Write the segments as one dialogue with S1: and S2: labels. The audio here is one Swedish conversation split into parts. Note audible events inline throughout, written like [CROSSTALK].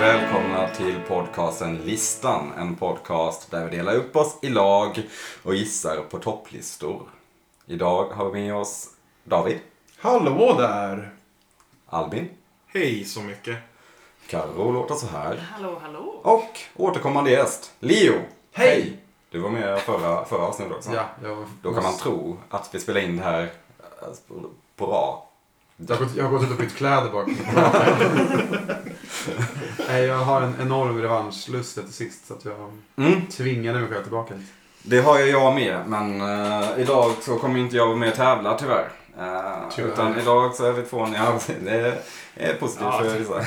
S1: välkomna till podcasten Listan. En podcast där vi delar upp oss i lag och gissar på topplistor. Idag har vi med oss David,
S2: Hallå där!
S1: Albin,
S2: Hej så mycket.
S1: Carro låter så här
S3: Hallå, hallå.
S1: och återkommande gäst Leo.
S2: Hej!
S1: Du var med förra, förra avsnittet också.
S2: Ja, jag,
S1: Då kan man tro att vi spelar in det här eh, på- på bra.
S2: jag, har gått, jag har gått ut och bytt kläder
S4: [LAUGHS]
S2: bak. Nej, jag har en enorm revanschlust efter sist så att jag
S1: Mm.
S2: tvingade mig själv tillbaka hit.
S1: Det har ju jag med, men eh, idag så kommer inte jag vara med och tävla tyvärr. Eh,
S2: Tyvärr.
S1: Utan idag så är vi två, [LAUGHS] ja, det är positivt
S4: Ja, typ.
S1: för
S4: ty-
S1: vissa.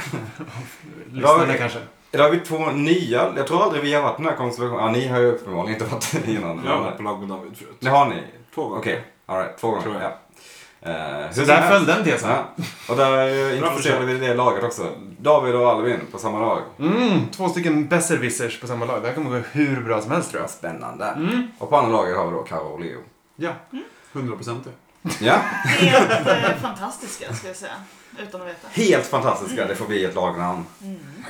S4: Lyssnarna
S1: Ja,
S4: kanske.
S1: Idag är vi två nya, jag tror aldrig vi har varit i den här konstellationen. Ja, ni har ju uppenbarligen inte varit innan.
S4: Jag har
S1: men-
S4: varit på lag med David förut.
S1: Det har ni?
S4: Två gånger.
S1: Okej, all alright, två gånger.
S4: Tror jag.
S1: Ja. Eh, hur
S4: Så
S1: som
S4: där
S1: helst.
S4: föll den tesen.
S1: Ja. Och där eh, introducerade
S4: försök.
S1: vi det laget också. David och Alvin på samma lag.
S4: Mm, två stycken besserwissers på samma lag. Det här kommer gå hur bra som helst tror jag.
S1: Spännande.
S4: Mm.
S1: Och på andra laget har vi då Karo och Leo.
S2: Ja, 100 procent det.
S1: Ja.
S3: Helt eh, fantastiska ska jag säga. Utan att veta. Mm.
S1: Helt fantastiska, det får bli ett lagnamn.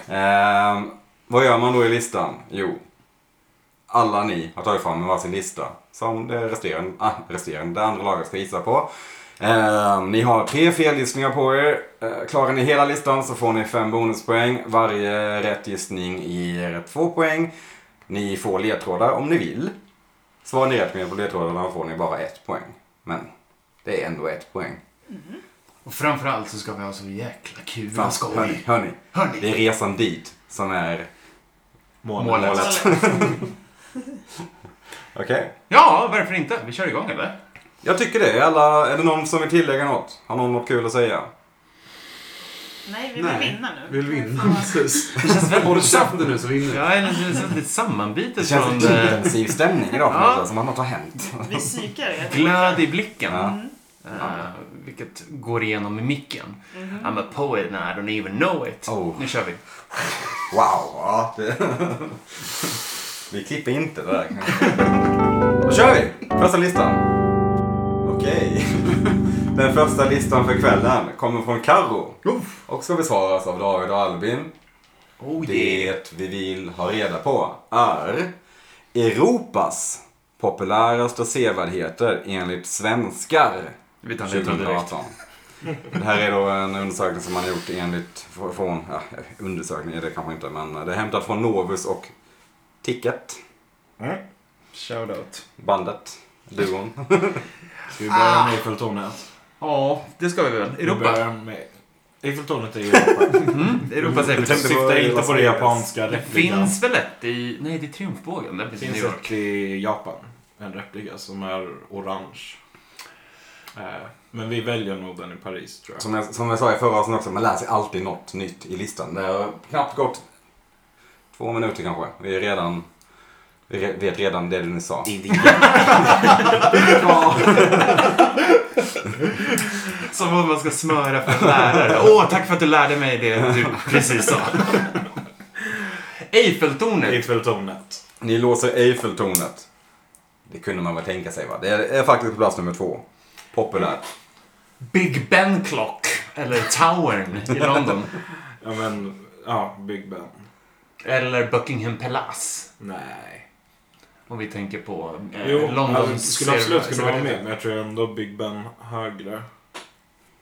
S1: Ehm, vad gör man då i listan? Jo, alla ni har tagit fram en varsin lista som det resterande, ah, resterande det andra laget ska gissa på. Ehm, ni har tre felgissningar på er. Eh, klarar ni hela listan så får ni fem bonuspoäng. Varje rätt gissning ger två poäng. Ni får ledtrådar om ni vill. Svarar ni rätt med på ledtrådarna får ni bara ett poäng. Men det är ändå ett poäng.
S3: Mm.
S4: Och framförallt så ska vi ha så jäkla kul
S1: Fan,
S4: och skoj.
S1: hörni, hörni. Det
S4: Hörni!
S1: är resan dit som är
S4: Målet.
S3: Målet.
S1: Okej.
S4: Ja, varför inte? Vi kör igång eller?
S1: Jag tycker det. Är, alla, är det någon som vill tillägga något? Har någon något kul att säga?
S3: Nej, vi vill
S2: Nej,
S3: vinna nu.
S2: Vill
S4: [LAUGHS]
S2: vinna.
S3: Fan.
S2: Precis. [LAUGHS] Håll käften nu så vinner vi.
S4: Ja, eller det känns lite sammanbitet
S1: Det känns
S4: från
S1: en [LAUGHS]
S4: eh,
S1: intensiv stämning idag.
S4: Ja.
S1: Ja. Som att något har hänt.
S3: Vi psykar er.
S4: eh, glöd i blicken.
S1: Ja.
S4: Eh, vilket går igenom i micken.
S3: Mm.
S4: I'm a poet and I don't even know it.
S1: Oh.
S4: Nu kör vi.
S1: Wow. Ja, det... [LAUGHS] vi klipper inte det där. Då kör vi! Första listan. Okej. [LAUGHS] Den första listan för kvällen kommer från Karo
S2: Uff.
S1: och ska besvaras av David och Albin.
S4: Oh yeah.
S1: Det vi vill ha reda på är Europas populäraste sevärdheter enligt svenskar
S4: Vi tar en ledtråd direkt.
S1: 2018. Det här är då en undersökning som man har gjort enligt fr- från, ja, undersökning är det kanske inte, men det är hämtat från Novus och Ticket,
S4: Shoutout.
S1: bandet, duon.
S4: Ska vi
S2: börja
S4: med?
S2: Eiffeltornet.
S4: Ja, det ska vi väl.
S2: Vi
S4: Ah. Europa.
S2: börjar med- Eiffeltornet är i Europa.
S4: Mm, [LAUGHS] Europa säger
S2: Jag
S4: vi.
S1: tänkte
S2: syftar
S1: på
S2: inte
S1: Las
S2: på det
S1: Vegas.
S2: japanska
S4: Det
S2: replikan.
S4: finns väl ett i... Nej, det är Triumfbågen. Där
S2: Det
S4: finns i New
S2: finns
S4: York.
S2: ett i Japan. En replika som är orange. Eh, Men vi väljer nog den i Paris tror jag.
S1: Som jag, som jag sa i förra avsnittet också, man lär sig alltid något nytt i listan. Det har knappt gått två minuter kanske. Vi är redan, vi re- vet redan det du nu sa.
S4: Som om man ska smöra för en lärare. Åh, tack för att du lärde mig det
S2: [LAUGHS]
S4: du precis sa. Eiffeltornet.
S2: Eiffeltornet.
S1: Ni låser Eiffeltornet. Det kunde man väl tänka sig va? Det är, är faktiskt på plats nummer två. Populärt.
S4: Big Ben Clock. Eller Towern i London.
S2: Ja men, ja, Big Ben.
S4: Eller Buckingham Palace.
S2: Nej.
S4: Om vi tänker på eh,
S2: Jo,
S4: Londons...
S2: alltså, det skulle absolut kunna vara med,
S4: sevärdheter.
S2: men jag tror ändå Big Ben högre.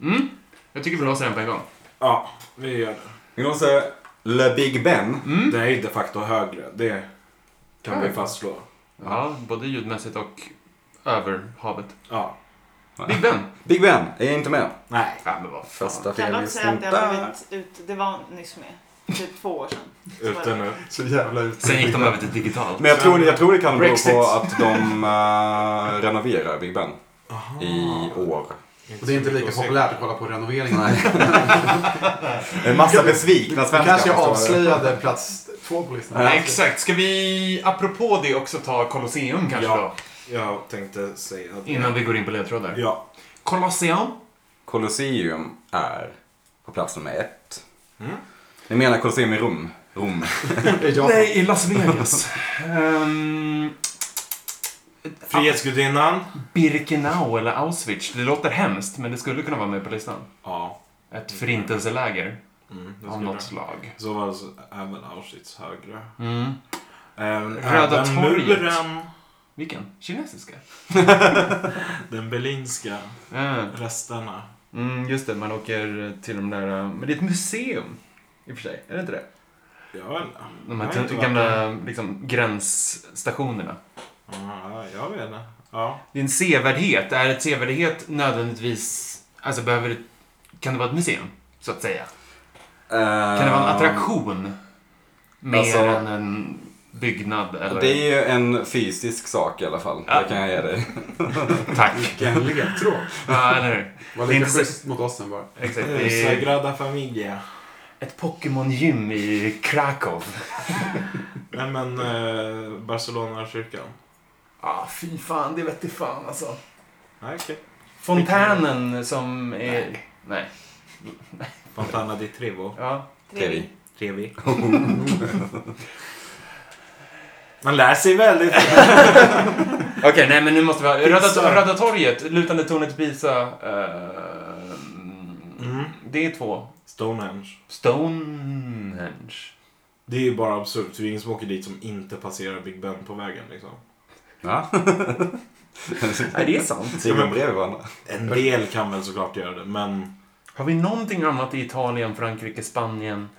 S4: Mm. Jag tycker vi låser den på en gång.
S2: Ja, vi gör det.
S1: Ni låser Le Big Ben.
S5: Mm.
S4: Mm.
S2: Det är de facto högre, det kan vi fastslå.
S4: Ja, både ljudmässigt och över havet.
S2: Ja.
S4: Big Ben.
S1: Big Ben är inte med.
S2: Nej.
S4: Ja, men vad fan.
S1: Första
S3: Kan jag också säga
S1: felgissningen
S3: att det har
S1: där.
S3: blivit ut, det var nyss med. Typ två år sedan. Så var det.
S2: Ute nu.
S5: Så jävla ut.
S4: Sen gick de över till digitalt.
S1: Men jag tror, jag tror det kan bero
S4: Brexit.
S1: på att de eh, renoverar Big Ben i år.
S5: Och det är inte lika
S2: så mycket
S5: populärt att kolla
S1: [LAUGHS]
S5: på renoveringarna.
S1: En massa besvikna
S5: Vi
S1: svenskar.
S5: kanske
S1: förstår du?
S5: avslöjade plats två på listan.
S4: Nej, exakt. Ska vi, apropå det, också ta Colosseum kanske
S2: Ja. att se. Jag tänkte säga att...
S4: då? Innan vi går in på ledtrådar.
S5: [LAUGHS]
S2: Ja.
S4: Colosseum.
S1: Colosseum är på plats nummer ett.
S2: Mm.
S1: Ni menar Colosseum i Rom? Rom.
S5: I Japan.
S4: Nej, i Las Vegas. um,
S2: Frihetsgudinnan.
S4: Birkenau eller Auschwitz. Det låter hemskt, men det skulle kunna vara med på listan.
S2: Ja.
S4: Ett förintelseläger.
S2: Mm, det
S4: Av
S2: skulle
S4: något
S2: jag.
S4: slag.
S2: Så var alltså även Auschwitz högre.
S4: Mm.
S2: Även,
S4: Röda
S2: även
S4: torget.
S2: muren,
S4: Vilken? Kinesiska?
S2: den berlinska,
S4: Ja.
S2: resterna.
S4: Mm, just det, man åker till de där... eh, Men det är ett museum. I och för sig, är det inte det?
S2: Jag vet inte.
S4: De
S2: Jag har
S4: här
S2: inte
S4: t-
S2: varit där.
S4: gamla liksom, gränsstationerna.
S2: Ja, jag vet inte. Ja.
S4: Det är en sevärdhet. Är ett sevärdhet nödvändigtvis... Alltså behöver det... Kan det vara ett museum? Så att säga. Kan det vara
S1: Ehm,
S4: en attraktion? Mer
S1: Alltså-
S4: än en byggnad eller...
S1: Det är ju en fysisk sak i alla fall.
S4: Ja.
S1: Det kan jag ge dig.
S4: Tack.
S5: Vilken ledtråd.
S4: ja, eller hur?
S5: Var
S4: Det är
S5: lika
S4: inte så-
S5: schysst mot oss sen bara.
S4: Exakt. Det är
S2: Eh, Sagrada Familia.
S4: ett Pokémon-gym i Krakow.
S2: Nej men, eh, Barcelona-kyrkan.
S4: Ah, fy fan. Det vete fan alltså.
S2: Nej, okej.
S4: Fontänen som är... Nej. Nej.
S2: Fontana di Trevo.
S4: Ja.
S1: Trevi.
S4: [LAUGHS]
S2: Trevi. Man lär sig väldigt mycket.
S4: Okej, nej men nu måste vi ha... Röda,
S2: Pizza.
S4: Röda torget, lutande tornet Pisa. eh,
S2: Mm.
S4: Det är två.
S2: Stonehenge.
S4: Stonehenge.
S2: Det är ju bara absurt. Det är ingen som åker dit som inte passerar Big Ben på vägen liksom.
S1: Ja. [LAUGHS]
S4: Nej, det är sant.
S1: Ser man bredvid varandra?
S2: En del kan väl såklart göra det, men
S4: Har vi någonting annat i Italien, Frankrike, Spanien?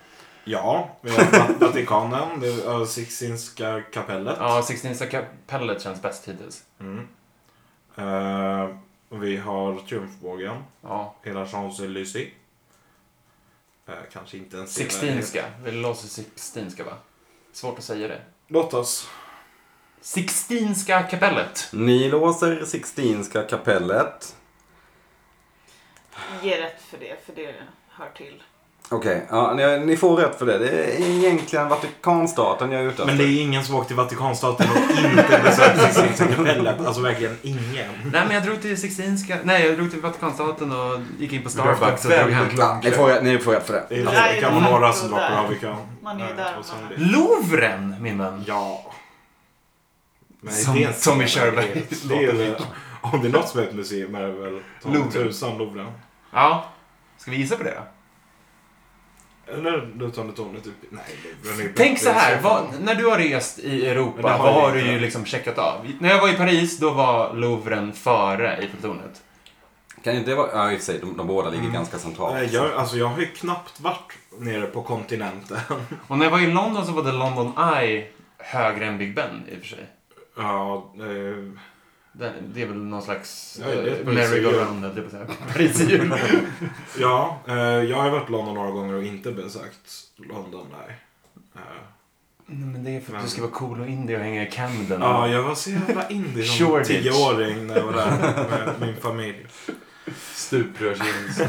S2: ja. Vi har
S4: [LAUGHS]
S2: Vat- Vatikanen, det är, eh, Sixtinska kapellet.
S4: Ja, Sixtinska kapellet känns bäst hittills.
S2: Mm. Eh, vi har Triumfbågen,
S4: Ja.
S2: hela Champs-Élysées. Eh, kanske inte ens det, men-
S4: Sixtinska. Det låter Sixtinska, va? Svårt att säga det.
S2: Låt oss.
S4: Sixtinska kapellet.
S1: Ni låser Sixtinska kapellet.
S3: Ge rätt för det, för det hör till.
S1: Okej, ja, ni, ni får rätt för det. Det är egentligen Vatikanstaten jag är ute efter.
S2: Men det är ingen som åkt till Vatikanstaten och inte besökt Sixtinska kapellet. Alltså verkligen ingen.
S4: Nej, men jag drog till Sixtinska... Nej, jag drog till Vatikanstaten och gick in på
S5: Du har haft
S4: Starbucks och drog
S5: väldigt
S4: hem.
S5: lång
S1: ni,
S5: kväll.
S1: får, rätt- ni får rätt för det.
S2: Det, är,
S3: Nej,
S2: det kan
S3: man
S2: vara några
S3: är
S2: som
S3: ju
S2: droppar
S3: där.
S2: av vilka...
S3: Man är ju
S2: Eh,
S3: där
S2: och sen
S3: man
S2: det-
S4: Louvren, min vän.
S2: Ja. Men
S4: Som-
S2: det är en
S4: som i
S2: scen,
S4: Körberg.
S2: det är- det är väl- Om det är något som är ett museum är det väl
S4: Louvren.
S2: Tom tusan Louvren.
S4: Ja. Ska vi gissa på det då?
S2: Eller Lutande tornet typ. Nej, Louvren är ju
S4: Tänk
S2: bättre
S4: så här,
S2: i fall.
S4: vad, när du har rest i Europa,
S2: Men det har
S4: vad
S2: jag
S4: har du
S2: inte.
S4: ju liksom checkat av? När jag var i Paris, då var Louvren före Eiffeltornet.
S1: Kan inte det vara... Ja, i och för sig, de, de båda
S4: Mm.
S1: ligger ganska centralt.
S2: Nej, jag, alltså, jag har ju knappt varit nere på kontinenten.
S4: Och när jag var i London så var det London Eye högre än Big Ben i och för sig.
S2: [LAUGHS] Ja, eh,
S4: Det, det är väl någon slags
S2: Ja, det är ett
S4: eh,
S2: Paris i jul.
S4: merry-go-round, höll jag på att säga. [LAUGHS] Paris i jul.
S2: ja eh, jag har ju varit i London några gånger och inte besökt London. Nej. Eh,
S4: Nej, men det är för att du ska vara cool och indie och hänga i Camden.
S2: Ja, jag var så jävla indie som
S4: Shoreditch.
S2: tioåring när jag var där med min familj.
S4: Stuprörsjeans.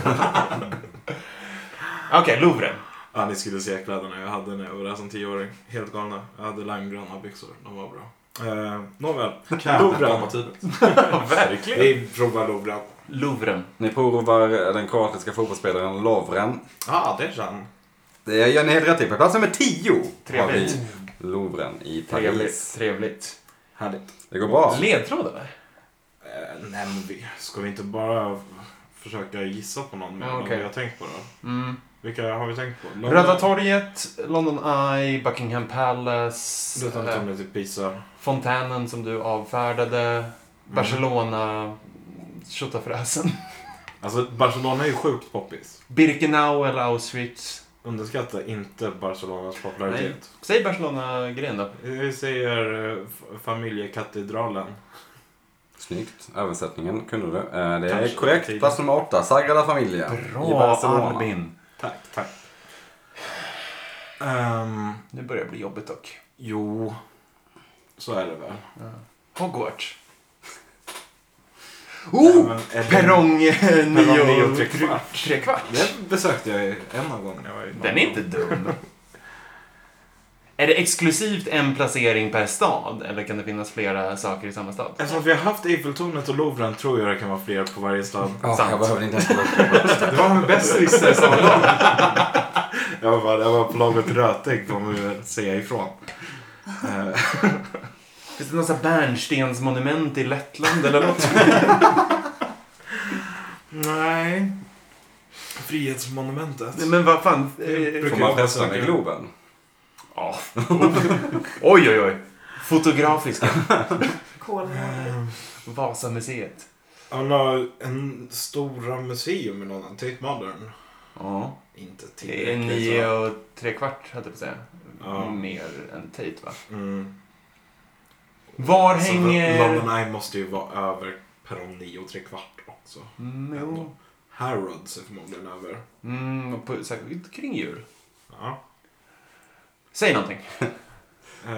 S4: Okej, Louvren.
S2: Ja, ni skulle se kläderna jag hade när jag var där som tioåring. Helt galna. Jag hade limegröna byxor. De var bra. Eh, Nåväl. Louvren.
S4: Ja, verkligen.
S2: Vi provar Louvren.
S4: Louvren.
S1: Ni provar eh, den kroatiska fotbollsspelaren Lovren.
S2: Ja, ah, det är han.
S1: Det gör ni helt rätt i. På plats nummer 10 har
S4: Trevligt.
S1: vi Louvren i
S4: Trevligt.
S1: Paris.
S4: Trevligt.
S2: Härligt.
S1: Det går bra.
S4: Ledtråd eller?
S2: Eh, nej, men vi, ska vi inte bara f- försöka gissa på någon mer
S4: Ja,
S2: än
S4: okej.
S2: vi har tänkt på då?
S4: Mm.
S2: Vilka har vi tänkt på? London-
S4: Röda torget, London Eye, Buckingham Palace,
S2: Lutan
S4: eh,
S2: tornet i Pisa.
S4: fontänen som du avfärdade,
S2: Mm.
S4: Barcelona, tjottafräsen,
S2: Alltså, Barcelona är ju sjukt poppis.
S4: Birkenau eller Auschwitz.
S2: Underskatta inte Barcelonas popularitet.
S4: Säg Barcelona-grejen då.
S2: Vi säger eh, f- familjekatedralen.
S1: Snyggt. Översättningen kunde du. Eh, Det är
S2: Kanske.
S1: korrekt. Plats nummer 8. Sagrada Familia. i
S4: Bra
S1: Barcelona.
S4: Albin.
S2: Tack, tack. Ehm,
S4: Nu börjar det bli jobbigt dock.
S2: jo, så är det väl.
S4: Hogwarts. Oh!
S2: Men är det-
S4: Perrong
S2: Oh!
S4: eh,
S2: Perrong eh, nio
S4: nio
S2: och trekvart.
S4: trekvart.
S2: Det besökte jag ju en av gångerna jag var i
S4: Den är inte dum. Är det exklusivt en placering per stad eller kan det finnas flera saker i samma stad?
S2: Eftersom vi har haft Eiffeltornet och Louvren tror jag det kan vara fler på varje stad.
S1: Ja,
S4: Sant.
S1: jag behövde inte ens kolla upp det.
S2: [LAUGHS] Det var min bästa lista i sammanhanget. [LAUGHS] Jag var, bara- jag var på laget rötägg får man ju säga ifrån. Eh,
S4: Finns det något sånt här bärnstensmonument
S2: [LAUGHS] Alltså-
S4: i Lettland eller något?
S2: nej. Frihetsmonumentet.
S4: Nej, Men vad fan. eh,
S2: Brukar
S1: Får
S2: jag
S1: man
S2: bara
S1: festa med
S2: söka.
S1: Globen?
S4: Ja. [LAUGHS] oj, oj, oj. Fotografiska.
S3: Kolmården.
S2: Eh,
S4: Vasamuseet.
S2: Han har en stora museum i London, Tate Modern.
S4: Ja.
S2: Inte
S4: Det är
S2: tillräckligt.
S4: nio
S2: va?
S4: och tre kvart, hade jag på att säga.
S2: Ja.
S4: Mer än Tate, va?
S2: Mm.
S4: Var
S2: Alltså,
S4: hänger...
S2: London Eye måste ju vara över perrong 9 och tre kvart också.
S4: Mm, jo.
S2: Harrods är förmodligen över.
S4: Mm, och på, säkert kring jul.
S2: Ja.
S4: Säg någonting.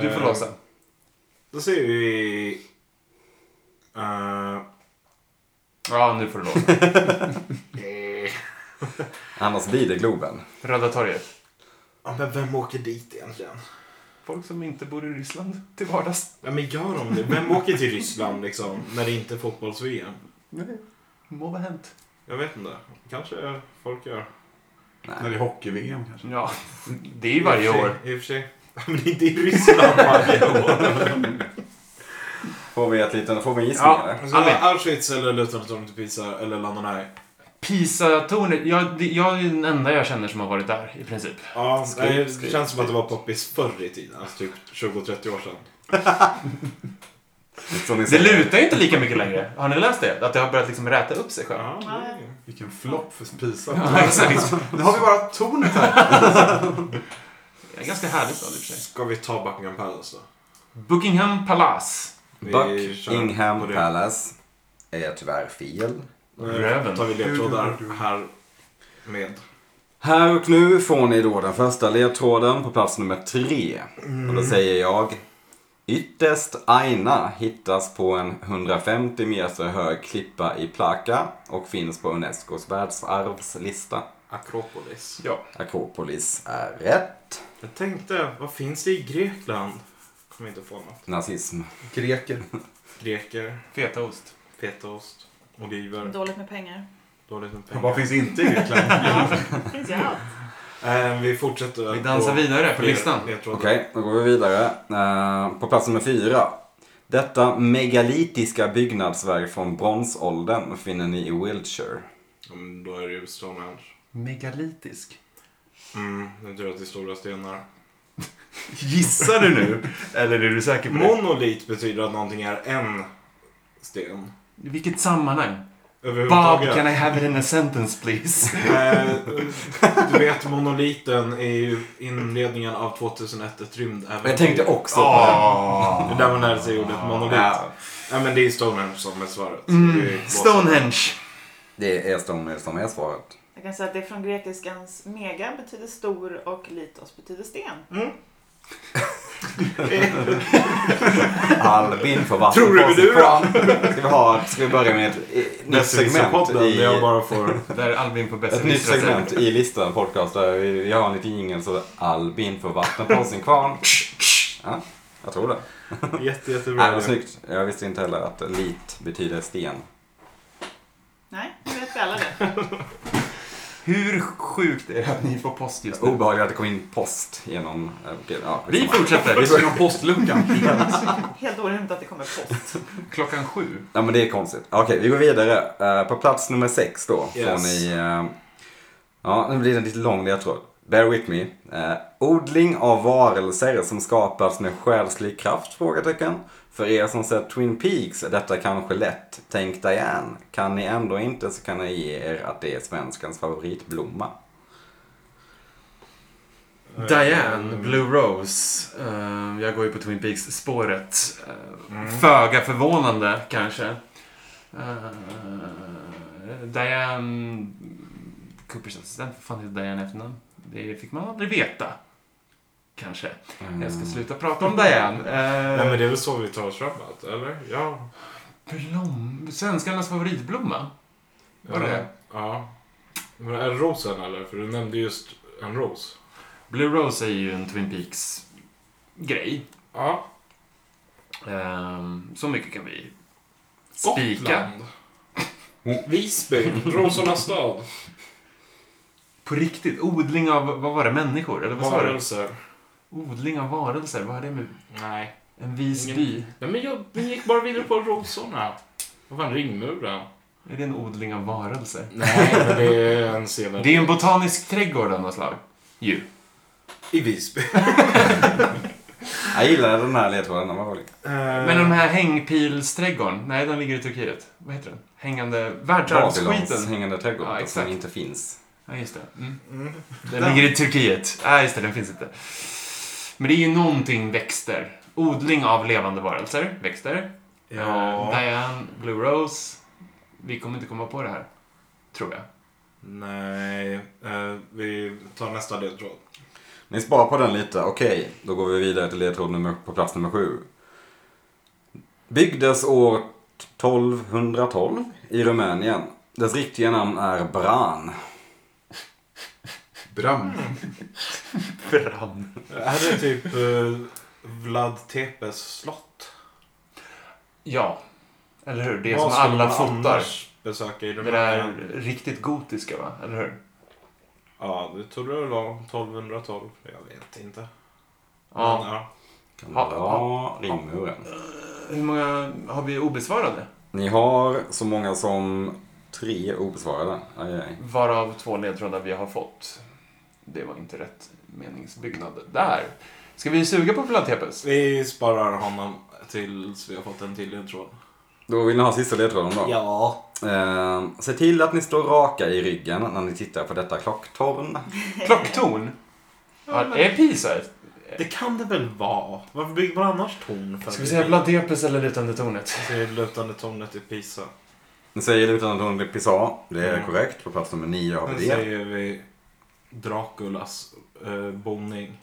S4: Du får
S2: Eh,
S4: låsa.
S2: Då ser vi... eh,
S4: Ja, nu får du
S2: [LAUGHS]
S4: låsa.
S1: Annars blir det Globen.
S4: Röda torget.
S2: Ja, men vem åker dit egentligen?
S4: Folk som inte bor i Ryssland till vardags.
S2: Ja, men gör de det? Vem åker till Ryssland liksom, när det inte är fotbolls-VM?
S4: Nej. Må vara hänt.
S2: Jag vet inte. Kanske folk gör.
S5: När det är hockey-VM kanske.
S4: Ja, det är ju varje
S2: I och för
S4: år.
S2: sig- I och för sig. [LAUGHS] Men inte i Ryssland varje [LAUGHS] år.
S1: Får vi, ett liten, får vi en gissning
S4: Ja.
S1: eller?
S2: Så
S4: Albin.
S2: Alltså, Auschwitz eller Lufthansa till Pisa eller London Eye.
S4: Pisa-tornet. Jag, det- jag är den enda jag känner som har varit där, i princip.
S2: Ja,
S4: Skri-
S2: nej, det
S4: skri-
S2: känns som att det var poppis förr i tiden. Alltså typ 20-30 år sedan.
S1: Som ni
S4: Det
S1: säger.
S4: lutar ju inte lika mycket längre. Har ni läst det? Att det har börjat liksom räta upp sig själv.
S2: Ja, det-
S5: Vilken flopp för Pisa.
S4: Ja, [LAUGHS]
S2: [LAUGHS]
S4: exakt.
S5: Nu har vi bara tornet här.
S4: Det är ganska härligt stad i och för sig.
S2: Ska vi ta Buckingham Palace då?
S4: Buckingham Palace.
S2: Vi kör på
S1: Buckingham
S2: det.
S1: Palace är tyvärr fel.
S4: Röven.
S2: Nu tar vi ledtrådar här med.
S1: Här och nu får ni då den första ledtråden på plats nummer tre. Och då säger jag Ytterst Aina hittas på en 150 meter hög klippa i Plaka och finns på Unescos världsarvslista.
S2: Akropolis.
S4: Ja.
S1: Akropolis är rätt.
S2: Jag tänkte, vad finns det i Grekland? Kommer inte få något.
S1: Nazism.
S5: Greker.
S2: Greker,
S4: Fetaost.
S2: fetaost, oliver,
S3: Dåligt med pengar.
S2: dåligt med
S5: Vad
S2: pengar.
S5: finns inte i Grekland?
S3: Ja, finns ju allt.
S2: Eh, vi fortsätter.
S4: Vi dansar vidare på listan.
S1: [LAUGHS]
S2: ledtrådar.
S1: Okej, då går vi vidare. Eh, på plats nummer fyra. Detta megalitiska byggnadsverk från bronsåldern finner ni i Wiltshire.
S2: Ja, men då är det ju Stonehenge.
S4: Megalitisk.
S2: Mm, nu tror jag att det är stora stenar.
S4: Gissar du nu? Eller är du säker på det?
S2: Monolit betyder att någonting är en sten.
S4: Vilket sammanhang? Bob,
S2: Överhuvudtaget.
S4: can I have it in a sentence please?
S2: Eh, du vet, monoliten är ju inledningen av 2001 ett rymdäventyr.
S1: Jag tänkte också
S4: Åh.
S2: Det där man lärde sig ordet Ah. [LAUGHS] monolit.
S1: Ja.
S2: Ja, men det är Stonehenge som är svaret. Det är ju
S4: Mm,
S2: gåsen.
S4: Stonehenge.
S1: Det är Stonehenge som är svaret.
S3: Jag kan säga att det är från grekiskans mega betyder stor och litos betyder sten.
S1: Albin får vatten
S2: Tror du
S1: på
S2: väl
S1: sitt
S2: du då?
S1: plan. Ska vi, ha, ska vi börja med ett eh, nytt segment
S2: Netflix-podden där jag
S1: i...
S2: bara får...
S4: Där är Albin på bästa
S1: Ett nytt
S4: vissla sätt.
S1: segment i listan podcast där vi, vi har en liten jingel så Albin får vatten på sin kvarn. Ja, jag tror det.
S2: Jätte, jättebra.
S1: Nej, Äh, vad snyggt. Jag visste inte heller att lit betyder sten.
S3: Nej, nu vet vi alla det.
S4: Hur sjukt är det att ni får post just nu?
S1: Obehagligt att det kom in post genom... eh, det- Ja,
S4: Vi
S1: skitsamma.
S5: Vi
S4: fortsätter.
S5: ska genom postluckan.
S3: Helt orimligt att det kommer post.
S4: [LAUGHS] Klockan sju.
S1: Ja, men det är konstigt. Okej, vi går vidare. Eh, på plats nummer sex då får
S2: Yes.
S1: ni... eh, ja, nu blir det en lite lång ledtråd. Bear with me. Eh, odling av varelser som skapats med själslig kraft? Frågetecken. För er som sett Twin Peaks är detta kanske lätt. Tänk Diane. Kan ni ändå inte så kan jag ge er att det är svenskans favoritblomma.
S4: Diane,
S2: Ehm,
S4: Blue Rose. Eh, jag går ju på Twin Peaks-spåret. Eh,
S2: mm.
S4: Föga förvånande, kanske. Eh, Diane... Coopers assistent. Vad fan heter Diane i efternamn? Det fick man aldrig veta. Kanske. Jag ska sluta prata om Diane. Eh,
S2: Nej, men det är väl så vi tar oss framåt, eller? Ja.
S4: Blom... Svenskarnas favoritblomma? Var det det?
S2: Ja. Men är det rosen, eller? För du nämnde just en ros.
S4: Blue Rose är ju en Twin Peaks-grej.
S2: Ja.
S4: Ehm, så mycket kan vi spika. Mm.
S2: Gotland. Visby. Rosornas stad.
S4: På riktigt, odling av, vad var det, människor? Eller [LAUGHS] vad sa du?
S2: Varelser.
S4: Odling av varelser, vad har det med
S2: Nej.
S4: en vis
S2: Ingen-
S4: by?
S2: Nej, men jag vi gick bara vidare på rosorna. Vad fan, ringmuren.
S4: Är det en odling av varelser?
S2: Nej, men det är en sevärd...
S4: Det är ju en botanisk trädgård av något slag. Ju.
S2: I Visby.
S1: Jag gillade den här ledtråden, den var rolig.
S2: Eh,
S4: Men den här hängpilsträdgården, nej den ligger i Turkiet. Vad heter den? Hängande
S1: Babylons
S4: världsarvsskiten.
S1: hängande trädgård
S4: Ja,
S1: som
S4: exakt.
S1: inte finns.
S4: Ja, just det. Mm.
S2: Mm.
S4: Den ligger i Turkiet. Nej, just det, den finns inte. Men det är ju någonting växter. Odling av levande varelser, växter. Eh,
S2: Ja.
S4: Diane, Blue Rose. Vi kommer inte komma på det här. Tror jag.
S2: Nej. Eh, vi tar nästa ledtråd.
S1: Ni sparar på den lite, okej. Då går vi vidare till ledtråd nummer, på plats nummer sju. Byggdes år 1212 i Rumänien. Dess riktiga namn är Bran.
S5: Bram.
S2: [LAUGHS]
S4: Fram.
S2: Är det typ eh, Vlad Tepes slott?
S4: Ja. Eller hur? Det
S2: Vad
S4: som
S2: skulle
S4: alla
S2: man
S4: fotar.
S2: annars besöka i
S4: Det där riktigt gotiska, va? Eller hur?
S2: Ja, det trodde jag det var 1212. Jag vet inte.
S4: Ja.
S2: Men, ja.
S1: Kan
S4: Ja,
S1: dra ringmuren.
S4: Hur många har vi obesvarade?
S1: Ni har så många som tre obesvarade. Aj, aj.
S4: Varav två ledtrådar vi har fått. Det var inte rätt meningsbyggnad. Där! Ska vi suga på Filatepes?
S2: Vi sparar honom tills vi har fått en till ledtråd.
S4: Eh.
S1: Då vill ni ha sista ledtråden då?
S2: Ja.
S1: Eh, se till att ni står raka i ryggen när ni tittar på detta klocktorn.
S4: Klocktorn? Ja, är Pisa ett?
S2: Det kan det väl vara? Varför bygger man annars torn? För
S4: Ska vi säga Vladepes eller Lutande tornet?
S2: Det är lutande tornet i Pisa.
S1: Ni säger det utan att hon blir pissa. Det är
S2: Mm.
S1: korrekt. På plats nummer nio har
S2: Sen
S1: vi det.
S2: säger vi Draculas eh, boning.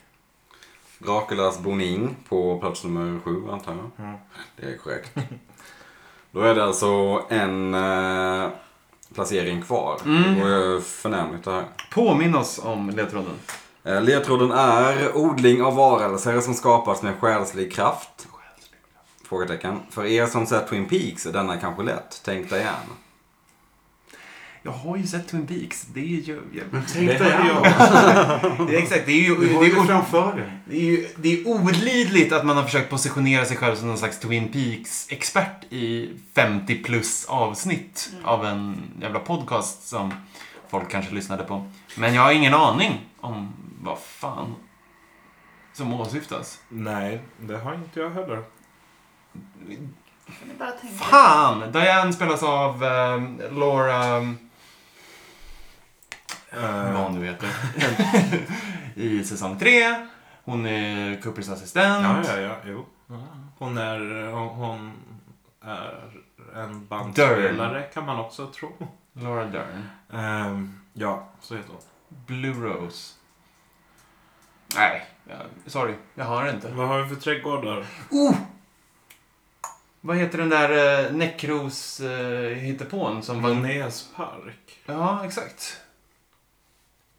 S1: Draculas boning på plats nummer sju antar jag.
S2: Mm.
S1: Det är korrekt. [LAUGHS] Då är det alltså en eh, placering kvar.
S4: Mm.
S1: Det går ju förnämligt det här.
S4: Påminn oss om ledtråden.
S1: Eh, Ledtråden är odling av varelser som skapas med själslig kraft. Frågetecken. För er som sett Twin Peaks är denna kanske lätt. Tänk dig igen.
S4: Jag har ju sett Twin Peaks. Det är ju... Jag,
S5: Det
S4: det
S5: hade jag.
S4: är exakt. Det är ju...
S5: Du
S4: Det
S5: har ju det
S4: är, o-
S5: framför dig.
S4: det är, ju, det är olidligt att man har försökt positionera sig själv som någon slags Twin Peaks-expert i 50 plus avsnitt av en jävla podcast som folk kanske lyssnade på. Men jag har ingen aning om vad fan som åsyftas.
S2: Nej, det har inte jag heller.
S3: Kan ni bara tänka?
S4: Fan! Diane spelas av eh, Laura... ehm,
S2: Eh,
S5: Eh.
S4: vad hon nu heter. [LAUGHS] I säsong tre. Hon är Coopers assistent.
S2: ja, ja, ja, jo. Hon är, hon, hon är en bandspelare kan man också tro.
S4: Laura Dern.
S2: Ehm, ja, så heter hon.
S4: Blue Rose. Nej, jag- sorry. Jag har inte.
S2: Vad har vi för trädgårdar?
S4: Oh! Vad heter den där eh, Näckros eh, hittepån som var...
S2: Vanäs park.
S4: Ja, exakt.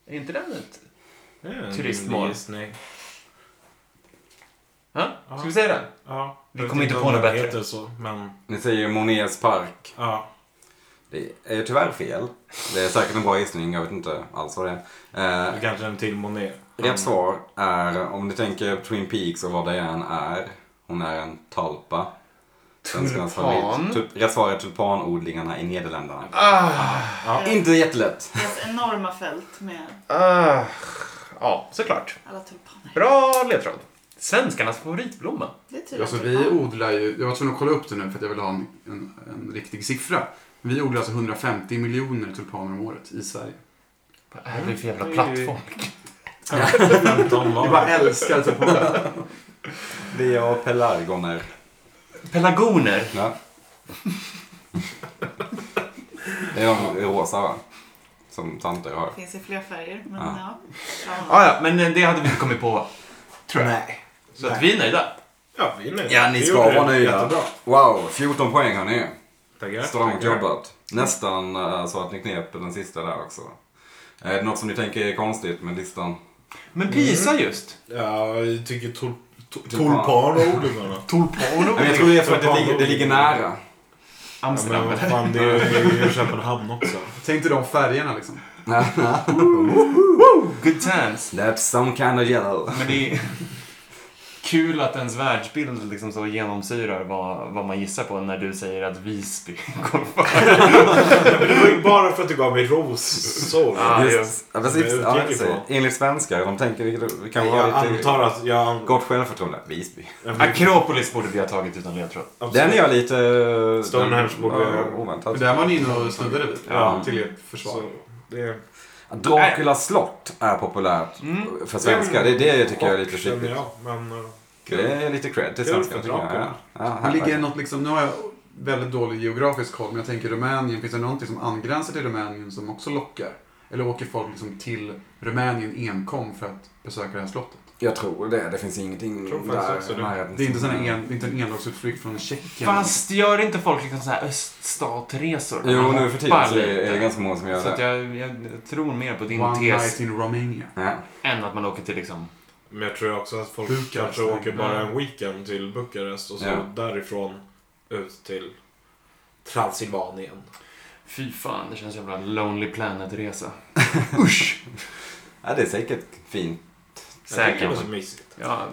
S4: Är inte den ett...
S2: Det är en
S4: Turistmål.
S2: rimlig gissning.
S4: Ja?
S2: Ja.
S4: Ska vi säga den?
S2: Ja,
S4: Vi
S2: jag vet
S4: kommer inte
S2: om
S4: på något
S2: den
S4: bättre.
S2: Heter så, men
S1: Ni säger Monets park.
S2: ja.
S1: Det är tyvärr fel. Det är säkert en bra gissning. Jag vet inte alls vad det är. Eh,
S2: Det kanske är en till Monet.
S1: Rätt svar är, om ni tänker Twin Peaks och vad Diane är. Hon är en talpa. Svenskans favorit.
S4: Tulpan.
S1: Tu- Rätt svar är tulpanodlingarna i Nederländerna.
S4: Ah,
S2: Ja.
S3: Eh,
S1: Inte
S3: [LAUGHS]
S1: jättelätt.
S3: Deras enorma fält med
S4: ah. Ja, såklart.
S3: alla tulpaner.
S4: Bra ledtråd. Svenskarnas favoritblomma.
S3: Det är typ tydligt.
S5: Alltså, vi odlar ju, jag var tvungen att kolla upp det nu för att jag vill ha en, en, en riktig siffra. Vi odlar alltså 150 miljoner tulpaner om året i Sverige.
S4: Vad är det för jävla
S2: Mm.
S4: plattform?
S2: 15
S5: Vi bara
S2: var.
S5: älskar tulpaner.
S1: [LAUGHS] Det är pelargoner.
S4: Pelagoner.
S1: Ja. Det är de rosa va? Som tanter har.
S3: Finns i fler färger. Men
S1: Ja.
S3: ja.
S4: Ah, ja, men det hade vi inte kommit [LAUGHS] på. Tror jag.
S2: Nej.
S4: Så att vi är nöjda.
S2: Ja, vi är nöjda.
S1: Ja, ni
S2: Vi
S1: ska
S2: gjorde det.
S1: vara nöjda.
S2: Jättebra.
S1: Wow, 14 poäng har ni.
S2: Tackar.
S1: Strångt
S2: tackar.
S1: jobbat. Nästan eh, så att ni knep den sista där också. Eh, Är det något som ni tänker är konstigt med listan?
S4: Men Pisa just.
S2: Ja, jag tycker tulp- tu-
S1: Tulpan. [LAUGHS]
S2: tulpanodlingarna.
S1: Men
S4: Tulpaner.
S1: jag tror det är för att det ligger, det ligger nära.
S2: Ja,
S4: Amsterdam.
S2: men vad
S4: eller?
S2: [LAUGHS] fan, det är ju
S1: [LAUGHS]
S2: Köpenhamn också.
S5: Tänk dig de färgerna liksom.
S4: Good times.
S1: That's some kind of yellow.
S4: Men det är... kul att ens världsbild liksom så genomsyrar vad, vad man gissar på när du säger att Visby [LAUGHS] går före.
S2: Men det var ju bara för att du gav mig ros. Så.
S4: Ah,
S1: Just-
S4: just.
S1: Ja, precis.
S2: Men jag
S1: Ja,
S2: utgick
S1: så-
S2: ifrån.
S1: enligt svenskar, de tänker vi kan
S2: jag
S1: ha lite
S2: antar att jag...
S1: gott självförtroende. Visby.
S4: Akropolis borde vi ha tagit utan ledtråd.
S1: Den är jag lite... eh,
S2: Stonehenge borde-
S1: ja, Oväntat.
S5: Där var ni inne och snuddade vid.
S1: Ja.
S5: Till ert försvar.
S2: Så, det är...
S1: Draculas slott är populärt
S4: Mm.
S1: för svenskar. Det, är det tycker jag är lite
S2: Kort känner
S1: skitigt.
S2: jag, men... eh,
S1: Det är lite cred till
S2: Kul
S1: svenskar.
S2: för
S1: tycker jag.
S2: Dracula.
S1: Ja, ja,
S5: Men
S1: här-
S5: ligger det något liksom, nu har jag väldigt dålig geografisk koll, men jag tänker Rumänien, finns det någonting som angränsar till Rumänien som också lockar? Eller åker folk liksom till Rumänien enkom för att besöka det här slottet?
S1: Jag tror det. Det finns ingenting
S2: Tror faktiskt också
S1: där
S2: det.
S1: i närheten.
S5: Det är inte,
S1: som-
S5: sån här en, det är inte en endagsutflykt från Tjeckien?
S4: Fast gör inte folk liksom så här öststatresor?
S1: Jo,
S4: Man
S1: nu för tiden
S4: hoppar
S1: så är- är
S4: lite.
S1: det ganska många som
S4: Så
S1: gör
S4: att
S1: det.
S4: jag, jag tror mer på din
S5: One
S4: tes
S5: night in Romania.
S4: [LAUGHS]
S1: Ja.
S4: än att man åker till liksom...
S2: Men jag tror också att folk
S5: Bukarest,
S2: kanske
S5: nej.
S2: åker bara
S4: Nej.
S2: en weekend till Bukarest och så
S1: Ja.
S2: därifrån ut till Transylvanien.
S4: Fy fan, det känns jävla Lonely Planet-resa.
S1: ja, det är säkert fint.
S2: Jag tycker det
S4: Säkert.
S2: var så mysigt.
S4: Ja,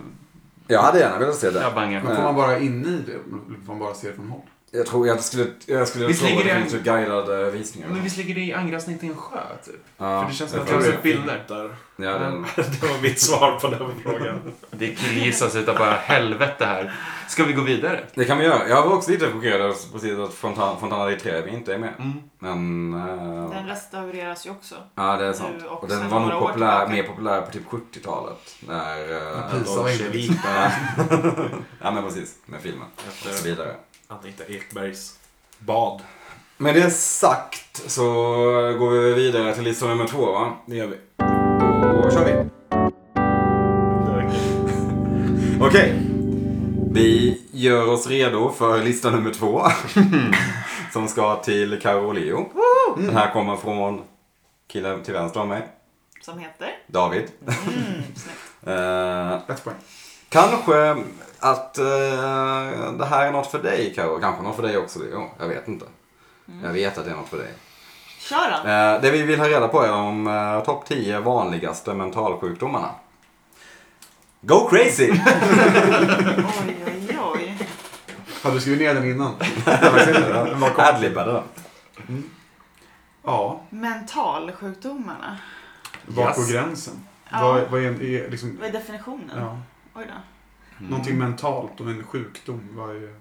S1: Jag hade gärna velat se det.
S4: jag bangar.
S5: Men får man bara inne i det? Eller får man bara se det från håll?
S1: Jag tror jag skulle, jag skulle
S4: Visst
S1: tro att
S4: ligger
S1: det
S4: det-
S1: finns typ guidade visningar.
S4: Men visst ligger det i angränsning till en sjö, typ?
S1: Ja,
S4: För det känns som
S1: jag
S4: att det
S1: tror
S4: har
S1: det.
S4: sett bilder.
S2: Där.
S1: Ja, den...
S4: Mm.
S2: [LAUGHS] Det var mitt svar på den
S1: [LAUGHS]
S2: frågan.
S4: Det killgissas utav bara helvete här. Ska vi gå vidare?
S1: Det kan vi göra. Jag var också lite chockerad över precis att Fontana, Fontana di Trevi inte är med.
S4: Mm.
S1: Men... eh,
S3: Den restaureras ju också.
S1: ja, det är
S3: nu
S1: sant.
S3: och
S1: Och
S3: sen
S1: den var nog
S3: några år
S1: populär,
S3: tillbaka.
S1: mer populär på typ 70-talet. När...
S5: När
S1: Uh,
S5: Pisa var inne.
S1: [LAUGHS] ja, men precis. Med filmen. Och så
S2: Efter
S1: vidare.
S2: Anita Ekbergs bad.
S1: Med det sagt så går vi vidare till lista nummer två, va?
S2: Det gör vi.
S1: Då kör vi. Okej. Vi gör oss redo för lista nummer två. [LAUGHS] som ska till Karo och Leo. Den här kommer från killen till vänster om mig.
S3: Som heter?
S1: David.
S3: Mm, snyggt.
S1: Eh,
S5: Ett poäng.
S1: kanske att eh, det här är något för dig Karo. Kanske något för dig också Leo. Jag vet inte. Jag vet att det är något för dig.
S3: Kör då.
S1: Eh, det vi vill ha reda på är de eh, topp 10 vanligaste mentalsjukdomarna. Go [LAUGHS] crazy!
S3: Oj, oj, oj.
S5: Hade du skrivit ner den innan?
S1: [LAUGHS] Adlibbade då.
S5: Ja.
S3: Mentalsjukdomarna.
S5: Var
S4: Yes.
S5: går gränsen?
S3: Ja.
S5: Vad, vad är, en- är liksom...
S3: Vad är definitionen?
S5: Ja.
S3: Oj då.
S5: Mm. Någonting mentalt och en sjukdom. Vad är...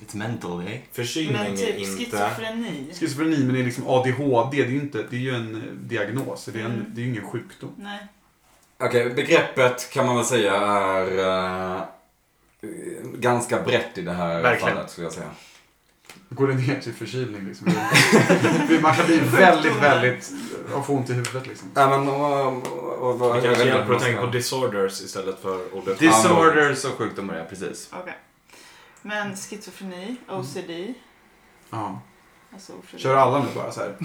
S4: It's mental, eh?
S2: Förkylning
S3: Men
S2: är
S3: typ
S2: inte...
S3: schizofreni.
S5: Schizofreni, men det är liksom ADHD. Det är ju, inte, det är ju en eh, diagnos. Det är, en,
S3: Mm.
S5: det är ju ingen sjukdom.
S3: Nej.
S1: Okej, begreppet kan man väl säga är eh, ganska brett i det här
S4: Verkligen.
S1: fallet skulle jag säga.
S5: Går det ner till förkylning liksom? Man kan bli väldigt, väldigt... Och få ont i huvudet liksom.
S1: Ja, men och, och, och,
S2: Vi
S1: jag vet
S2: kanske
S1: inte
S2: hjälper
S1: hur
S2: att tänka på
S1: man ska-
S2: disorders istället för ordet
S4: Disorders och sjukdomar, ja precis.
S3: Okej. Men schizofreni, OCD.
S5: Ja.
S3: Alltså ofrivillig.
S5: Mm. Kör alla nu bara så här.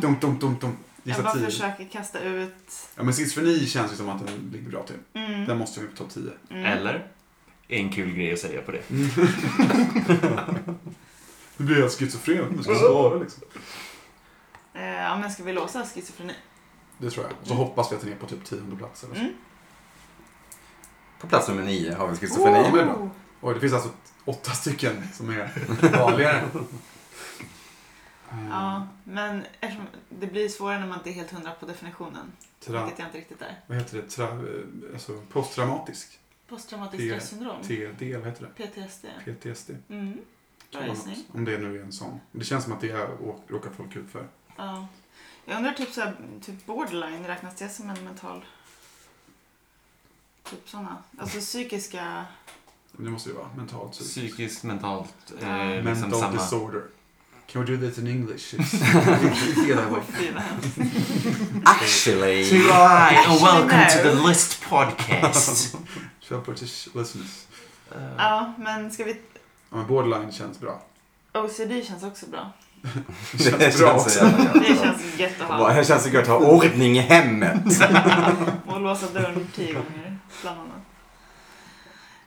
S5: Dum, dum, dum, dum.
S3: Jag
S5: Gissa
S3: bara
S5: tio.
S3: försöker kasta ut.
S5: Ja, men schizofreni känns ju som att den ligger bra till.
S3: Mm.
S5: Den måste ju upp på topp 10.
S3: Mm.
S4: Eller? En kul grej att säga på det.
S5: Mm. Nu blir jag schizofren. Vad ska det vara liksom?
S3: Eh, ja, men ska vi låsa schizofreni?
S5: Det tror jag. Och så hoppas vi att den är på typ tionde plats eller så.
S3: Mm.
S1: På plats nummer nio har vi schizofreni.
S5: Oh. men då. Oj, det finns alltså åtta stycken som är vanligare. Eh,
S3: Ja, men eftersom det blir svårare när man inte är helt hundra på definitionen.
S5: Tra,
S3: Vilket jag inte riktigt är.
S5: vad heter det? Tra, eh, alltså posttraumatisk.
S3: Posttraumatiskt
S5: P-
S3: stressyndrom.
S5: TD, vad heter det?
S3: PTSD.
S5: PTSD.
S3: Mm. Bra gissning.
S5: Om det nu är en sån. Det känns som att det är, å- råkar folk ut för.
S3: Ja. Jag undrar typ så här, typ borderline, räknas det som en mental... Typ sådana. Alltså psykiska...
S5: Men Det måste ju vara mentalt psykiskt.
S4: Psykiskt, mentalt, eh,
S3: Mental
S4: liksom
S5: Mental
S4: samma.
S5: disorder. Can we do this in English? It's- Hela
S3: Oj,
S5: vår-
S3: fy, vad hemskt.
S1: [LAUGHS] Actually!
S4: To I and welcome
S3: Actually,
S4: to
S3: no.
S4: the list
S5: [LAUGHS]
S4: podcast.
S5: Kör British listeners.
S4: Eh,
S3: Ja, men ska vi...
S5: Ja, men borderline känns bra.
S3: OCD känns också bra.
S5: Det
S1: [LAUGHS] Det
S5: känns bra
S1: känns så
S5: också.
S1: jävla
S3: [LAUGHS] Det
S1: gött.
S3: känns gött att
S1: Bara,
S3: ha.
S1: Det känns så gött att ha ordning i hemmet.
S3: Och låsa dörren tio gånger, bland annat.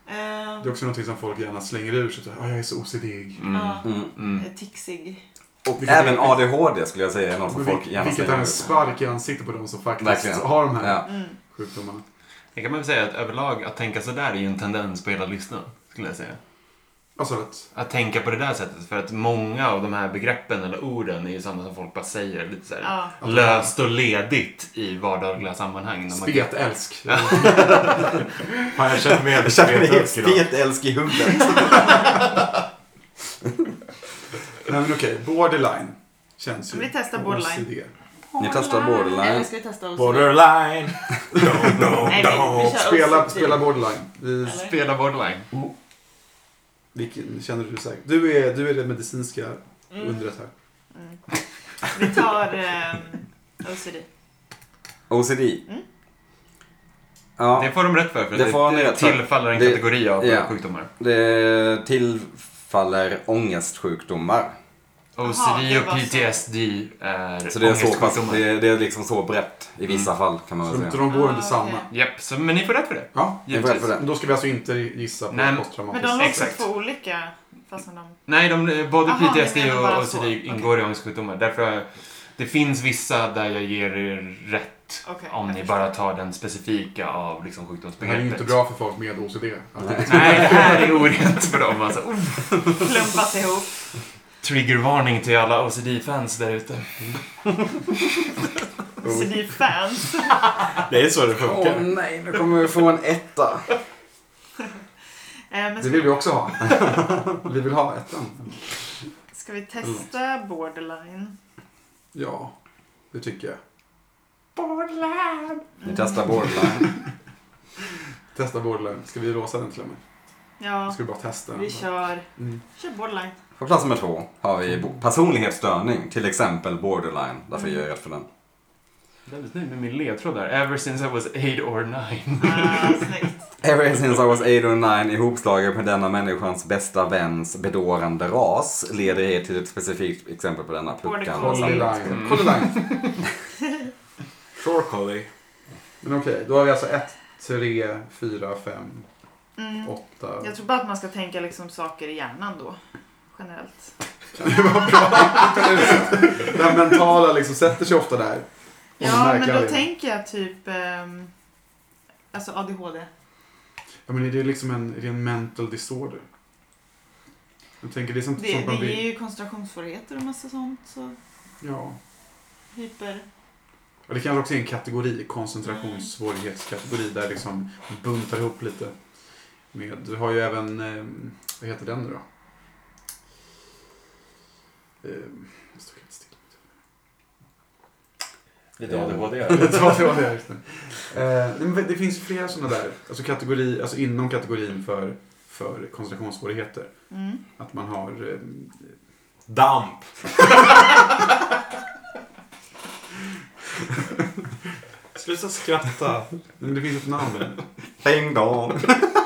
S5: Det är
S3: Ehm,
S5: också någonting som folk gärna slänger ur sig. så här, "Ah, Jag är så OCD.
S4: Mm.
S3: ja,
S1: Mm.
S4: Mm.
S3: Eh, ticsig.
S1: Och även ADHD skulle jag säga är något som
S5: Men
S1: folk
S5: vil-
S1: gärna
S5: Vilket
S1: säger.
S5: är en spark i ansiktet på de som faktiskt
S1: Verkligen.
S5: har de här
S1: Ja.
S3: Mm.
S5: sjukdomarna.
S4: Det kan man väl säga att överlag, att tänka sådär är ju en tendens på hela listan. Skulle jag säga.
S5: Alltså att,
S4: Att tänka på det där sättet, för att många av de här begreppen eller orden är ju sådana som folk bara säger lite såhär
S3: Ja.
S4: löst och ledigt i vardagliga sammanhang. När man
S5: spetälsk.
S2: Fan, jag känner mig
S1: [LAUGHS]
S2: helt
S1: Jag känner mig helt
S2: spetälsk idag.
S1: spetälsk i huvudet.
S5: Nej men okej, borderline känns ju.
S3: Vi testar borderline.
S5: OCD.
S1: Ni testar borderline.
S3: Eller ska vi testa OCD?
S2: [LAUGHS] Borderline.
S3: Nej, vi, vi kör
S5: Spela,
S3: OCD.
S5: spela borderline. Vi,
S3: Eller?
S4: spelar borderline.
S5: vilken känner du säkert? Du är, du är det medicinska undret här.
S3: Mm. Vi tar eh, OCD.
S1: OCD.
S3: Mm.
S1: Ja,
S4: Det får de rätt för, för
S1: Det
S4: det,
S1: får
S4: det,
S1: ni rätt för.
S4: tillfaller en
S1: Det-
S4: kategori av
S1: ja.
S4: sjukdomar.
S1: det tillfaller ångestsjukdomar.
S4: OCD
S3: det
S4: och
S3: var så.
S4: PTSD är
S1: Så det är, så pass,
S4: ångestsjukdomar.
S1: det, är, det är liksom så brett i vissa fall kan man
S5: Så
S1: väl
S5: de,
S1: säga.
S5: de går
S3: Ah,
S5: under samma.
S3: okej.
S4: Japp, så, men ni får rätt för det.
S5: Ja,
S1: Ni får rätt för det.
S5: men då ska vi alltså inte gissa på
S4: Nej, men-
S3: Men
S5: posttraumatiskt.
S3: de låter
S4: Exakt.
S3: två olika. Fast som de...
S4: Nej, de, både
S3: Aha,
S4: PTSD
S3: ni menar
S4: och
S3: bara
S4: OCD
S3: så. Okej.
S4: ingår i ångestsjukdomar. Därför, det finns vissa där jag ger er rätt
S3: Okej,
S4: om
S3: jag
S4: ni
S3: förstår.
S4: bara tar den specifika av liksom,
S5: Det här är
S4: sjukdomsbegreppet.
S5: ju inte bra för folk med OCD. Att det-
S4: Nej, det här är orätt för dem alltså. Oh,
S3: [LAUGHS] Klumpas ihop.
S4: Triggervarning till alla OCD-fans där ute.
S5: Oh.
S3: OCD-fans.
S2: Det är så det funkar.
S1: nej, nu kommer vi få en etta.
S3: Eh, men
S5: Det
S3: ska,
S5: vill vi också ha. [LAUGHS] Vi vill ha ettan.
S3: ska vi testa borderline?
S5: Ja, det tycker jag.
S1: Vi
S3: Mm.
S1: testar borderline.
S5: Testa borderline. Ska vi låsa den till och med?
S3: Ja,
S5: Ska vi bara testa den?
S3: vi kör,
S5: Mm.
S3: kör
S5: [LAUGHS]
S3: borderline.
S1: På plats nummer två har vi bo- personlighetsstörning, till exempel borderline. Därför ger jag rätt för den.
S4: Väldigt nöjd med min ledtråd där. Ever since I was 8 or 9.
S3: Ah, snyggt.
S1: Ever since I was 8 or 9 ihopslaget med denna människans bästa väns bedårande ras leder er till ett specifikt exempel på denna puckande
S3: Border collie.
S1: samhällskunskap.
S5: Borderline. Borderline.
S2: Shore collie.
S5: Men okej, då har vi alltså 1, 3, 4, 5,
S3: Mm.
S5: 8.
S3: Jag tror bara att man ska tänka liksom saker i hjärnan då. Generellt.
S5: [LAUGHS] Det [LAUGHS] här mentala liksom sätter sig ofta där. Och man
S3: Ja,
S5: märker
S3: men då
S5: aldrig.
S3: tänker jag typ ehm, alltså ADHD.
S5: Ja, men är det liksom en, är det en mental disorder? Jag tänker det är sånt
S3: Det,
S5: som man
S3: det är
S5: blir...
S3: ju koncentrationssvårigheter och massa sånt. Så
S5: Ja.
S3: hyper...
S5: Och det kanske också är en kategori, koncentrationssvårighetskategori, där liksom buntar ihop lite. Med, du har ju även, eh, vad heter den nu då? Eh, jag står helt still.
S1: Lite
S2: [LAUGHS]
S1: ADHD,
S5: Det var- det var det, just det. Eh, nej, men det finns ju flera sådana där, alltså, kategori, alltså inom kategorin för, för koncentrationssvårigheter.
S3: Mm.
S5: Att man har eh,
S2: Damp. [LAUGHS] Sluta skratta.
S5: men det finns ett namn.
S1: Ding dong.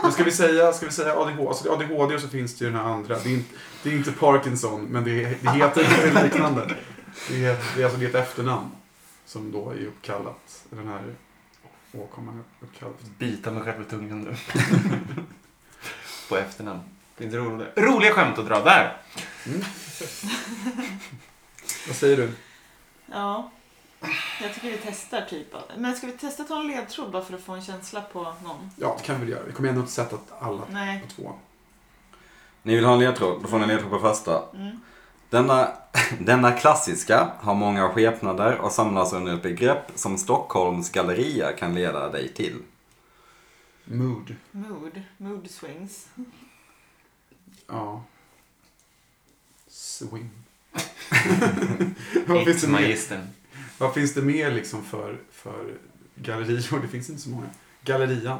S5: Men ska vi säga, ska vi säga ADHD? Alltså ADHD och så finns det ju den här andra. Det är inte, det är inte Parkinson, men det, det heter inte liknande. Det är, det är alltså det är ett efternamn som då är uppkallat. Den här åkomman är uppkallad.
S4: Bita mig själv i tungan nu. [LAUGHS] På efternamn. Finns det roliga, roliga skämt att dra där?
S5: Vad säger du?
S3: Ja. Jag tycker vi testar typ. av- Men ska vi testa att ta en ledtråd bara för att få en känsla på någon?
S5: Ja, det kan vi väl göra. Vi kommer ändå inte sätta att alla
S3: Nej.
S5: på två.
S1: Ni vill ha en ledtråd? Då får ni en ledtråd på första.
S3: Mm.
S1: Denna, [LAUGHS] denna klassiska har många skepnader och samlas under ett begrepp som Stockholms galleria kan leda dig till.
S5: Mood.
S3: Mood. Mood swings.
S5: Ja. Swing. vad, finns
S4: It's
S5: det mer,
S4: magistern.
S5: vad finns det mer liksom för, för gallerior? Det finns inte så många. Gallerian.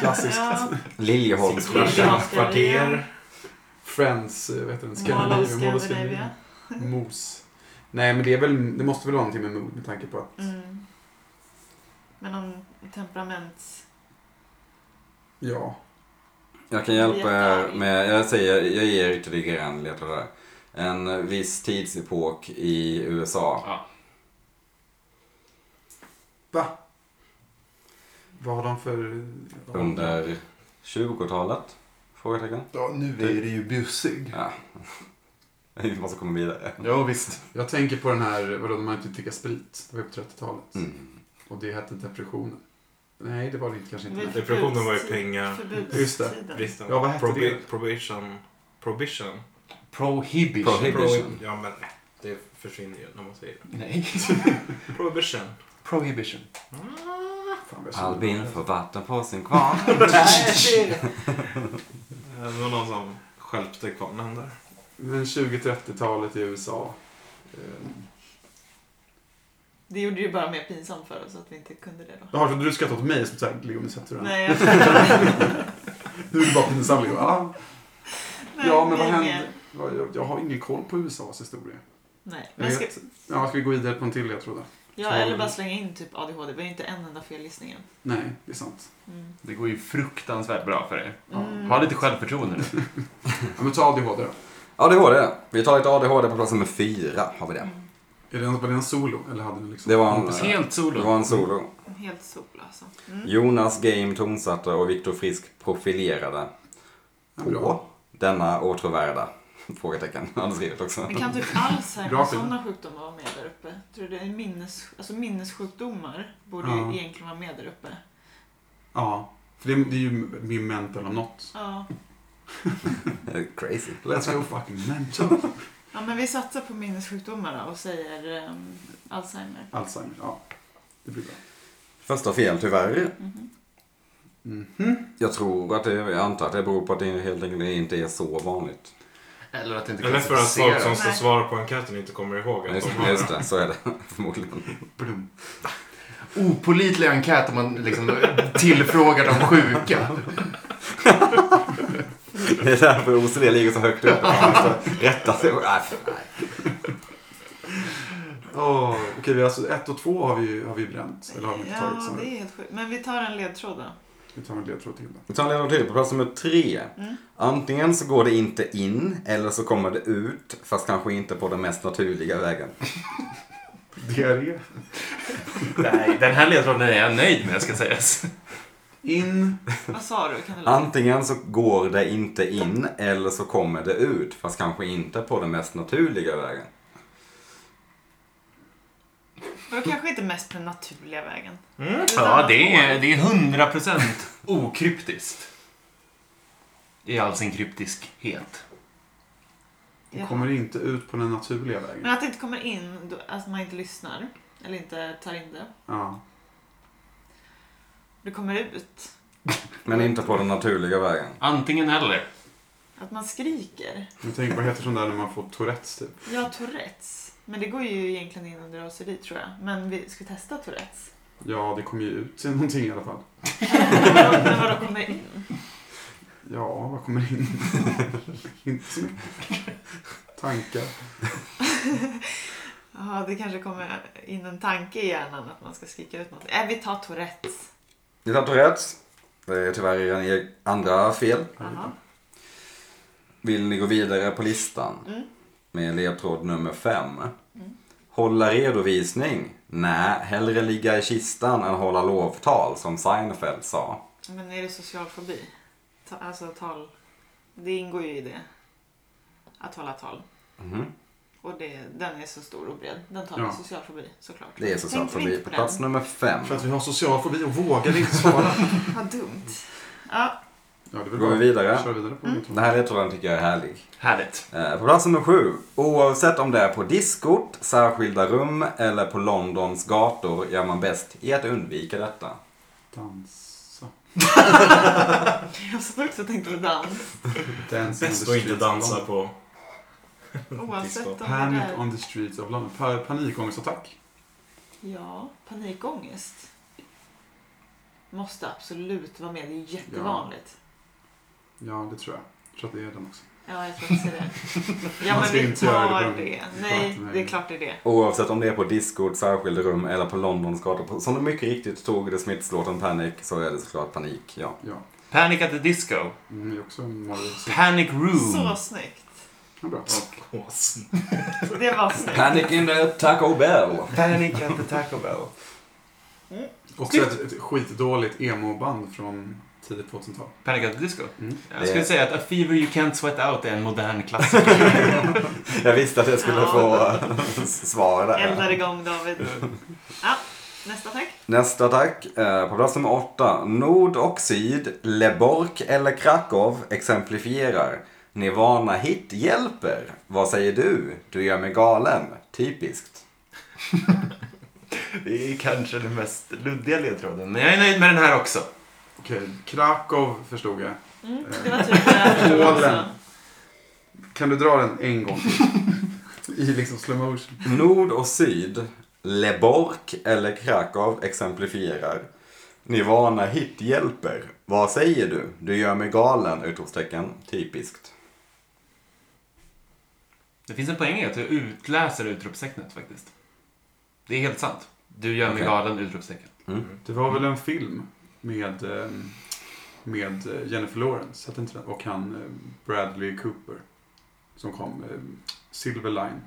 S5: Klassiskt.
S3: [LAUGHS] Ja.
S1: Liljeholmsklubben.
S2: Kvarter.
S5: Friends, eh, vad heter den?
S3: Mall of
S5: Mall of
S3: Scandinavia.
S5: Mos. Nej, men det, är väl, det måste väl vara någonting med mood med tanke på att...
S3: Mm. Men någon temperaments...
S5: Ja.
S1: Jag kan hjälpa er med, jag säger, jag ger ytterligare en ledtråd där. En viss tidsepok i USA.
S4: Ja.
S5: Vad har de för...
S1: Under 20-talet? Frågetecken.
S5: Ja, nu
S1: är
S5: det ju bjussig.
S1: Ja. Vi måste komma vidare.
S4: Jo, visst.
S5: Jag tänker på den här, vadå, när man inte fick dricka sprit. Det var ju på 30-talet.
S1: Mm.
S5: Och det hette depressionen. Nej, det var det inte, kanske inte.
S3: Vi-
S5: Nej.
S2: Depressionen var ju pengar.
S5: Just det.
S3: Förbudstiden.
S2: Bristen.
S5: Ja, vad hette
S2: Probi-
S5: det?
S2: Probation. Prohibition.
S4: Prohibition.
S1: Prohibition.
S2: Prohibition. Ja, men nej. det försvinner ju när man säger
S4: Nej. [LAUGHS]
S2: det. Prohibition.
S4: Prohibition.
S2: Ah.
S5: Fan, vad jag såg.
S1: Albin får vatten på sin [LAUGHS] kvarn.
S2: Eh, Det var någon som stjälpte kvarnen där.
S5: Men 20-30-talet i USA. Eh,
S3: Det gjorde ju bara mer pinsamt för oss att vi inte kunde det då.
S5: Jaha, så du skrattar åt mig som såhär, Leo nu sätter du den. [LAUGHS]
S3: Nej, jag... [LAUGHS]
S5: Du är bara pinsam Leo. Ja, ja men vad
S3: ingen.
S5: händer? Ja, Jag, jag har ingen koll på USAs historia.
S3: Nej,
S5: Jag
S3: men ska...
S5: vet. Ja, ska vi gå vidare på en till jag tror det.
S3: Ja, eller bara slänga in typ ADHD. Vi har ju inte en enda felgissning än.
S5: Nej, det är sant.
S3: Mm.
S4: Det går ju fruktansvärt bra för er.
S3: Mm.
S4: Ha lite självförtroende
S2: Mm.
S4: nu.
S5: Ja, men ta ADHD då.
S1: ADHD. Vi tar lite ADHD på plats nummer fyra. Har vi det.
S3: Mm.
S5: Är det, en- var det en solo? Eller hade ni liksom...
S1: Det var en, eh,
S4: Helt
S1: det var
S4: solo.
S1: en solo.
S3: Helt sol alltså. Mm.
S1: Jonas Game tonsatte och Viktor Frisk profilerade
S5: Ja,
S1: på
S5: bra.
S1: denna åtråvärda. Frågetecken. Han har skrivit också.
S3: Men kan typ Alzheimer
S5: Bra
S3: och
S5: skillnad.
S3: sådana sjukdomar vara med där uppe? Tror du det är minnes... alltså minnessjukdomar borde
S5: Ja.
S3: ju egentligen vara med där uppe.
S5: Ja. För det, är- det är ju min mental om något.
S3: Ja.
S1: Eh, Crazy.
S5: Let's go fucking mental.
S3: ja, men vi satsar på minnessjukdomar då och säger ehm, Alzheimer.
S5: Alzheimer, ja. Det blir bra.
S1: Första fel tyvärr.
S5: Mm-hmm.
S3: Mhm.
S5: Mhm.
S1: Jag tror att det, jag antar att det beror på att det helt enkelt inte är så vanligt.
S4: Eller att det inte
S2: Eller för att folk som ska
S3: Nej.
S2: svara på enkäten inte kommer ihåg att
S1: Just,
S2: de har
S1: just
S2: det.
S1: det, så är det [LAUGHS] förmodligen.
S4: Blum. Opålitlig enkät om man liksom tillfrågar de sjuka.
S1: Det är därför OCD ligger så högt upp. Rätta sig. Nej, nej.
S5: Åh, Okej, vi har alltså ett och två har vi ju har vi bränt. Eller har vi inte tagit
S3: Ja,
S5: som
S3: det är helt sjukt. Men vi tar en ledtråd
S5: [LAUGHS]
S3: då.
S5: Vi tar en ledtråd till då.
S1: Vi tar en ledtråd till på plats nummer tre.
S3: Mm.
S1: Antingen så går det inte in eller så kommer det ut fast kanske inte på den mest naturliga vägen.
S5: Diarré.
S4: Nej, den här ledtråden är jag nöjd med ska sägas.
S5: In.
S3: Vad sa du? Kan du läsa?
S1: Antingen så går det inte in eller så kommer det ut fast kanske inte på den mest naturliga vägen.
S3: Det var kanske inte mest på den naturliga vägen.
S2: Mm.
S3: Utan
S4: Ja,
S3: att
S4: det är,
S3: få-
S4: det är 100% okryptiskt. I all sin kryptiskhet.
S3: Ja.
S5: Och kommer inte ut på den naturliga vägen.
S3: Men att det inte kommer in, då- att man inte lyssnar. Eller inte tar in det.
S5: Ja.
S3: Det kommer ut.
S1: Men inte på den naturliga vägen.
S4: Antingen eller.
S3: Att man skriker.
S5: Jag tänker, vad heter sån där när man får Tourettes typ?
S3: Jag har Tourettes. Men det går ju egentligen in under raseri tror jag. Men vi ska testa
S1: [LAUGHS]
S3: Tourettes.
S5: Ja, det kommer ju ut till någonting i alla fall.
S3: Men vadå- vadå kommer in? [LAUGHS]
S5: Ja, vad kommer [LAUGHS] in? inte så mycket. Tankar.
S3: Ja, det kanske kommer in en tanke i hjärnan att man ska skrika ut något. Äh, vi tar Tourettes.
S1: Ni tar rätt. Det är tyvärr er andra fel.
S3: Jaha.
S1: Vill ni gå vidare på listan?
S3: Mm.
S1: Med ledtråd nummer fem. Hålla redovisning? Nej, hellre ligga i kistan än hålla lovtal som Seinfeld sa.
S3: Men är det social fobi? Ta, alltså tal. Det ingår ju i det. Att hålla tal.
S1: Mhm.
S3: Och det, den är så stor och bred. Den tar
S5: Ja.
S3: social fobi såklart.
S1: Det är socialt
S3: Tänkte vi
S1: fobi
S3: inte
S1: på
S3: på
S1: plats
S3: den?
S1: nummer fem.
S5: För att vi har social fobi och vågar inte svara.
S3: Vad dumt. Ja,
S5: Ja, det är väl
S1: Går vi
S5: bra.
S1: vidare?
S5: Kör vidare på mm.
S1: Den här ledtråden tycker jag är härlig.
S4: Härligt.
S1: Eh, På plats nummer sju. Oavsett om det är på diskot, särskilda rum eller på Londons gator gör man bäst i att undvika detta.
S5: Dansa.
S3: jag satt också och tänkte på dans.
S5: Dance on the
S2: Bäst att inte
S5: streets of
S2: dansa
S5: London.
S2: på.
S3: Oavsett om det är
S5: Panic
S3: där.
S5: on the streets of London. Pa- Panikångestattack.
S3: Ja, panikångest. Måste absolut vara med. Det är ju jättevanligt.
S5: Ja, det tror jag. Jag tror att det är den också.
S3: Ja, jag tror också
S5: [LAUGHS]
S3: det. Ja,
S5: Man
S3: men
S5: ska
S3: vi
S5: inte göra det
S3: tar
S5: på-
S3: det.
S5: på
S3: Nej,
S5: gatorna.
S3: det är klart det är det.
S1: Oavsett om det är på diskot, särskilda rum eller på Londons gator. Som du mycket riktigt tog det Smiths låten Panic så är det såklart panik, ja.
S5: Ja.
S4: Panic at the Disco.
S5: Mm, det är också en morgon.
S4: Panic Room.
S3: Så snyggt.
S5: Ja, bra.
S2: Ås.
S3: Det var snyggt.
S1: Panic in the Taco Bell.
S4: Panic at the Taco Bell.
S5: Också ett, ett skitdåligt emo-band från tidigt 2000-tal.
S4: Panic at the Disco.
S5: Mm.
S4: Jag skulle
S1: Det-
S4: säga att A Fever You Can't Sweat Out är en modern klassiker.
S1: Jag visste att jag skulle
S3: Ja.
S1: få [LAUGHS] svar där.
S5: [LAUGHS]
S3: Eldar igång David. Ja, Nästa tack.
S1: Nästa attack. Eh, på plats nummer åtta. Nord och syd, Leborg eller Krakow exemplifierar. Nirvana hit hjälper. Vad säger du? Du gör mig galen. Typiskt.
S4: [LAUGHS] Det är kanske den mest luddiga ledtråden, men jag är nöjd med den här också.
S5: Okej, Krakow förstod jag.
S3: Mm,
S5: Eh,
S3: det var typ det jag
S5: [LAUGHS]
S3: trodde också.
S5: Polen. Kan du dra den en gång till?
S3: [LAUGHS]
S5: I liksom slow motion.
S1: Nord och syd, Leborg eller Krakow exemplifierar. Nirvana hit hjälper. Vad säger du? Du gör mig galen! Utropstecken. Typiskt.
S4: Det finns en poäng i att du utläser utropstecknet faktiskt. Det är helt sant. Du gör mig
S1: Okej.
S4: galen! Utropstecken.
S5: Det var
S3: Mm.
S5: väl en film med, eh, med eh, Jennifer Lawrence hette inte den? och han eh, Bradley Cooper. Som kom. eh, Silver Line,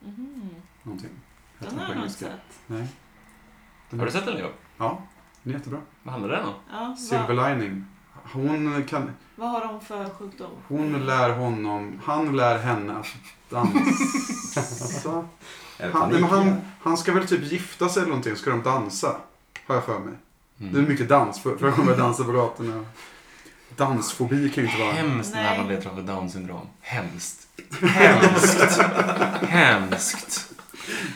S3: Mhm.
S5: någonting. Hette
S3: Den har
S5: på
S3: jag nog inte
S5: engelska.
S3: sett.
S5: Nej. Den,
S4: Har du sett den Leo?
S5: Ja, den är jättebra.
S4: Vad handlar den om?
S3: Ja,
S5: Silver
S3: vad,
S5: Lining. Hon, kan,
S3: vad har de för sjukdom? [LAUGHS]
S5: hon lär honom, han lär henne att dansa.
S1: Är det
S5: Han,
S1: panik
S5: nej, men han,
S1: igen?
S5: han ska väl typ gifta sig eller någonting, ska de dansa? Har jag för mig.
S4: Mm.
S5: Det är mycket dans för, för de börjar dansa på gatorna. Dansfobi kan ju inte vara...
S4: Hemskt när
S3: Nej.
S4: man letar efter down syndrom. Hemskt. Hemskt. Hemskt.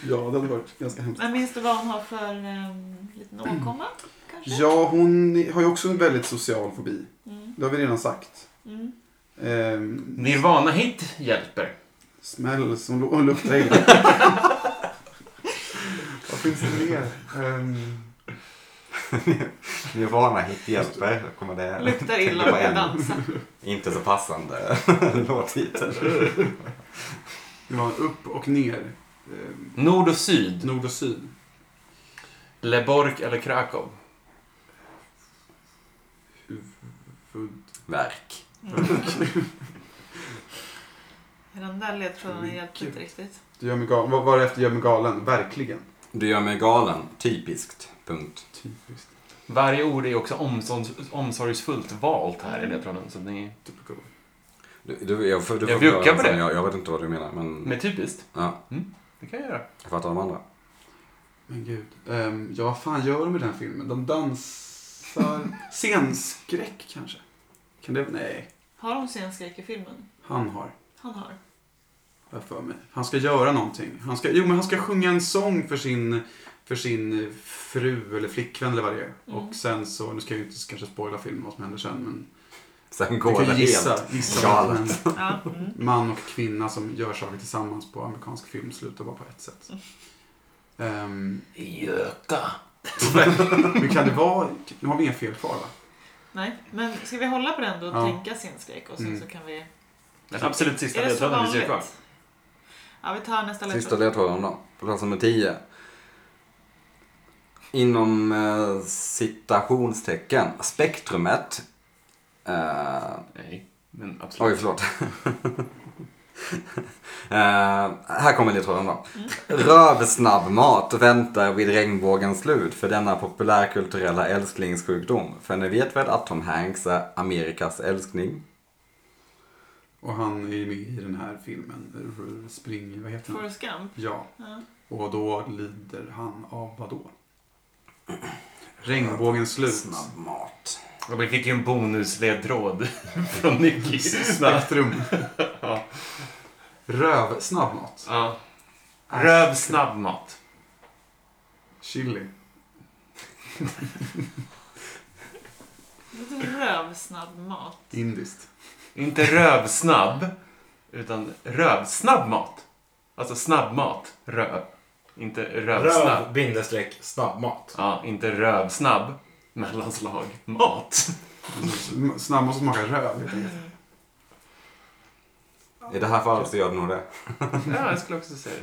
S5: Ja, det hade varit ganska hemskt.
S3: Men minns du vad hon har för um, liten åkomma? Kanske?
S5: Ja, hon har ju också en väldigt social fobi.
S3: Mm.
S5: Det har vi redan sagt.
S3: Mm.
S5: Ehm,
S4: Nirvana hit hjälper.
S5: smälls, hon, lu- hon luktar illa. Vad finns det mer? Ehm,
S1: Nirvana hit hjälper. Kommer det...
S3: Luktar illa
S1: Tänker på
S3: och vill
S1: en
S3: dansa.
S1: Inte så passande [LAUGHS] låttitel.
S5: det var upp och ner. Ehm,
S4: Nord och syd.
S5: nord och syd.
S4: Leborg eller Krakow.
S5: Huvud.
S1: Verk.
S3: Mm. Den där ledtråden hjälpte inte riktigt.
S5: Du gör mig galen. Vad var det efter gör mig galen? Verkligen.
S1: Du gör mig galen. Typiskt. Punkt.
S5: Typiskt.
S4: Varje ord är också omsorgs- omsorgsfullt valt här i ledtråden. Så det är...
S5: Typical.
S1: Du, du, jag får- du får
S4: Jag bjuckar
S1: förklara
S4: på
S1: sen.
S4: det.
S1: Jag, jag vet inte vad du menar, men
S4: Men typiskt.
S1: Ja.
S4: Mm, det kan jag göra.
S1: jag fattar de andra.
S5: Men gud. Ehm, ja, vad fan gör de med den här filmen? De dansar... Scenskräck kanske? Kan det... Nej.
S3: Har de scenskräck i filmen?
S5: Han har.
S3: Han har.
S5: har jag för mig. Han ska göra någonting. Han ska, jo, men han ska sjunga en sång för sin, för sin fru eller flickvän eller vad det är.
S3: Mm.
S5: Och sen så, nu ska jag ju inte kanske spoila filmen vad som händer sen men.
S1: Sen
S5: Du
S1: går det
S5: kan ju
S1: helt.
S5: gissa. gissa vad
S1: galet.
S5: som händer.
S3: Ja. Mm.
S5: man och kvinna som gör saker tillsammans på amerikansk film slutar bara på ett sätt. Ehm,
S4: Göta.
S5: men kan det vara, nu har vi inga fel kvar va?
S3: Nej, men ska vi hålla på den då och
S5: Ja.
S3: tänka scenskräck och sen
S5: Mm.
S3: så kan vi...
S4: Den Alltså, absolut sista
S3: Är det så
S4: ledtråden finns ju kvar.
S3: vanligt? Ja, vi tar nästa
S1: Sista
S3: ledtråd.
S1: ledtråden då. På plats nummer 10. Inom eh, citationstecken. Spektrumet. Eh,
S4: Nej, men absolut.
S1: Oj, förlåt. [LAUGHS] Eh, här kommer ledtråden då.
S3: Mm.
S1: Rövsnabbmat väntar vid regnbågens slut för denna populärkulturella älsklingssjukdom. För ni vet väl att Tom Hanks är Amerikas älskling?
S5: Och han är ju med i den här filmen, R- Spring, vad heter den?
S3: Forrest Gump.
S5: Ja,
S3: Ja.
S5: och då lider han av vad då? Regnbågens slut.
S1: Snabbmat.
S4: Och vi fick ju en bonusledtråd [LAUGHS] från
S1: [LAUGHS]
S4: Nicky.
S5: Spektrum. Röv, snabbmat.
S4: Ja. Röv snabbmat.
S5: Chili.
S3: Lite rövsnabb mat.
S5: Indiskt.
S4: Inte rövsnabb, utan rövsnabbmat. Alltså snabbmat, röv. Inte rövsnabb.
S2: Röv bindestreck snabbmat.
S4: Ja, inte rövsnabb, mellanslag, mat. [LAUGHS]
S5: Sm- Snabbmat som smakar röv helt enkelt.
S1: I det här fallet så gör det nog det.
S4: Ja, jag skulle också säga det.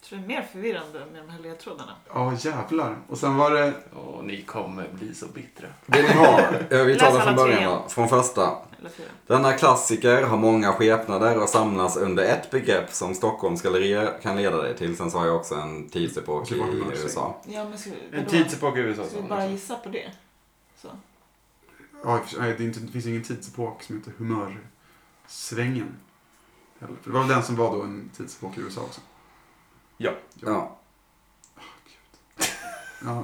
S3: Jag tror det är mer förvirrande med de här ledtrådarna.
S5: Ja, jävlar. Och sen var det...
S4: Åh, ni kommer bli så bittra.
S1: Vill ni ha? Eh, Vi
S3: Läs
S1: tar den
S3: alla
S1: från början
S3: tre.
S1: då. Från första.
S3: Eller fyra.
S1: Denna klassiker har många skepnader och samlas under ett begrepp som Stockholms gallerier kan leda dig till. Sen så har jag också en tidsepok i
S5: Tillbaka till Marseille.
S1: USA.
S3: Ja, men ska, vi-
S4: En
S3: vadå?
S4: tidsepok i USA.
S5: Alltså,
S3: Ska vi
S5: liksom.
S3: bara gissa på det? Så.
S5: Ja, i och för sig- nej, det, är inte, det finns ingen tidsepok som heter humörsvängen. Heller. För det var väl den som var då en tidsepok i USA också.
S1: Ja.
S5: Ja,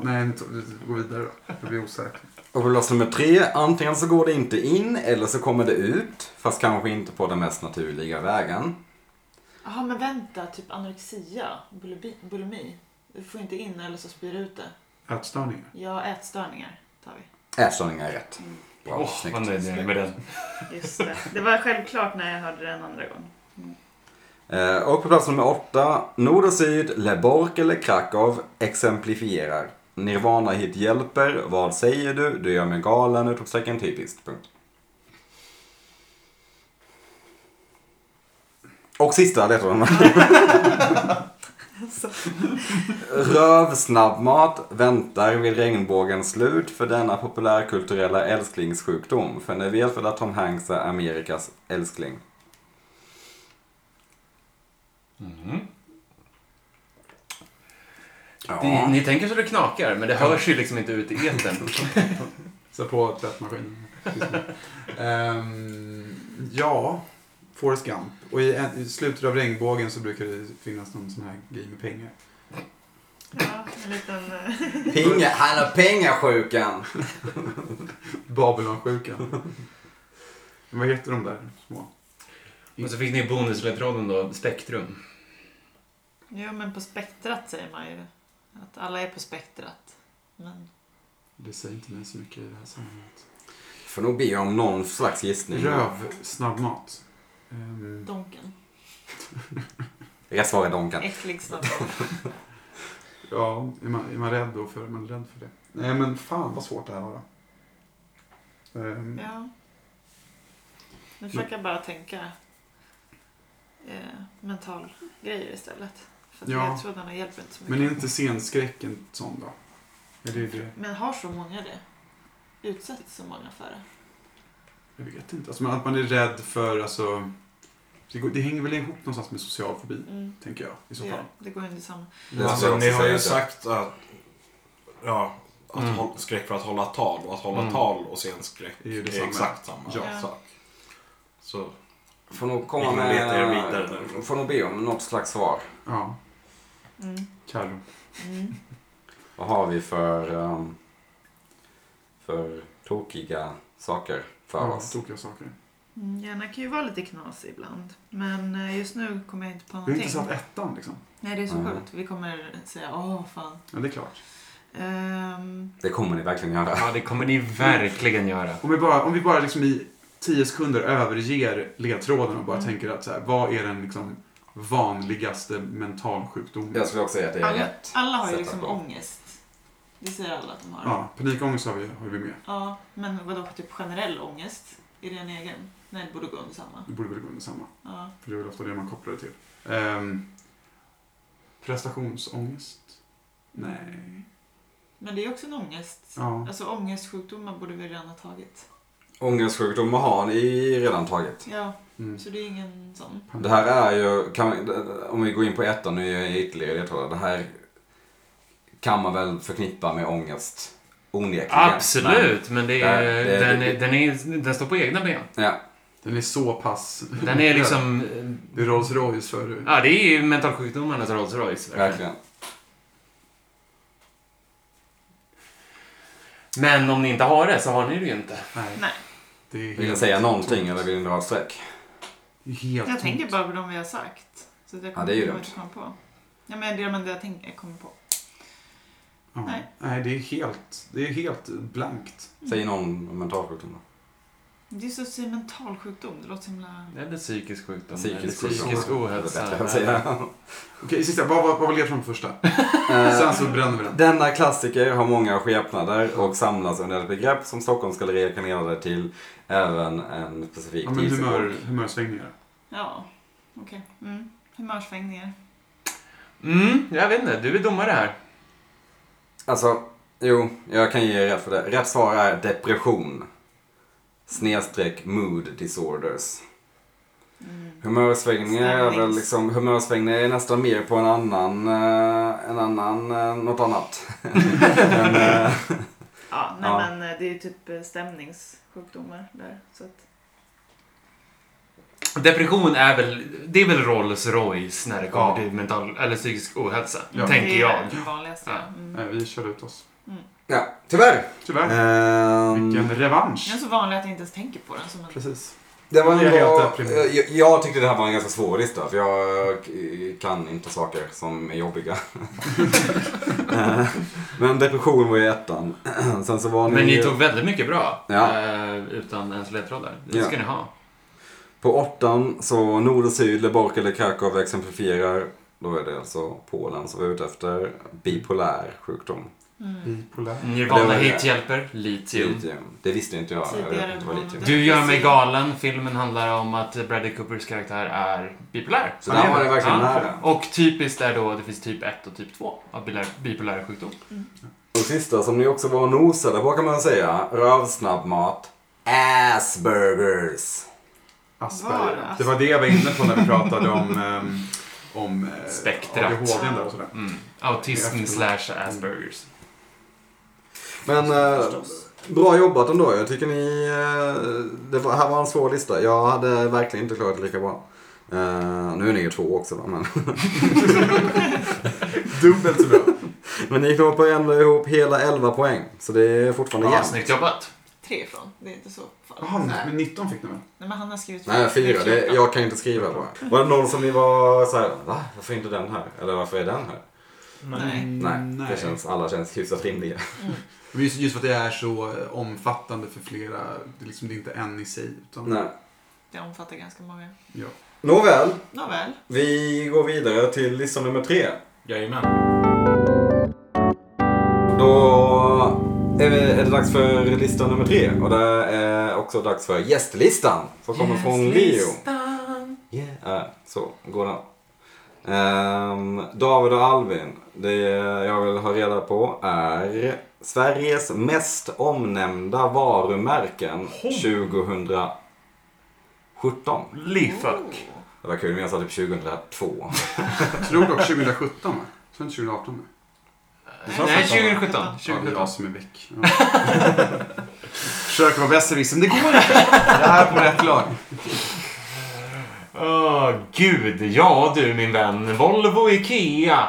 S5: nej, inte- gå vidare då. Jag blir osäker.
S1: Och på plats nummer tre, antingen så går det inte in eller så kommer det ut. Fast kanske inte på den mest naturliga vägen.
S3: Jaha, men vänta. Typ anorexia, bulimi, bulimi. Du får inte in eller så spyr du ut det.
S5: Ätstörningar.
S3: Ja, ätstörningar tar vi.
S1: Ätstörningar är rätt. Bra,
S4: Åh,
S1: snyggt.
S4: vad nöjd jag är med den.
S3: Just det. Det var självklart när jag hörde den andra gången.
S1: Eh, Och på plats nummer åtta, Nord och Syd, Leborg eller Krakow exemplifierar. Nirvana hit hjälper, vad säger du, du gör mig galen, utropstecken typiskt. Punkt. Och sista ledtråden. Röv snabbmat, väntar vid regnbågens slut för denna populärkulturella älsklingssjukdom. För ni vet väl att Tom Hanks är Amerikas älskling?
S4: Mhm.
S1: Ja.
S4: Ni, ni tänker så det knakar, men det hörs ju liksom inte ut i [LAUGHS] etern.
S5: Sätt på tvättmaskinen. Ehm, ja, Forrest Gump. Och i, en- i slutet av regnbågen så brukar det finnas någon sån här grej med pengar.
S3: Ja, en liten... eh, [LAUGHS]
S1: Pinga, han har pengasjukan.
S5: Babylonsjukan. Men Vad heter de där små?
S4: Och så fick ni bonusledtråden då, spektrum.
S3: Jo, men på spektrat säger man ju. Att alla är på spektrat. Men
S5: Det säger inte mig så mycket i det här sammanhanget.
S1: Får nog be om någon slags gissning.
S5: Röv, snabbmat. Ehm,
S3: donken.
S1: Rätt svar är Donken.
S3: Äcklig snabbt.
S5: ja, är man, är man rädd då för, är man rädd för det? Nej men fan vad svårt det här var då. Ehm,
S3: Ja. Nu försöker jag bara tänka eh, mental grejer istället. För att
S5: Ja.
S3: ledtrådarna hjälper inte så mycket.
S5: Men
S3: Men,
S5: är inte scenskräcken sån då? Är det det?
S3: har så många det? Utsätts så många för det?
S5: Jag vet inte. Alltså, men att man är rädd för, alltså... Det, går, det hänger väl ihop någonstans med social fobi,
S3: Mm.
S5: tänker jag i så
S3: Det,
S5: fall.
S3: gör- det går inte samma.
S1: Det skulle
S2: Alltså,
S1: jag också
S2: ni har
S1: säga
S2: ju
S1: att-
S2: sagt att... Ja, att
S4: Mm.
S2: håll, skräck för att hålla tal. Och att hålla
S4: Mm.
S2: tal och scenskräck
S5: Det är ju
S2: är,
S5: detsamma.
S2: exakt samma
S3: Ja.
S2: sak. Så
S1: Får nog komma
S2: Vi kan leta er vidare
S1: med... eh,
S2: därifrån.
S1: Får nog be om något slags svar.
S5: Ja,
S3: Mm.
S5: Carro.
S3: Mm.
S1: Vad har vi för... ehm, för tokiga saker för
S5: Ja,
S1: oss?
S5: tokiga saker.
S3: Mm. Hjärnan kan ju vara lite knasig ibland. Men eh, just nu kommer jag inte på
S5: Vi har inte
S3: någonting.
S5: satt ettan liksom.
S3: Nej, det är så
S1: Mm.
S3: sjukt. Vi kommer säga åh fan.
S5: Ja, det är klart.
S3: Ehm,
S1: Det kommer ni verkligen göra.
S4: Ja, det kommer ni verkligen göra.
S5: Om vi bara, om vi bara liksom i tio sekunder överger ledtråden och bara
S3: Mm.
S5: tänker att så här, vad är den liksom vanligaste mentalsjukdomen?
S1: Jag skulle också säga att det är
S3: alla,
S1: rätt.
S3: alla har ju
S1: sätt
S3: liksom
S1: att gå.
S3: ångest. Det säger alla att de har.
S5: Ja, panikångest har vi, har vi med.
S3: Ja, men vadå för typ generell ångest? Är det en egen? Nej, det borde gå under samma.
S5: Det borde väl gå under samma.
S3: Ja.
S5: För det är väl ofta det man kopplar det till. Ehm, prestationsångest? Nej.
S3: Men det är också en ångest.
S5: Ja.
S3: Alltså ångestsjukdomar borde vi redan ha tagit.
S1: Ångestsjukdomar har ni redan tagit.
S3: Ja,
S5: Mm.
S3: så det är ingen sån.
S1: Det här är ju... Kan, om vi går in på ettan, nu är jag ytterligare ledtrådar. Det här kan man väl förknippa med ångest. Onekligen.
S4: Absolut, men det är,
S1: Nej, det-
S4: den, är, den, är, den står på egna ben.
S1: Men, ja.
S5: Den är så pass...
S4: Den är liksom...
S5: Det är Rolls Royce för...
S4: Ja, det är ju mentalsjukdomarnas Rolls Royce. Verkligen.
S1: Verkligen.
S4: Men om ni inte har det så har ni det ju inte.
S5: Nej.
S3: Nej,
S5: Det är
S1: Vill ni
S5: helt
S1: säga någonting
S5: tomt.
S1: eller vill ni dra ett streck?
S5: Det är Helt
S3: jag tänker
S5: tomt.
S3: bara på de vi har sagt. Så det kommer
S1: det är ju
S3: jag
S1: dumt.
S3: inte komma på. Ja, men det är de enda jag, tänker, jag kommer på.
S5: Ja.
S3: Nej.
S5: Nej. det är helt... Det är helt blankt.
S1: Säg någon om mentalsjukdom då.
S3: Det är så att säga mental sjukdom. Det låter så himla...
S4: Eller psykisk sjukdom. eller
S1: Psykisk
S4: psykisk
S1: sjukdom.
S4: ohälsa.
S1: Det är bättre att säga.
S5: Okej, sista. Vad, vad, vad var ledtråden på första?
S1: Eh.
S5: Sen så bränner vi den.
S1: Denna klassiker har många skepnader och samlas under ett begrepp som Stockholmsgalleriet kan leda till även en specifik
S5: Ja, men humör,
S1: tidsepock.
S5: humörsvängningar.
S3: Ja, okej. Mm. Humörsvängningar.
S4: Mm, jag vet inte. Du är domare här.
S1: Alltså, jo, jag kan ge er rätt för det. Rätt svar är depression. Snedstreck mood disorders.
S3: Mm.
S1: Humörsvängningar är väl
S3: Stämnings-
S1: liksom, humörsvängningar är nästan mer på en annan, eh, en annan, eh, något annat. [LAUGHS] Men, eh,
S3: Ja, nej
S1: Ja.
S3: men eh, det är ju typ eh, stämningssjukdomar där. Så att...
S4: Depression är väl, det är väl Rolls Royce när det kommer
S5: Ja.
S4: till mental eller psykisk ohälsa,
S5: Ja.
S4: tänker
S3: det
S4: jag.
S3: är det vanligaste.
S4: Ja.
S3: Mm.
S5: Nej, vi kör ut oss.
S1: Ja, tyvärr.
S5: Tyvärr.
S1: Ehm,
S5: Vilken
S3: Den
S5: revansch.
S3: är så vanlig att jag inte ens tänker på den som en...
S5: Precis.
S1: Det var
S5: Jag är
S1: en bra, eh,
S5: helt deprimerad.
S1: jag, jag tyckte det här var en ganska svår lista för jag eh, kan inte saker som är jobbiga. [LAUGHS] Eh, Men depression var ju ettan. [CLEARS THROAT] Sen så var ni,
S4: Men ni tog väldigt mycket bra
S1: Ja.
S4: eh, utan ens ledtråd där. Det
S1: Ja.
S4: ska ni ha.
S1: på åttan så nord och syd, Leborg eller Krakow exemplifierar. Då är det alltså Polen som vi är ute efter. Bipolär sjukdom.
S3: Mm.
S5: Bipolär.
S1: Det
S4: Nirvana
S1: var det.
S4: hit hjälper, litium.
S1: Litium. Det visste inte jag. Jag vet inte vad litium är.
S4: Du gör mig galen. Filmen handlar om att Bradley Coopers karaktär är bipolär.
S1: Så där var det verkligen
S4: Ja.
S1: nära.
S4: Och typiskt är då att det finns typ 1 och typ 2 av bilar- bipolär sjukdom.
S1: Och sista som ni också var och nosade på kan man säga. Rövsnabbmat. Assburgers.
S5: Asperger.
S3: Var det?
S5: Det var det jag var inne på när vi pratade
S3: [LAUGHS]
S5: om, ehm, om eh,
S4: Spektrat.
S5: ADHD där och sådär.
S4: Mm. Autism
S5: Jag
S4: slash Aspergers.
S1: Men eh, bra jobbat ändå. Jag tycker ni... Eh, det var, här var en svår lista. Jag hade verkligen inte klarat det lika bra. Eh, nu är ni ju två också va? [LAUGHS] Men,
S5: Dubbelt så bra.
S1: men ni knåpar ändå ihop hela 11 poäng. Så det är fortfarande
S4: Ja,
S1: jämnt.
S4: snyggt jobbat.
S3: Tre ifrån. Det är inte så farligt.
S5: Jaha,
S3: Nej.
S5: men 19 fick ni väl?
S3: Nej, men han har skrivit
S1: Nej, fyra. Det,
S3: fjorton.
S1: jag kan inte skriva bara. Var det någon som ni var så här, va? Varför är inte den här? Eller varför är den här?
S3: Nej.
S5: Mm,
S1: Nej, Det känns, alla känns hyfsat rimliga.
S3: Mm.
S5: Men Just, just för att det är så eh, omfattande för flera, det är, liksom, det är inte en i sig. Utan,
S1: Nej.
S3: Det omfattar ganska många.
S5: Ja.
S1: Nåväl.
S3: Nåväl.
S1: Vi går vidare till lista nummer tre.
S2: Jajamän.
S1: Då är vi- är det dags för lista nummer tre. Och det är också dags för gästlistan. Som kommer från Leo.
S3: Listan.
S1: Yeah. Äh, Så går den. Ehm, David och Alvin. Det jag vill ha reda på är Sveriges mest omnämnda varumärken 2017.
S4: Leafuck.
S3: Oh.
S1: Det var kul om jag sa typ 2002.
S5: Jag tror dock 2017 va? Så är det 2018 va?
S3: sa
S4: Nej,
S3: första.
S4: 2017.
S5: Ja, det är
S4: 2017.
S5: jag som är väck. Ja. Försöker vara besserwisser, men det går inte. Det här är [LAUGHS] på rätt lag.
S4: Åh, gud. Ja du min vän. Volvo, Ikea,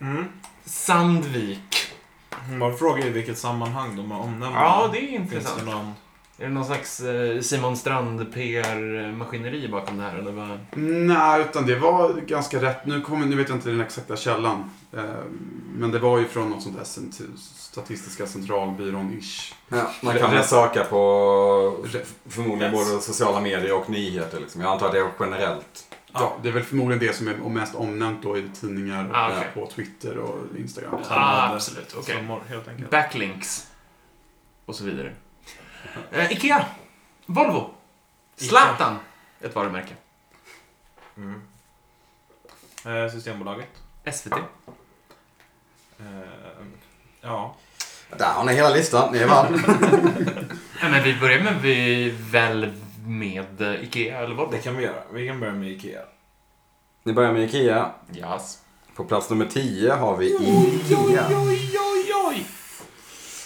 S2: Mm.
S4: Sandvik.
S2: Bara fråga i vilket sammanhang de har omnämnt
S4: Ja, det är
S2: Finns
S4: intressant.
S2: det någon...
S4: Är det någon slags eh, Simon Strand PR-maskineri bakom det här eller vad?
S5: Nej, utan det var ganska rätt. Nu, kommer, nu vet jag inte den exakta källan. Eh, Men det var ju från något sånt där cent- Statistiska centralbyrån-ish.
S1: Ja, man kan väl söka på f- förmodligen
S2: Yes.
S1: både sociala medier och nyheter. Liksom. Jag antar att det är generellt.
S5: Ja, det är väl förmodligen det som är mest omnämnt då i tidningar och
S4: Ah, okej.
S5: på Twitter och Instagram.
S4: Ah, absolut. Okej.
S2: Trummor, helt enkelt.
S4: Backlinks. Och så vidare. Eh, Ikea. Volvo. Zlatan. Ett varumärke.
S2: Mm. Eh, Systembolaget.
S4: SVT.
S2: Eh, ja.
S1: Där har ni hela listan. Ni vann.
S4: Nej, men vi börjar med vi väl med eh, Ikea eller Volvo?
S2: Det kan vi göra. Vi kan börja med Ikea.
S1: [LAUGHS] ni börjar med Ikea.
S4: Yes.
S1: På plats nummer 10 har vi
S4: Oj, oj,
S1: Ikea.
S4: oj, oj, oj.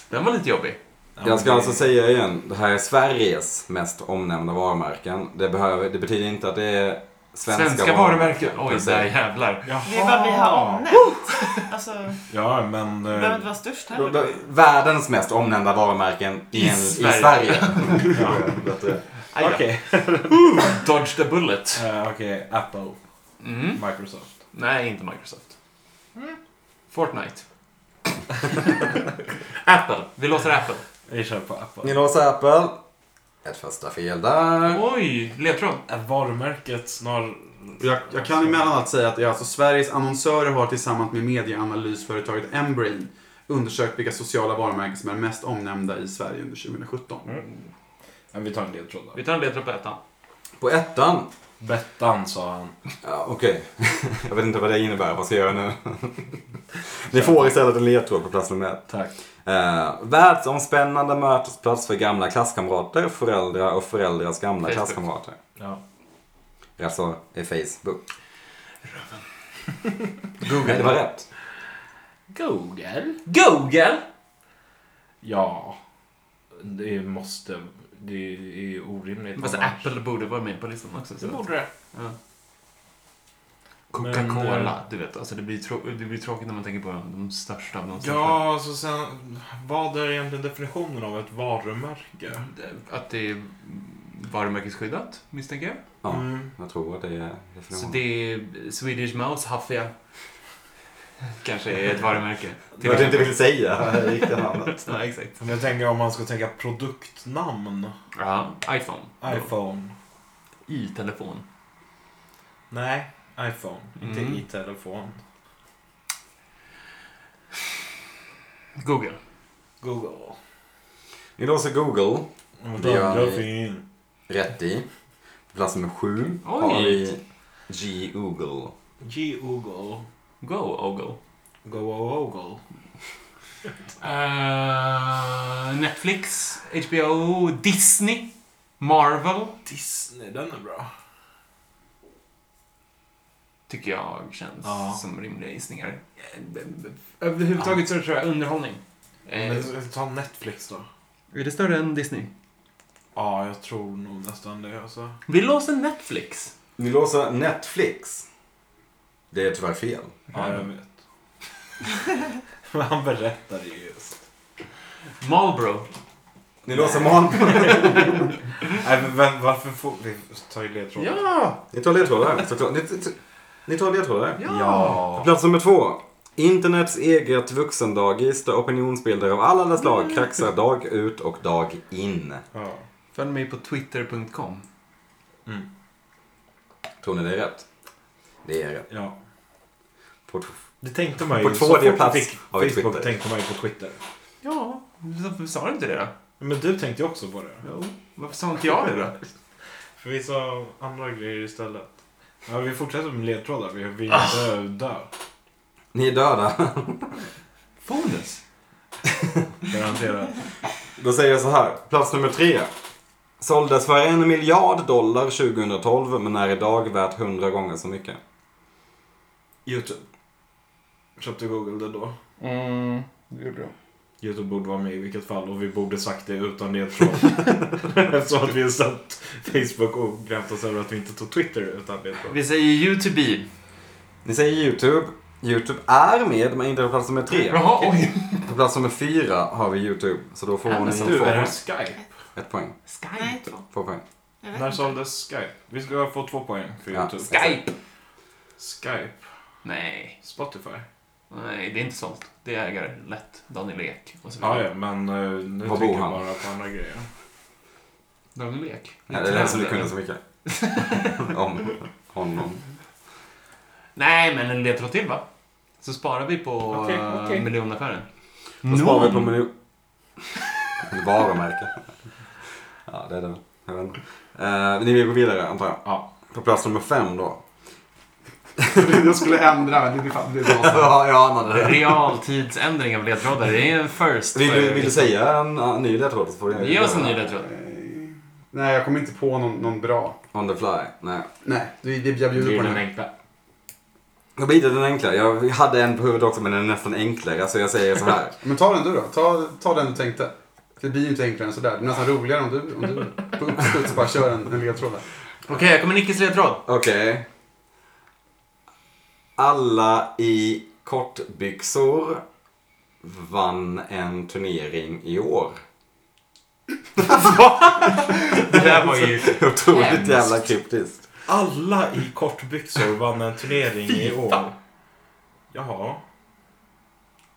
S4: Den var lite jobbig.
S2: Ja,
S1: Jag ska
S2: men-
S1: alltså säga igen. Det här är Sveriges mest omnämnda varumärken. Det, behöver, det betyder inte att det är svenska,
S4: Svenska, varumärken. Oj,
S1: Precis.
S4: där jävlar.
S2: Jaha.
S3: Det är vad vi har omnämnt. Alltså,
S2: Ja, men...
S3: det
S2: eh,
S3: behöver inte vara störst
S1: Då-
S3: heller.
S1: då- Världens mest omnämnda varumärken i,
S4: I
S1: en,
S4: Sverige.
S1: i Sverige.
S4: [LAUGHS] Aj då.
S2: Okej.
S4: Dodge the bullet.
S2: [LAUGHS] Eh, Okej, Apple.
S4: Mm.
S2: Microsoft.
S4: Nej, inte Microsoft. Mm. Fortnite. [LAUGHS] Apple. Vi låter Apple.
S2: Vi kör på Apple.
S1: Ni låser Apple. Ett första fel där.
S4: Oj, ledtråd.
S2: Är varumärket snar...
S5: Jag, jag kan emellanåt säga att det är alltså Sveriges annonsörer har tillsammans med medieanalysföretaget Embrain undersökt vilka sociala varumärken som är mest omnämnda i Sverige under 2017.
S2: Men vi tar en ledtråd då.
S4: Vi tar en ledtråd på ettan.
S1: På ettan.
S2: Bettan sa han.
S1: Ja, Okej. [LAUGHS] jag vet inte vad det innebär. Vad ska jag göra nu? [LAUGHS] Ni får istället en ledtråd på plats nummer ett.
S2: Tack.
S1: Eh, världsomspännande mötesplats för gamla klasskamrater, föräldrar och föräldrars gamla
S4: Facebook.
S1: klasskamrater.
S2: Ja.
S1: Alltså i Facebook. [LAUGHS] Google. Nej, det var rätt.
S4: Google. Google!
S2: Ja. Det måste...
S6: det är ju, det är ju orimligt.
S4: Fast
S6: annars.
S4: Apple borde vara med på listan också.
S6: Det
S4: Så. att-
S6: borde det.
S4: Ja.
S6: Men,
S4: Coca-Cola, du vet. Alltså det, blir trå- det blir tråkigt när man tänker på de största av de största.
S2: Ja, så sen, vad är egentligen definitionen av ett varumärke?
S4: Att det är varumärkesskyddat, misstänker jag.
S1: Ja.
S2: Mm.
S1: Jag tror att det är definitionen.
S4: Så det är Swedish Mouse Haffia. Kanske är ett varumärke.
S1: Det var det jag inte ville säga. Jag gick det
S4: [LAUGHS]
S1: namnet.
S4: Ja, exakt.
S2: Men jag tänker om man ska tänka produktnamn.
S4: Ja, iPhone.
S2: iPhone.
S4: I telefon.
S2: Nej, iPhone. Inte
S4: Mm.
S2: i telefon.
S4: Google.
S2: Google.
S1: Idag så Google Det gör vi.
S2: fin.
S1: rätt i. På plats nummer sju
S4: Oj.
S1: har vi G-Google.
S2: G-Google.
S4: Go, Ogle.
S2: Go-Google.
S4: Eh, Netflix, HBO, Disney, Marvel.
S2: Disney, den är bra.
S4: Tycker jag känns
S2: Ja.
S4: som rimliga gissningar. Eh, b- b- Överhuvudtaget så tror jag underhållning. Eh,
S2: Men ta Netflix då.
S4: är det större än Disney?
S2: Ja, jag tror nog nästan det alltså.
S4: Vi låser Netflix.
S1: Ni låser Netflix. Det är tyvärr fel.
S2: Ja, jag [LAUGHS] vet. Men han berättade ju just.
S4: Marlboro.
S1: Ni låser Marlboro.
S2: Nej, men vem- varför får vi ta ju ledtrådar?
S4: Ja!
S1: [LAUGHS] Ni tar ledtrådar. såklart. Ni, ni- ni tar ledtrådar.
S4: Ja!
S1: På Plats nummer två. Internets eget vuxendagis där opinionsbilder av alla dess slag kraxar dag ut och dag in.
S2: Ja.
S4: Följ mig på twitter.com.
S1: Tror ni det är rätt? Det är rätt.
S2: ja.
S1: På,
S2: Det tänkte man ju.
S1: På
S2: så
S1: tvåde
S2: fort vi
S1: plats
S2: fick
S1: har vi
S2: Facebook
S1: Twitter.
S2: tänkte man ju på Twitter.
S4: Ja, varför sa du inte det då?
S2: Men du tänkte ju också på det.
S4: Jo. Varför sa inte jag det då?
S2: För vi sa andra grejer istället. Ah. Ja, vi fortsätter med ledtrådar. Vi, vi är döda.
S1: ni är döda.
S4: Fonus.
S2: Garanterat.
S1: [LAUGHS] Då säger jag så här. Plats nummer tre. Såldes för en miljard dollar 2012 men är idag värt hundra gånger så mycket.
S2: Youtube. Köpte Google det då.
S4: Mm, det gjorde du.
S2: Youtube borde vara med i vilket fall och vi borde sagt det utan [LAUGHS] ledtråd. Eftersom att vi har satt Facebook och grämt oss över att vi inte tog Twitter utan ledtråd.
S4: Vi säger YouTube.
S1: Ni säger YouTube. YouTube är med men inte på plats nummer
S4: [LAUGHS]
S1: tre.
S4: Jaha, oj.
S1: På plats nummer fyra har vi YouTube. Så då får ni
S4: Amazon.
S2: Du,
S1: två
S2: är
S1: poäng.
S2: det Skype?
S1: Ett poäng.
S3: Nej,
S4: Skype.
S3: två.
S1: Två poäng.
S3: Jag vet
S2: När
S3: inte.
S2: såldes Skype? Vi ska få två poäng för
S1: Ja.
S2: Youtube.
S4: Skype.
S2: Skype.
S4: Nej.
S2: Spotify.
S4: Nej, det är inte sålt. Det är ägare. Lätt. Daniel Ek och så
S2: Ja,
S4: vidare.
S2: ja, men eh, nu
S1: Var
S2: tänker
S1: bor han?
S2: jag bara på andra grejer.
S4: Daniel Ek.
S1: Ja, det är den som du kunde så mycket. Om honom.
S4: Nej, men en ledtråd till va? Så sparar vi på
S2: Okej,
S4: eh,
S2: okej.
S4: miljonaffären.
S1: Då sparar vi på menu... Varumärke. Ja, det är det. Jag vet inte. Eh, ni vill gå vidare antar jag?
S2: Ja.
S1: På plats nummer fem då.
S5: [LAUGHS] Jag skulle ändra, men det blir fan... Det blir bra.
S1: ja, jag anade det.
S4: Realtidsändring av ledtrådar. Det är en first.
S1: Vill,
S4: för-
S1: du- vill du säga en uh, ny ledtråd? så får du
S4: Ge oss en
S1: göra
S4: ny
S1: det.
S4: ledtråd.
S5: Nej. Nej, jag kommer inte på någon, någon bra.
S1: On the fly. Nej.
S5: Nej, det, det, jag bjuder på
S4: Bjuder
S5: den.
S4: den
S5: här.
S4: enkla.
S1: Då blir det den enklare. Jag hade en på huvudet också men den är nästan enklare. Så jag säger så [LAUGHS] här.
S5: Men ta den du då. Ta, ta den du tänkte. För det blir ju inte enklare än sådär. Det är nästan roligare om du, om du på uppstuds bara kör en, en ledtråd där.
S4: Okej, här kommer Nickes ledtråd.
S1: Okej. Alla i kortbyxor vann en turnering i år.
S4: Det där var ju...
S1: [LAUGHS] Otroligt
S4: Hemskt.
S1: jävla kryptiskt.
S2: Alla i kortbyxor vann en turnering i år. Jaha.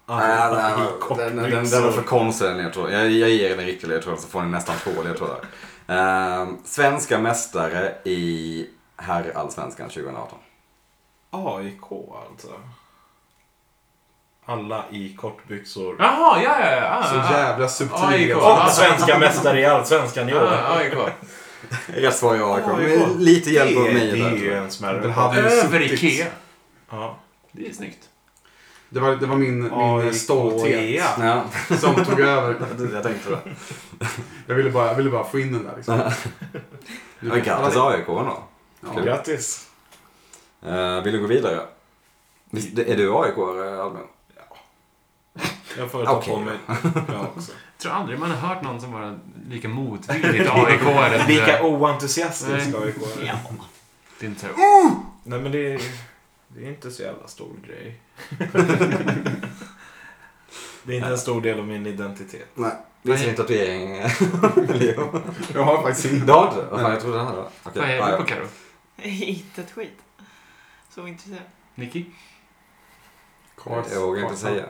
S1: Nej,
S2: Alla
S1: den,
S2: i
S1: den, den, den var för
S2: kortbyxor.
S1: konstig den ledtråden. Jag, jag ger er en riktig ledtråd så får ni nästan två ledtrådar. Ehm, svenska mästare i herrallsvenskan 2018.
S2: AIK alltså. Alla i kortbyxor.
S4: Jaha, ja, ja, ja. Ah,
S5: Så
S4: ja.
S5: jävla subtil.
S4: AIK.
S5: ledtråd.
S2: Och svenska mästare i Allsvenskan i år.
S4: Ah, Ja, AIK.
S1: Rätt svar är AIK.
S2: AIK.
S1: Men Lite hjälp av
S2: Det-
S1: mig där.
S2: Det
S1: tror
S2: är
S1: jag.
S2: en smärre.
S5: Den hade ju
S4: Över
S5: suttit.
S4: Ikea.
S2: Ja.
S4: Det är snyggt.
S5: Det var, det var min, min
S2: AIK.
S5: stolthet
S1: Ja,
S5: som tog över.
S1: jag tänkte det.
S5: Jag ville bara, jag ville bara få in den där liksom. Du
S1: Men
S5: vet, alla-
S1: grattis AIK då.
S5: Ja.
S1: Kul.
S2: Grattis.
S1: Eh, vill du gå vidare? Visst, är du AIK-are Albin?
S2: Jag får ta
S1: Okej.
S2: på mig. Ja, också.
S4: Jag tror aldrig man har hört någon som var lika motvilligt AIK-are.
S2: Lika oentusiastisk
S4: Nej.
S2: AIK är.
S3: Ja.
S4: Det är inte så.
S2: Nej men det är, det är inte så jävla stor [LAUGHS] grej. det är inte en stor del av min identitet.
S4: Vad
S1: Visar
S4: är-
S1: inte att du är en [LAUGHS] Leo.
S5: Jag har faktiskt
S1: Det
S5: inte.
S1: har du? Vad fan, jag trodde det hade. Okej. Ja,
S4: Vad är
S1: ja.
S4: du på Karo?
S3: [LAUGHS] Inte ett skit. Så intresserad.
S4: Nicky?
S1: Jag vågar inte säga.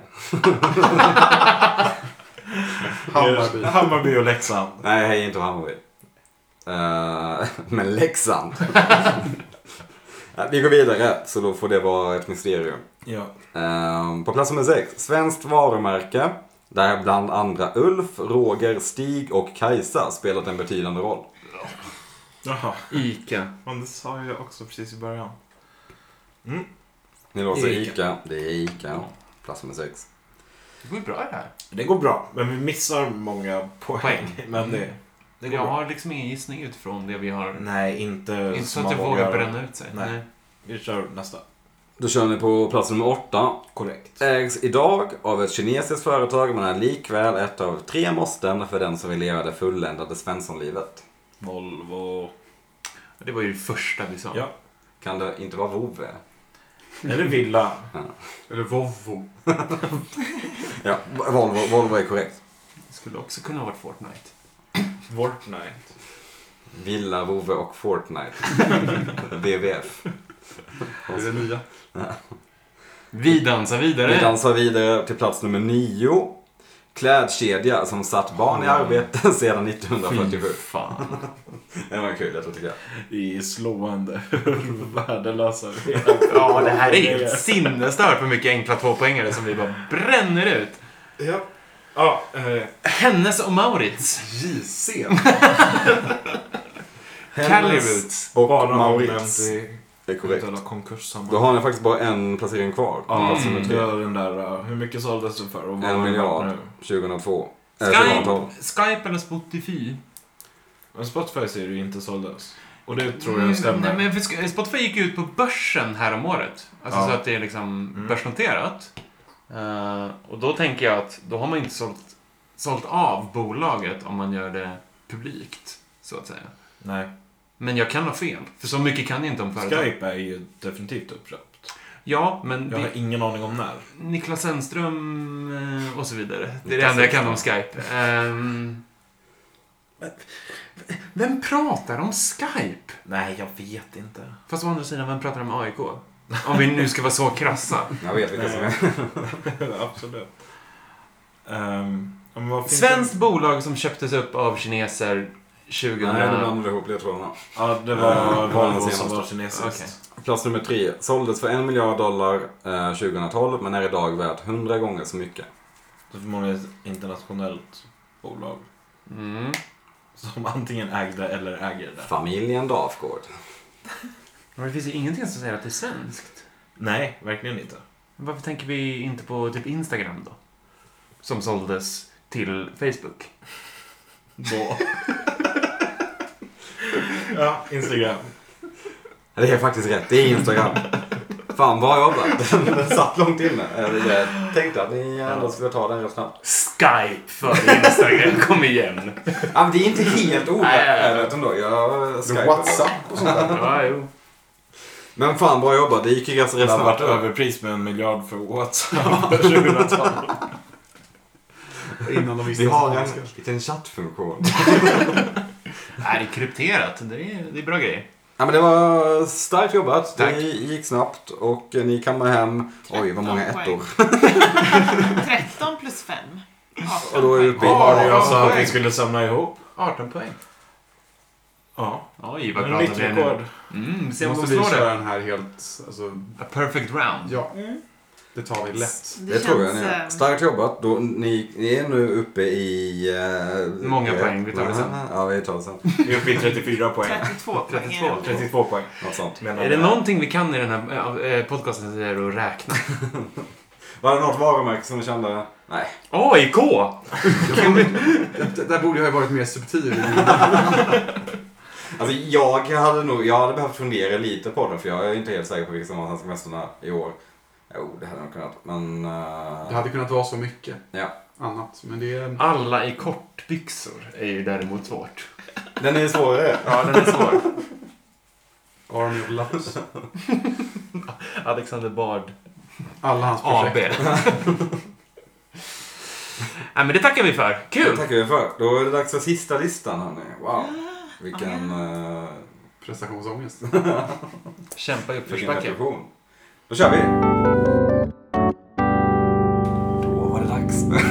S5: Hammarby.
S2: Hammarby och Leksand.
S1: Nej, jag hejar inte på Hammarby. Eh, [LAUGHS] men Leksand. Ja, Vi går vidare, så då får det vara ett mysterium.
S2: Ja.
S1: Ehm, på plats nummer sex, svenskt varumärke. Där bland andra Ulf, Roger, Stig och Kajsa spelat en betydande roll.
S2: Jaha.
S4: Ica.
S2: Men det sa jag också precis i början.
S1: Ni låser
S2: Ica.
S1: Ica. Det är Ica. Plats nummer sex.
S4: Det går ju bra i det här.
S2: Det går bra. Men vi missar många poäng.
S4: Poäng.
S2: Men det, det går
S4: jag
S2: bra.
S4: har liksom ingen gissning utifrån det vi har.
S2: Nej, inte
S4: Mm. Inte så
S2: som
S4: att jag
S2: man
S4: vågar bränna ut sig.
S2: Nej. Vi kör nästa.
S1: Då kör ni på plats nummer åtta.
S2: Korrekt.
S1: Ägs idag av ett kinesiskt företag men är likväl ett av tre måsten för den som vill leva det fulländade Svenssonlivet.
S2: Volvo.
S4: Det var ju det första vi sa.
S2: Ja.
S1: Kan det inte vara Vove?
S2: Eller villa.
S5: Eller Volvo.
S1: Ja, Volvo, Volvo är korrekt.
S4: Det skulle också kunna ha varit Fortnite.
S2: Fortnite.
S1: Villa, Vove och [LAUGHS] Fortnite. WWF.
S5: Det är det nya.
S4: Vi dansar vidare.
S1: Vi dansar vidare till plats nummer nio. Klädkedja som satt barn i arbete [LAUGHS] sedan
S4: Fy
S1: 1947.
S4: fan.
S1: [LAUGHS] Det var kul, jag tror tycker jag.
S2: Det är slående [LAUGHS] hur [LAUGHS] värdelösa vi är.
S4: Ja, det här är helt sinnesstört för mycket enkla tvåpoängare som vi bara bränner ut.
S2: Ja. Ja, eh,
S4: Hennes och Maurits.
S5: JC.
S4: Caliroots.
S1: och
S2: bara
S1: Maurits.
S2: omnämnt i
S1: Det är korrekt.
S2: eventuella
S1: Då
S2: konkurssammanhang.
S1: har ni faktiskt bara en placering kvar.
S2: Ja,
S1: Plats nummer
S2: mm.
S1: tre.
S2: gör den där, eh, hur mycket såldes den för? Och
S1: En
S2: vad har den varit
S1: miljard.
S2: nu?
S1: 2002. Eh, 2012.
S4: Skype, Skype eller Spotify?
S2: Men Spotify säger ju inte såldes. Och det tror jag stämmer.
S4: Nej, Mm, men för Sk- Spotify gick ju ut på börsen häromåret. Alltså
S2: Ja.
S4: så att det är liksom
S2: Mm.
S4: börsnoterat. Eh, och då tänker jag att då har man inte sålt, sålt av bolaget om man gör det publikt. Så att säga.
S2: Nej,
S4: Men jag kan ha fel. För så mycket kan jag inte om företag.
S2: Skype är ju definitivt uppköpt.
S4: Ja, men
S2: Jag
S4: det,
S2: har ingen aning om när.
S4: Niklas Zennström eh, och så vidare. Det är det
S1: Niklas
S4: enda jag kan om Skype. Ehm, vem pratar om Skype?
S2: Nej, jag vet inte.
S4: Fast å andra sidan, vem pratar om AIK? Om vi nu ska vara så krassa.
S1: Jag vet vilka [LAUGHS] som är.
S2: [LAUGHS] Absolut. Ehm, ja, men vad finns
S4: Svenskt bolag som köptes upp av kineser 2000...
S1: Nej, nu blandade ihop ledtrådarna.
S2: det? Ja, det
S1: Eh,
S2: var
S1: den
S2: Volvo
S1: senaste.
S2: som var kinesiskt.
S4: Okej.
S1: Plats nummer tre. Såldes för en miljard dollar eh, 2012 men är idag värt 100 gånger så mycket.
S2: Det är förmodligen ett internationellt bolag.
S4: Mm.
S2: Som [LAUGHS] antingen ägde eller äger det.
S1: Familjen Dafgård.
S4: Men det finns ju ingenting som säger att det är svenskt.
S2: Nej, verkligen inte.
S4: Varför tänker vi inte på typ Instagram då? Som såldes till Facebook.
S2: Då. [LAUGHS] ja, Instagram.
S1: Det är faktiskt rätt. Det är Instagram. Fan, bra jobbat. Den satt långt inne. Eh, Jag tänkte att ni ändå skulle ta den rätt snabbt.
S4: Skype för Instagram, kom igen!
S1: Ja, men det är inte helt
S4: Nej, nej, nej.
S1: ovärdigt ändå. Jag eh, Skype.
S5: WhatsApp och sånt där.
S4: Ja, jo.
S1: Men fan, bra jobbat. Det gick ju ganska
S2: Det
S1: rätt
S2: hade
S1: snabbt.
S2: varit överpris med en miljard för [LAUGHS] WhatsApp 2012.
S5: Innan de visste
S1: Vi har en
S5: spanska.
S1: liten chattfunktion.
S4: [LAUGHS] Nej, det är krypterat. Det är, det är bra grejer.
S1: Ja, men det var starkt jobbat.
S4: Tack.
S1: Det gick snabbt och eh, ni kammar hem... Oj, vad många
S3: 13
S1: ettor.
S3: 13 plus 5.
S1: Och då är vi uppe i...
S2: Ja, det jag sa alltså att
S4: poäng.
S2: vi skulle samla ihop.
S4: 18 poäng.
S2: Ja,
S4: Oj, vad
S2: en
S4: glada
S2: nytt
S4: vi är nu.
S2: rekord.
S4: Mm, se om de
S5: Måste vi
S4: slår det.
S5: köra den här helt... Alltså,
S4: A perfect round.
S5: ja,
S3: Mm.
S5: det tar vi lätt.
S1: Det tror jag. Ni.
S3: eh,
S1: Starkt jobbat. Då, ni, ni är nu uppe i... eh,
S4: Många
S1: eh,
S4: poäng. Vi tar det sen.
S1: [LAUGHS] Ja, vi tar det sen.
S2: Vi är uppe i 34 poäng.
S3: 32 poäng.
S4: 32.
S3: är det.
S2: 32 poäng.
S1: Något
S4: [LAUGHS]
S1: sånt.
S2: menar
S4: Är det
S2: jag.
S4: någonting vi kan i den här eh, eh, podcasten så är det att räkna.
S1: Var det något varumärke som du kände? Nej.
S4: AIK!
S5: Det där borde jag ha varit mer subtil.
S1: Alltså, jag hade nog... Jag hade behövt fundera lite på det för jag är inte helt säker på vilka som var Svenska Mästarna i år. Eh, Jo, det hade nog kunnat, men... eh,
S5: Det hade kunnat vara så mycket
S1: Ja.
S5: annat. Men det är...
S4: Alla i kortbyxor är ju däremot svårt.
S1: Den är ju svårare.
S4: Ja, den är svår.
S5: Army of Laps.
S4: [LAUGHS] Alexander Bard
S5: Alla hans
S4: AB.
S5: projekt.
S4: [LAUGHS] Nej, men det tackar vi för.
S1: Det
S4: Kul!
S1: tackar vi för. Då är det dags för sista listan hörni. Wow. Vilken, eh,
S5: Prestationsångest.
S4: Kämpa i
S1: vilken
S4: uppförsbacke.
S1: reflektion. Då kör vi. Då var det dags. [LAUGHS]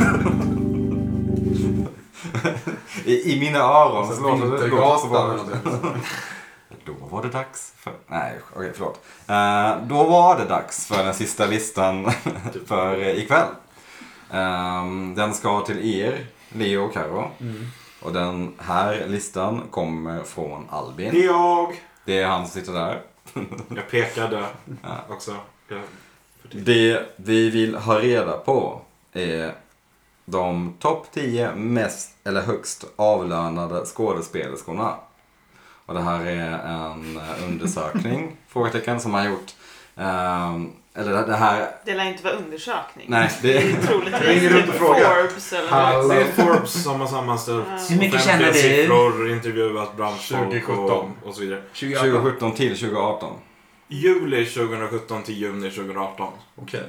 S1: I, I mina öron så låter det- låter det så
S5: Alltså, Vintergatan eller
S1: bra.
S5: någonting.
S1: Då var det dags för... Nej, okej, förlåt. Eh, då var det dags för den sista listan [LAUGHS] för eh, ikväll. Ehm, den ska till er, Leo och Karo.
S5: Mm.
S1: Och den här listan kommer från
S2: Det
S1: Albin.
S2: är jag!
S1: Det är han som sitter där.
S2: Jag pekade också. Jag,
S1: Det vi vill ha reda på är de topp 10 mest eller högst avlönade skådespelerskorna. Och det här är en eh, undersökning, frågetecken, som har gjort. ehm, eller det- det här,
S3: Det lär inte vara undersökning.
S1: nej, det
S3: Det är troligtvis
S2: Ringer runt och
S3: typ
S2: frågar.
S3: Forbes eller
S5: Hallå.
S3: något.
S2: det är Forbes som har sammanställt
S3: Hur
S4: mycket
S2: offentliga
S4: tjänar du?
S2: siffror, intervjuat branschfolk
S5: 2017.
S2: och, och så vidare.
S1: 2017 till 2018.
S2: Juli 2017 till juni 2018.
S5: Okej.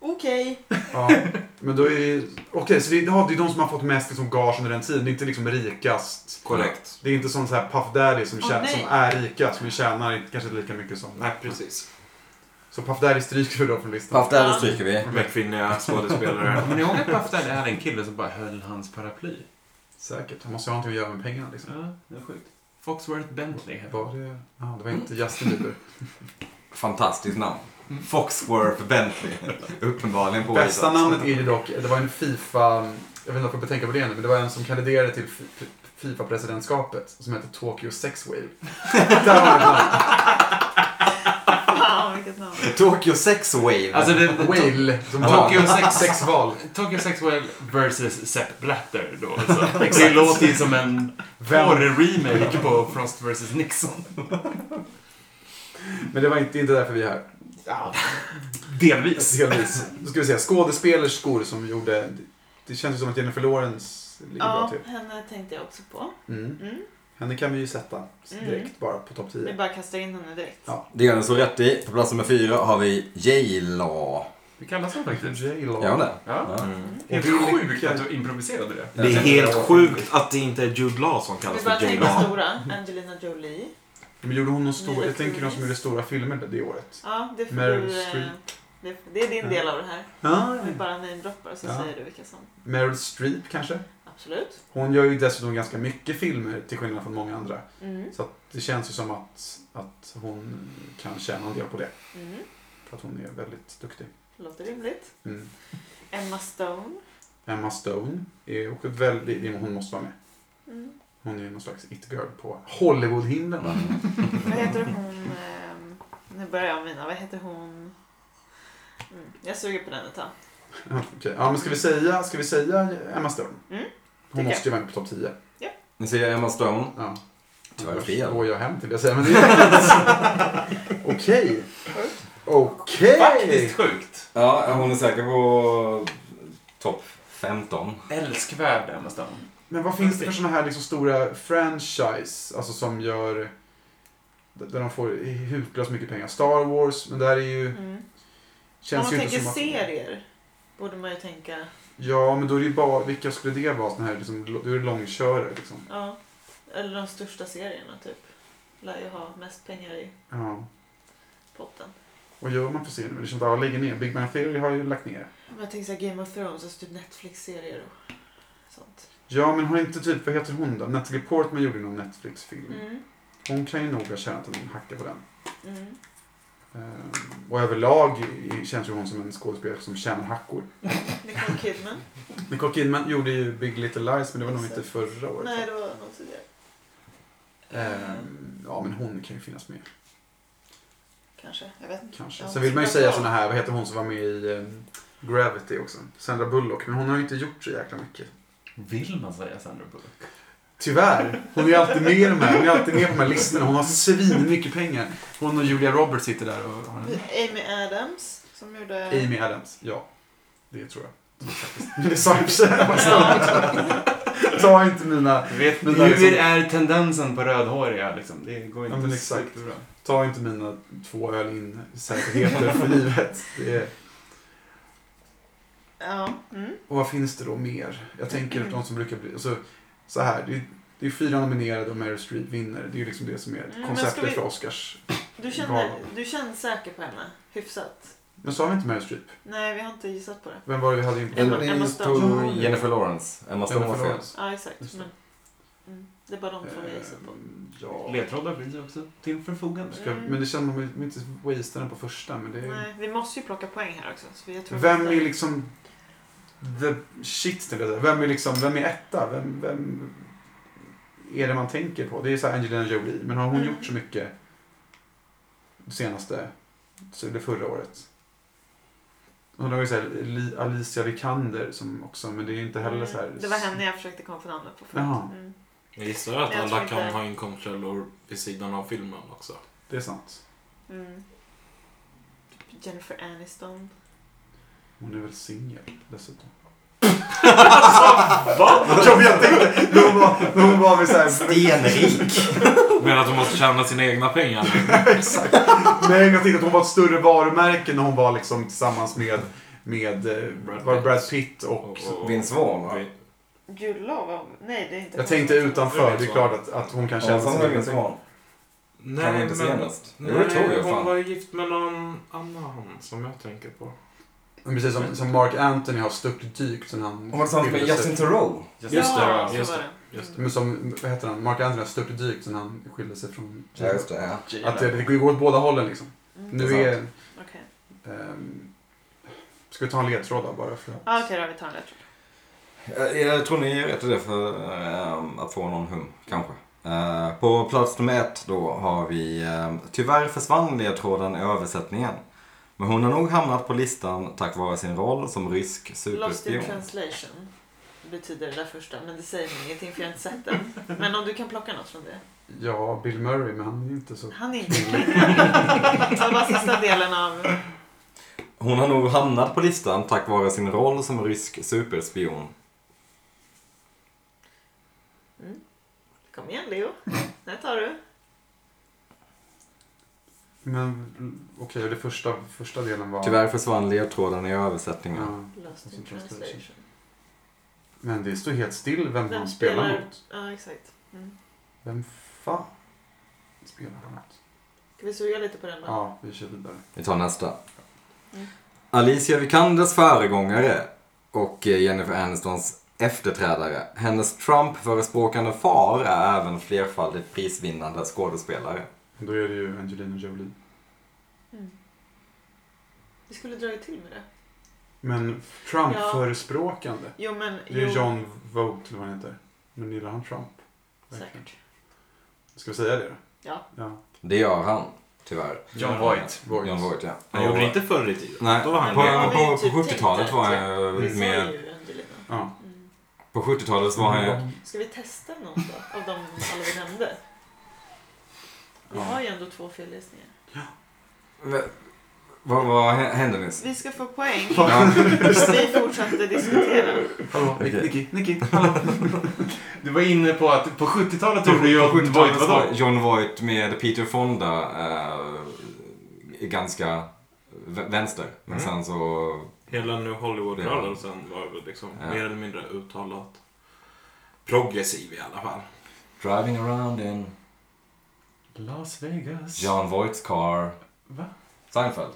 S3: Okej.
S5: Ja. Men då är det... Okej, så det är, ja, det är de som har fått mest liksom, gage under den tiden. Det är inte liksom rikast.
S2: Korrekt.
S5: Det är inte sån så här Puff Daddy som,
S3: Åh,
S5: tjä-
S3: nej.
S5: som är rikast men tjänar inte, kanske inte lika mycket som...
S2: Nej, precis.
S5: Så Puff Daddy stryker vi då från listan.
S1: Puff Daddy stryker vi.
S2: Mm. Med kvinnliga [LAUGHS] skådespelare.
S4: Kommer ni ihåg att Buff Daddy hade en kille som bara höll hans paraply?
S5: Säkert. Han måste ju ha någonting att göra med pengarna liksom.
S4: Ja, det är sjukt. Foxworth Bentley.
S5: Var det... Ja, det var
S3: [LAUGHS]
S5: inte Justin Bieber.
S1: Fantastiskt namn. Foxworth Bentley. [LAUGHS] Uppenbarligen påhittat.
S5: Bästa namnet är ju dock, det var en Fifa, jag vet inte om jag får betänka på det nu, men det var en som kandiderade till Fi- Fi- Fifa-presidentskapet som hette Tokyo
S3: [LAUGHS]
S5: Sex Wave. Där har vi ett namn.
S3: Fan vilket namn.
S1: Tokyo Sex Wave.
S4: Alltså, det, to,
S5: Whale, som var
S4: Tokyo Sex...
S5: sexval.
S4: Tokyo Sex Whale versus Sepp Blatter då. Alltså. Det låter ju som en
S5: Vem-
S4: porr-remake på Frost vs Nixon.
S5: Men det var inte, det är inte därför vi är här.
S4: Delvis.
S5: Delvis. Då ska vi se, skådespelerskor som gjorde, det känns ju som att Jennifer Lawrence ligger
S3: Ja,
S5: bra till.
S3: henne tänkte jag också på.
S5: Mm.
S3: Mm.
S5: Henne kan vi ju sätta direkt bara på topp
S3: Vi
S5: 10.
S3: bara kastar in henne direkt.
S5: Ja.
S1: Det gör den så rätt i. På plats nummer fyra har vi J-Law.
S4: Det kallas så faktiskt.
S1: Gör hon det?
S4: Ja.
S2: Mm.
S4: Helt
S5: Och det-
S4: sjukt att du improviserade det.
S2: Det är helt sjukt att det inte är Jude Law som
S3: Vi
S2: kallas
S3: bara
S2: för J.
S3: tänker
S2: Law.
S3: stora. Angelina Jolie.
S5: Men gjorde hon någon stor,
S3: Mila
S5: jag tänker de som
S3: Kunis.
S5: gjorde stora filmer det året.
S3: Ja, det får
S5: Meryl
S3: du... eh,
S5: Streep.
S3: Det, det är din
S5: Ja.
S3: del av det här.
S5: Ah,
S3: Vi bara namedroppar så
S5: Ja.
S3: säger du vilka som...
S5: Meryl Streep kanske?
S3: Absolut.
S5: Hon gör ju dessutom ganska mycket filmer till skillnad från många andra.
S3: Mm.
S5: Så att det känns ju som att, att hon kan tjäna en del på det.
S3: Mm.
S5: För att hon är väldigt duktig.
S3: Låter rimligt.
S5: Mm.
S3: Emma Stone.
S5: Emma Stone är också väldigt... Hon måste vara med.
S3: Mm.
S5: Hon är ju någon slags it-girl på Hollywoodhimlen. [LAUGHS] va?
S3: Vad heter hon? ehm, nu börjar jag med mina. Vad heter hon? Mm. Jag suger på den ett tag.
S5: Ja, okej. Ja, men ska vi säga, ska vi säga Emma Stone?
S3: Mm,
S5: Hon
S3: tycker
S5: måste ju vara med på topp 10.
S1: Ni ser Emma Stone.
S5: Ja.
S1: Tyvärr fel.
S5: går jag hem till det säger men det är-
S3: [LAUGHS]
S5: Okej. Okej.
S4: Faktiskt sjukt.
S1: Ja, hon är säker på topp 15.
S4: Älskvärd Emma Stone.
S5: Men vad finns det för sådana här liksom stora franchise, alltså som gör... Där de får hutlöst mycket pengar. Star Wars, men där är ju...
S3: Mm. Om
S5: Känns
S3: man
S5: ju inte
S3: tänker
S5: som att...
S3: serier borde man ju tänka...
S5: Ja, men då är det ju bara... Vilka skulle det vara? Såna här, liksom, då är det långkörare liksom.
S3: Ja. Eller de största serierna typ. Lär ju ha mest pengar i
S5: Ja.
S3: potten.
S5: Vad gör man för serier nu? Det känns att alla lägger ner. Big Bang Theory har ju lagt ner.
S3: Om jag tänker så här Game of Thrones, alltså typ Netflix-serier och sånt.
S5: Ja, men har inte typ... Vad heter hon då? Natalie Portman gjorde någon Netflix-film.
S3: Mm.
S5: Hon kan ju nog ha tjänat en hacka på den.
S3: Mm.
S5: Ehm, Och överlag i- känns ju hon som en skådespelare som tjänar hackor.
S3: Nicole
S5: [LAUGHS]
S3: Kidman.
S5: Nicole Kidman gjorde ju Big Little Lies men det var nog inte förra året.
S3: Nej, det var något tidigare.
S5: Ehm, ja men hon kan ju finnas med
S3: Kanske. Jag vet inte.
S5: kanske.
S3: Ja,
S5: Sen vill man ju
S3: Sandra
S5: säga
S3: Bullock.
S5: såna här, vad heter hon som var med i ehm, Gravity också? Sandra Bullock. Men hon har ju inte gjort så jäkla mycket.
S4: Vill man säga Sandra Bullock?
S5: Tyvärr. Hon är alltid med i de här, hon är alltid med på de här listorna. Hon har svin mycket pengar. Hon och Julia Roberts sitter där och har en...
S3: Amy Adams som gjorde...
S5: Mm. Amy Adams. Ja, det tror jag. Men det sa jag
S4: [LAUGHS]
S5: precis. Ta inte mina...
S4: Vet,
S5: Men
S4: hur
S5: liksom-
S4: är tendensen på rödhåriga liksom? Det går
S5: Ja,
S4: inte
S5: men exakt. Ta inte mina två öl in säkerheter för livet. Det är...
S3: Ja. Mm.
S5: Och vad finns det då mer? Jag tänker de som brukar bli... Alltså, så här, det är, det är fyra nominerade och Meryl Streep vinner. Det är ju liksom det som är
S3: Mm, men
S5: konceptet
S3: ska vi-
S5: för Oscars.
S3: Du, känner, du känner säker på henne? Hyfsat?
S5: Men sa vi inte Meryl Streep?
S3: Nej, vi har inte gissat på det.
S5: Vem var det vi hade in på?
S3: Emma-
S1: det
S3: Emma
S1: tog
S3: Stone.
S1: Jennifer Lawrence. Emma Stone var
S5: Jennifer
S1: fel.
S5: Lawrence.
S3: Ja, exakt.
S5: Just det.
S3: Men, mm. Det är bara de två vi har gissat på. Mm.
S5: Ehm, Ja.
S4: Ledtrådar finns ju också till
S5: [LAUGHS]
S4: förfogande.
S5: Ska, men det känner man vill inte wastea den på första. Men det är...
S3: Nej, vi måste ju plocka poäng här också. Så jag tror
S5: Vem
S3: att-
S5: är liksom... The shit, tänkte jag säga. Vem är liksom, vem är etta? Vem, vem är det man tänker på? Det är så här Angelina Jolie. Men har hon
S3: Mm.
S5: gjort så mycket senaste, så det förra året? Hon har ju så här, Li- Alicia Vikander som också, men det är ju inte heller så här...
S3: Mm, Det var henne jag försökte komma på namnet på
S5: Jaha.
S3: förut. Mm.
S2: Jag gissar att
S3: Jag tror
S2: alla
S3: inte-
S2: kan ha inkomstkällor vid sidan av filmen också.
S5: Det är sant.
S3: Mm. Typ Jennifer Aniston.
S5: Hon är väl singel dessutom.
S2: Va?
S5: Ja, men jag tänkte, när hon var, när hon var med så här... [LAUGHS]
S1: Stenrik!
S2: Men att de måste tjäna sina egna pengar.
S5: Exakt. Nej, jag tänkte att hon var ett större varumärke när hon var liksom tillsammans med, med eh,
S2: Brad
S5: var
S2: Pitt.
S5: Brad Pitt och...
S1: Vince Vaughn va?
S2: Vi-
S3: Julo var... Nej, det är inte
S5: Jag
S3: hon.
S5: tänkte utanför, det är klart att, att hon kan känna
S1: Ja, som var Vince
S5: sig...
S1: Vaughn.
S2: Nej,
S1: Kan vi inte
S2: men...
S1: senast? Jo,
S2: Nej,
S1: det tror jag
S2: hon
S1: fan.
S2: var gift med någon annan som jag tänker på.
S5: Men Precis som, som Mark Anthony har störtdykt sen han...
S1: Hon var tillsammans med
S5: skilde sig-
S1: Justin Theroux.
S3: Ja,
S2: Just det, ja,
S3: så
S2: just
S3: var
S2: det. Just det.
S5: Men som, vad heter han? Mark Anthony har störtdykt sen han skilde sig från...
S1: Ja, just det. Ja.
S5: Att det, det går åt båda hållen liksom.
S3: Mm.
S5: Nu
S1: Det
S5: är...
S1: är
S3: Okej,
S5: ehm, ska vi ta en ledtråd då bara för att...
S3: ah, okej då. Vi tar en ledtråd.
S1: Jag, Eh, jag tror ni är rätt i det för ehm, att få någon hum, kanske. Eh, på plats nummer ett då har vi, ehm, tyvärr försvann ledtråden i översättningen. Men hon har nog hamnat på listan tack vare sin roll som rysk
S3: Lost in
S1: superspion.
S3: translation betyder det där första, men det säger mig ingenting för jag har inte sett den. Men om du kan plocka något från det.
S5: Ja, Bill Murray, men han är ju inte så...
S3: Han är inte [LAUGHS] Det var sista delen av...
S1: Hon har nog hamnat på listan tack vare sin roll som rysk superspion.
S3: Kom igen Leo. Den tar du.
S5: Men okej, det första, första delen var...
S1: Tyvärr försvann ledtråden i översättningen.
S5: Ja.
S3: Lost in
S5: in
S3: translation.
S5: translation. Men det står helt still vem
S3: Vem
S5: han spelar
S3: spelar-
S5: mot.
S3: Ja, exakt. Mm.
S5: Vem fan spelar han mot?
S3: Ska vi suga lite på den då?
S5: Ja, vi kör vidare.
S1: Vi tar nästa.
S3: Mm.
S1: Alicia Vikanders föregångare och eh, Jennifer Anistons efterträdare. Hennes Trump-förespråkande far är även flerfaldigt prisvinnande skådespelare.
S5: Då är det ju Angelina Jolie.
S3: Mm. Vi skulle dra till med det.
S5: Men Trump-förespråkande?
S3: Jo men...
S5: Det är
S3: jo,
S5: ju John Vogt eller vad han heter. Men gillar han Trump? Verkligen.
S3: Säkert.
S5: Ska vi säga det då?
S3: Ja.
S5: Ja.
S1: Det gör han, tyvärr.
S4: John Voight.
S5: Vogt.
S1: John Voight, ja.
S2: Han gjorde det inte förr i tiden.
S1: Nej,
S2: Då var han
S1: på,
S2: med.
S1: på,
S3: Vi
S1: på
S3: har ju typ
S1: 70-talet
S3: tänkt
S1: var
S3: att-
S1: jag
S3: Vi sa
S1: med...
S3: ju Angelina.
S5: Ja.
S3: Mm.
S1: På 70-talet var han ju...
S5: Mm.
S3: Ska vi testa någon då? Av de alla vi nämnde? Vi
S5: Ja.
S3: har ju ändå två felgissningar.
S1: Vad- Vad, vad hände nyss?
S3: Vi ska få poäng.
S2: [LAUGHS]
S1: Ja.
S3: Vi fortsatte diskutera.
S5: Hallå,
S1: Okej.
S5: Nicky,
S4: [LAUGHS]
S5: Nicky, hallå.
S4: Du var inne på att på 70-talet trodde jag att Voight var då.
S1: John Voight med Peter Fonda eh, är ganska v- vänster. Men
S2: Mm.
S1: sen så
S2: Hela nu Hollywood-rörelsen var väl liksom
S1: Ja.
S2: mer eller mindre uttalat progressiv i alla fall.
S1: Driving around in
S4: Las Vegas.
S1: John Voight's car.
S4: Va?
S1: Seinfeld.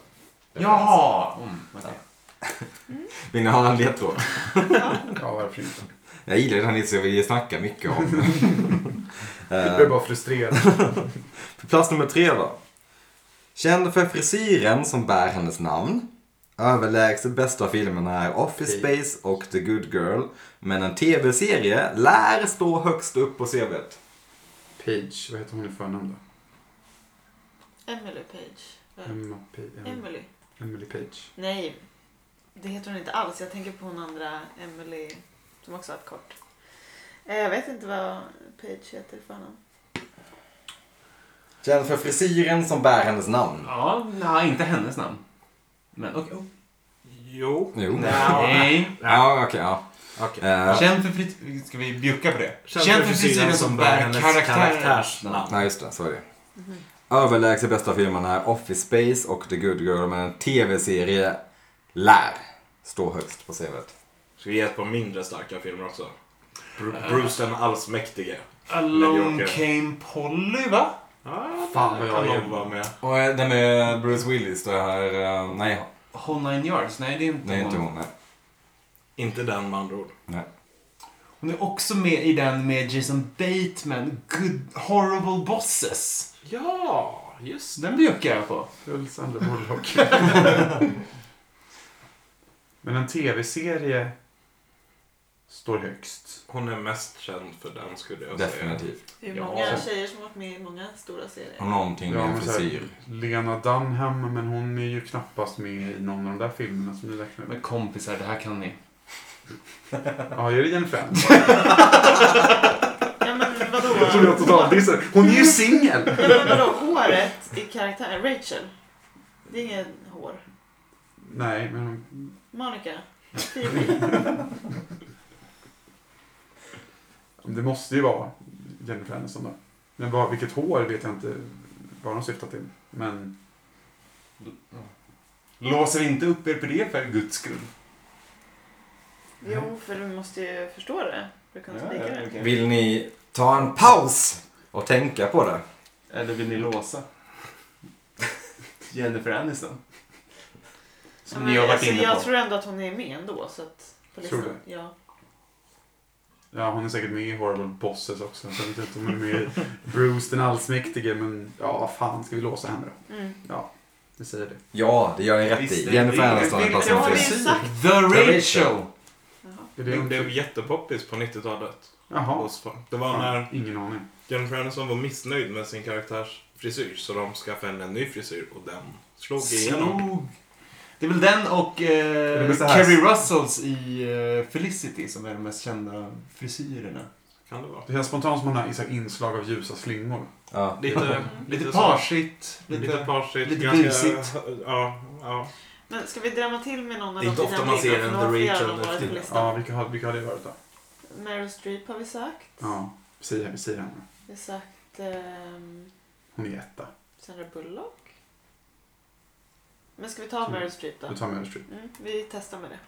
S4: Jaha! Mm, okej.
S1: Vill ni ha en ledtråd?
S5: Ja, varför inte?
S1: Jag gillar den här så jag vill ju snacka mycket om den.
S5: Jag är
S1: Eh,
S5: bara frustrerad.
S1: [LAUGHS] Plats nummer tre då. Känd för frisyren som bär hennes namn. Överlägset bästa filmerna är Office Space och The Good Girl. Men en tv-serie lär stå högst upp på CVt.
S5: Page, vad heter hon i förnamn då?
S3: Emily Page. Eller?
S5: Emma Page.
S3: Emily.
S5: Emily Page.
S3: Nej, det heter hon inte alls. Jag tänker på hon andra, Emily, som också har ett kort. Eh, Jag vet inte vad Page heter för honom.
S1: Känd för frisyren som bär hennes namn.
S4: Ja, nej, inte hennes namn. Men okej.
S2: Jo.
S1: Jo.
S4: Nej.
S1: Ja, okej. ja.
S2: Okej.
S1: Eh,
S4: Känd för frisyren... Ska vi bjucka på det?
S2: Känd för frisyren som bär hennes karaktärsnamn.
S1: nej, just det. Så är det. Överlägset bästa filmerna är Office Space och The Good Girl, men en tv-serie lär stå högst på CVt.
S2: Ska vi ge ett par mindre starka filmer också? Bru- Bruce den allsmäktige.
S4: Alone
S2: Medioker.
S4: came Polly, va?
S2: Ah,
S5: Fan, vad jag
S2: kan
S5: är-
S2: någon vara med.
S1: Och eh, den med Bruce Willis, det här... eh, Nej,
S4: Whole nine yards? Nej, det är inte
S1: det är inte hon. Nej.
S2: Inte den med andra ord.
S1: nej.
S4: Hon är också med i den med Jason Bateman, Good Horrible Bosses.
S2: Ja, just
S4: Så den bjuckar jag på.
S5: Det är väl Sandra Bullock. Men en tv-serie står högst.
S2: Hon är mest känd för den skulle jag säga.
S1: Definitivt.
S3: Det är
S2: Ja.
S3: många tjejer som har varit med i många stora serier.
S1: Och någonting med
S5: Ja,
S1: en
S5: men så här,
S1: frisyr.
S5: Lena Dunham, men hon är ju knappast med i någon av de där filmerna som ni räknar med.
S4: Men kompisar, det här kan ni.
S5: Ja, är det Jennifer Aniston?
S3: Ja men vadå?
S5: Jag trodde jag totaldissade. Hon är ju singel!
S3: Ja, men vadå håret i karaktären? Rachel. Det är ingen hår.
S5: Nej, men hon...
S3: Monica. Phoebe.
S5: det måste ju vara Jennifer Aniston då. Men vad, vilket hår vet jag inte vad de syftar till. Men
S4: Låser vi inte upp er på det för guds skull?
S3: Jo, för du måste ju förstå det. För att kunna spika det.
S1: Vill ni ta en paus och tänka på det?
S4: Eller vill ni låsa? Jennifer Aniston.
S3: Ja,
S4: Som
S3: men
S4: ni har varit
S3: alltså,
S4: inne
S3: jag
S4: på.
S3: tror ändå att hon är med ändå. Så att, på
S5: Tror
S3: listan. Ja.
S5: ja, hon är säkert med i Horrible Bosses också. Jag vet inte om hon är med i Bruce den allsmäktige, men ja, vad fan ska vi låsa henne då?
S3: Mm.
S5: Ja, vi säger det.
S1: Ja, det gör ni rätt
S4: Visst,
S1: i.
S4: det-
S1: Jennifer
S4: det-
S1: Aniston är
S4: det-
S3: Ja,
S1: passande
S3: det är
S1: frisyr.
S3: exakt.
S4: The
S1: Rachel.
S4: Rachel!
S3: Jaha.
S5: Är det
S2: Den
S5: en...
S2: blev jättepoppis på 90-talet.
S5: Jaha.
S2: hos folk. Det var
S5: Fan,
S2: när
S5: ingen aning.
S2: Jennifer Aniston var missnöjd med sin karaktärs frisyr så de skaffade henne en ny frisyr och den slog igenom.
S4: Slog. Det är väl den och
S5: är väl
S4: eh,
S5: så här-
S4: Kerry Russells i eh, Felicity som är de mest kända frisyrerna.
S2: Kan det vara.
S5: Det känns spontant som hon har så här inslag av ljusa slingor.
S1: Ja.
S2: Lite,
S4: Lite
S2: så.
S4: parsigt.
S2: Lite,
S4: Lite...
S2: parsigt.
S4: lite
S2: ganska-
S4: busigt.
S2: Ja, ja.
S3: Men ska vi drämma till med någon av
S2: Det är
S3: de
S2: inte ofta man ser en The Rachel efter-
S3: efter.
S5: Ja,
S3: listan?
S5: vilka har, vilka har det varit då?
S3: Meryl Streep har vi sagt.
S5: Ja, säg, henne, säg henne.
S3: Vi har sagt ehm,
S5: Hon är etta.
S3: Sandra Bullock. Men ska vi ta
S5: Mm.
S3: Meryl Streep då?
S5: Du tar Meryl Streep.
S3: Mm, vi testar med det.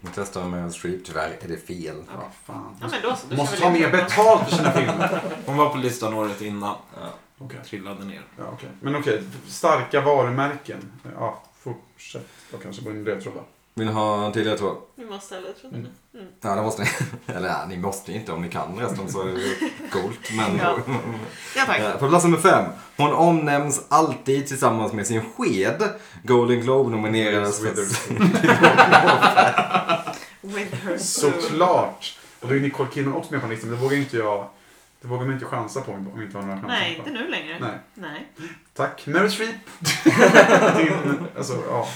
S1: Vi testar med Streep. Tyvärr är det fel.
S5: Ja, fan.
S3: Ja, men då så.
S5: Du
S3: Då
S5: måste
S3: kör
S5: ta
S3: vi
S5: mer
S3: det.
S5: betalt för
S3: [LAUGHS]
S5: sina filmer.
S2: Hon var på listan året innan.
S5: Okej.
S2: Trillade ner.
S5: Ja, okej. Men okej, starka varumärken. Ja, fortsätt. Jag kanske borde ledtrådar.
S1: Vill ni ha en till ledtråd?
S3: Vi måste ha ledtrådarna.
S5: Mm.
S3: Mm.
S1: Ja, det måste ni. [LAUGHS] Eller ja, ni måste ju inte om ni kan resten så är det ju coolt. Men...
S3: Ja. Ja, tack.
S5: Mm.
S1: Eh, På plats nummer fem. Hon omnämns alltid tillsammans med sin sked. Golden Globe nominerades för...
S3: With her soul.
S5: Såklart! Och då är Nicole Kidman också med på listan, men det vågar inte jag... Det vågar man inte chansa på om vi inte har några chanser.
S3: Nej,
S5: på.
S3: inte nu längre.
S5: Nej.
S3: Nej.
S5: Tack.
S3: [LAUGHS]
S5: Meryl Streep. Din, alltså, ja.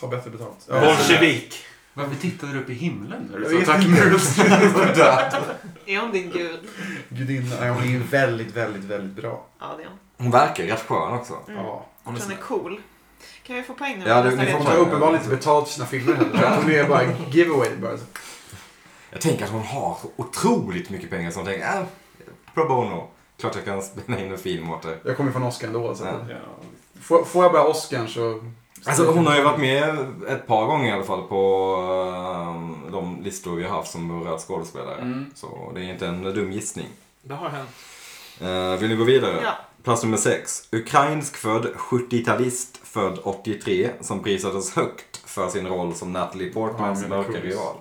S5: Ta bättre betalt. Ja,
S2: Bolsjevik.
S4: Varför tittade du upp i himlen? när
S5: Jag
S4: du
S5: vet
S4: sa Tack
S5: inte.
S4: Meryl Streep.
S3: Är hon din gud?
S5: Gudinna. Nej, Hon är ju väldigt, väldigt, väldigt bra.
S3: Ja, det är hon.
S1: Hon verkar rätt skön också.
S3: Mm.
S5: Ja.
S3: Hon, är cool. Kan vi få poäng nu?
S1: Ja,
S3: Nästa
S1: ni får
S5: Hon
S3: ledtråd.
S5: tar uppenbarligen inte betalt för sina filmer heller. Hon är bara giveaway bara.
S1: Jag tänker att hon har så otroligt mycket pengar så hon tänker, äh, pro bono. Klart jag kan spela in en film åt det.
S5: Jag kommer från Oscar ändå. Så.
S1: Ja.
S5: Får, får jag bara Oscar så...
S1: Alltså hon har ju varit med ett par gånger i alla fall på eh, de listor vi har haft som rör skådespelare.
S4: Mm.
S1: Så det är inte en dum gissning.
S2: Det har hänt.
S1: Eh, vill ni gå vidare?
S3: Ja.
S1: Plats nummer 6. Ukrainskfödd 70-talist född 83 som prisades högt för sin roll som Natalie Portmans
S5: Ja, men det är
S1: mörka
S5: coolt.
S1: rival.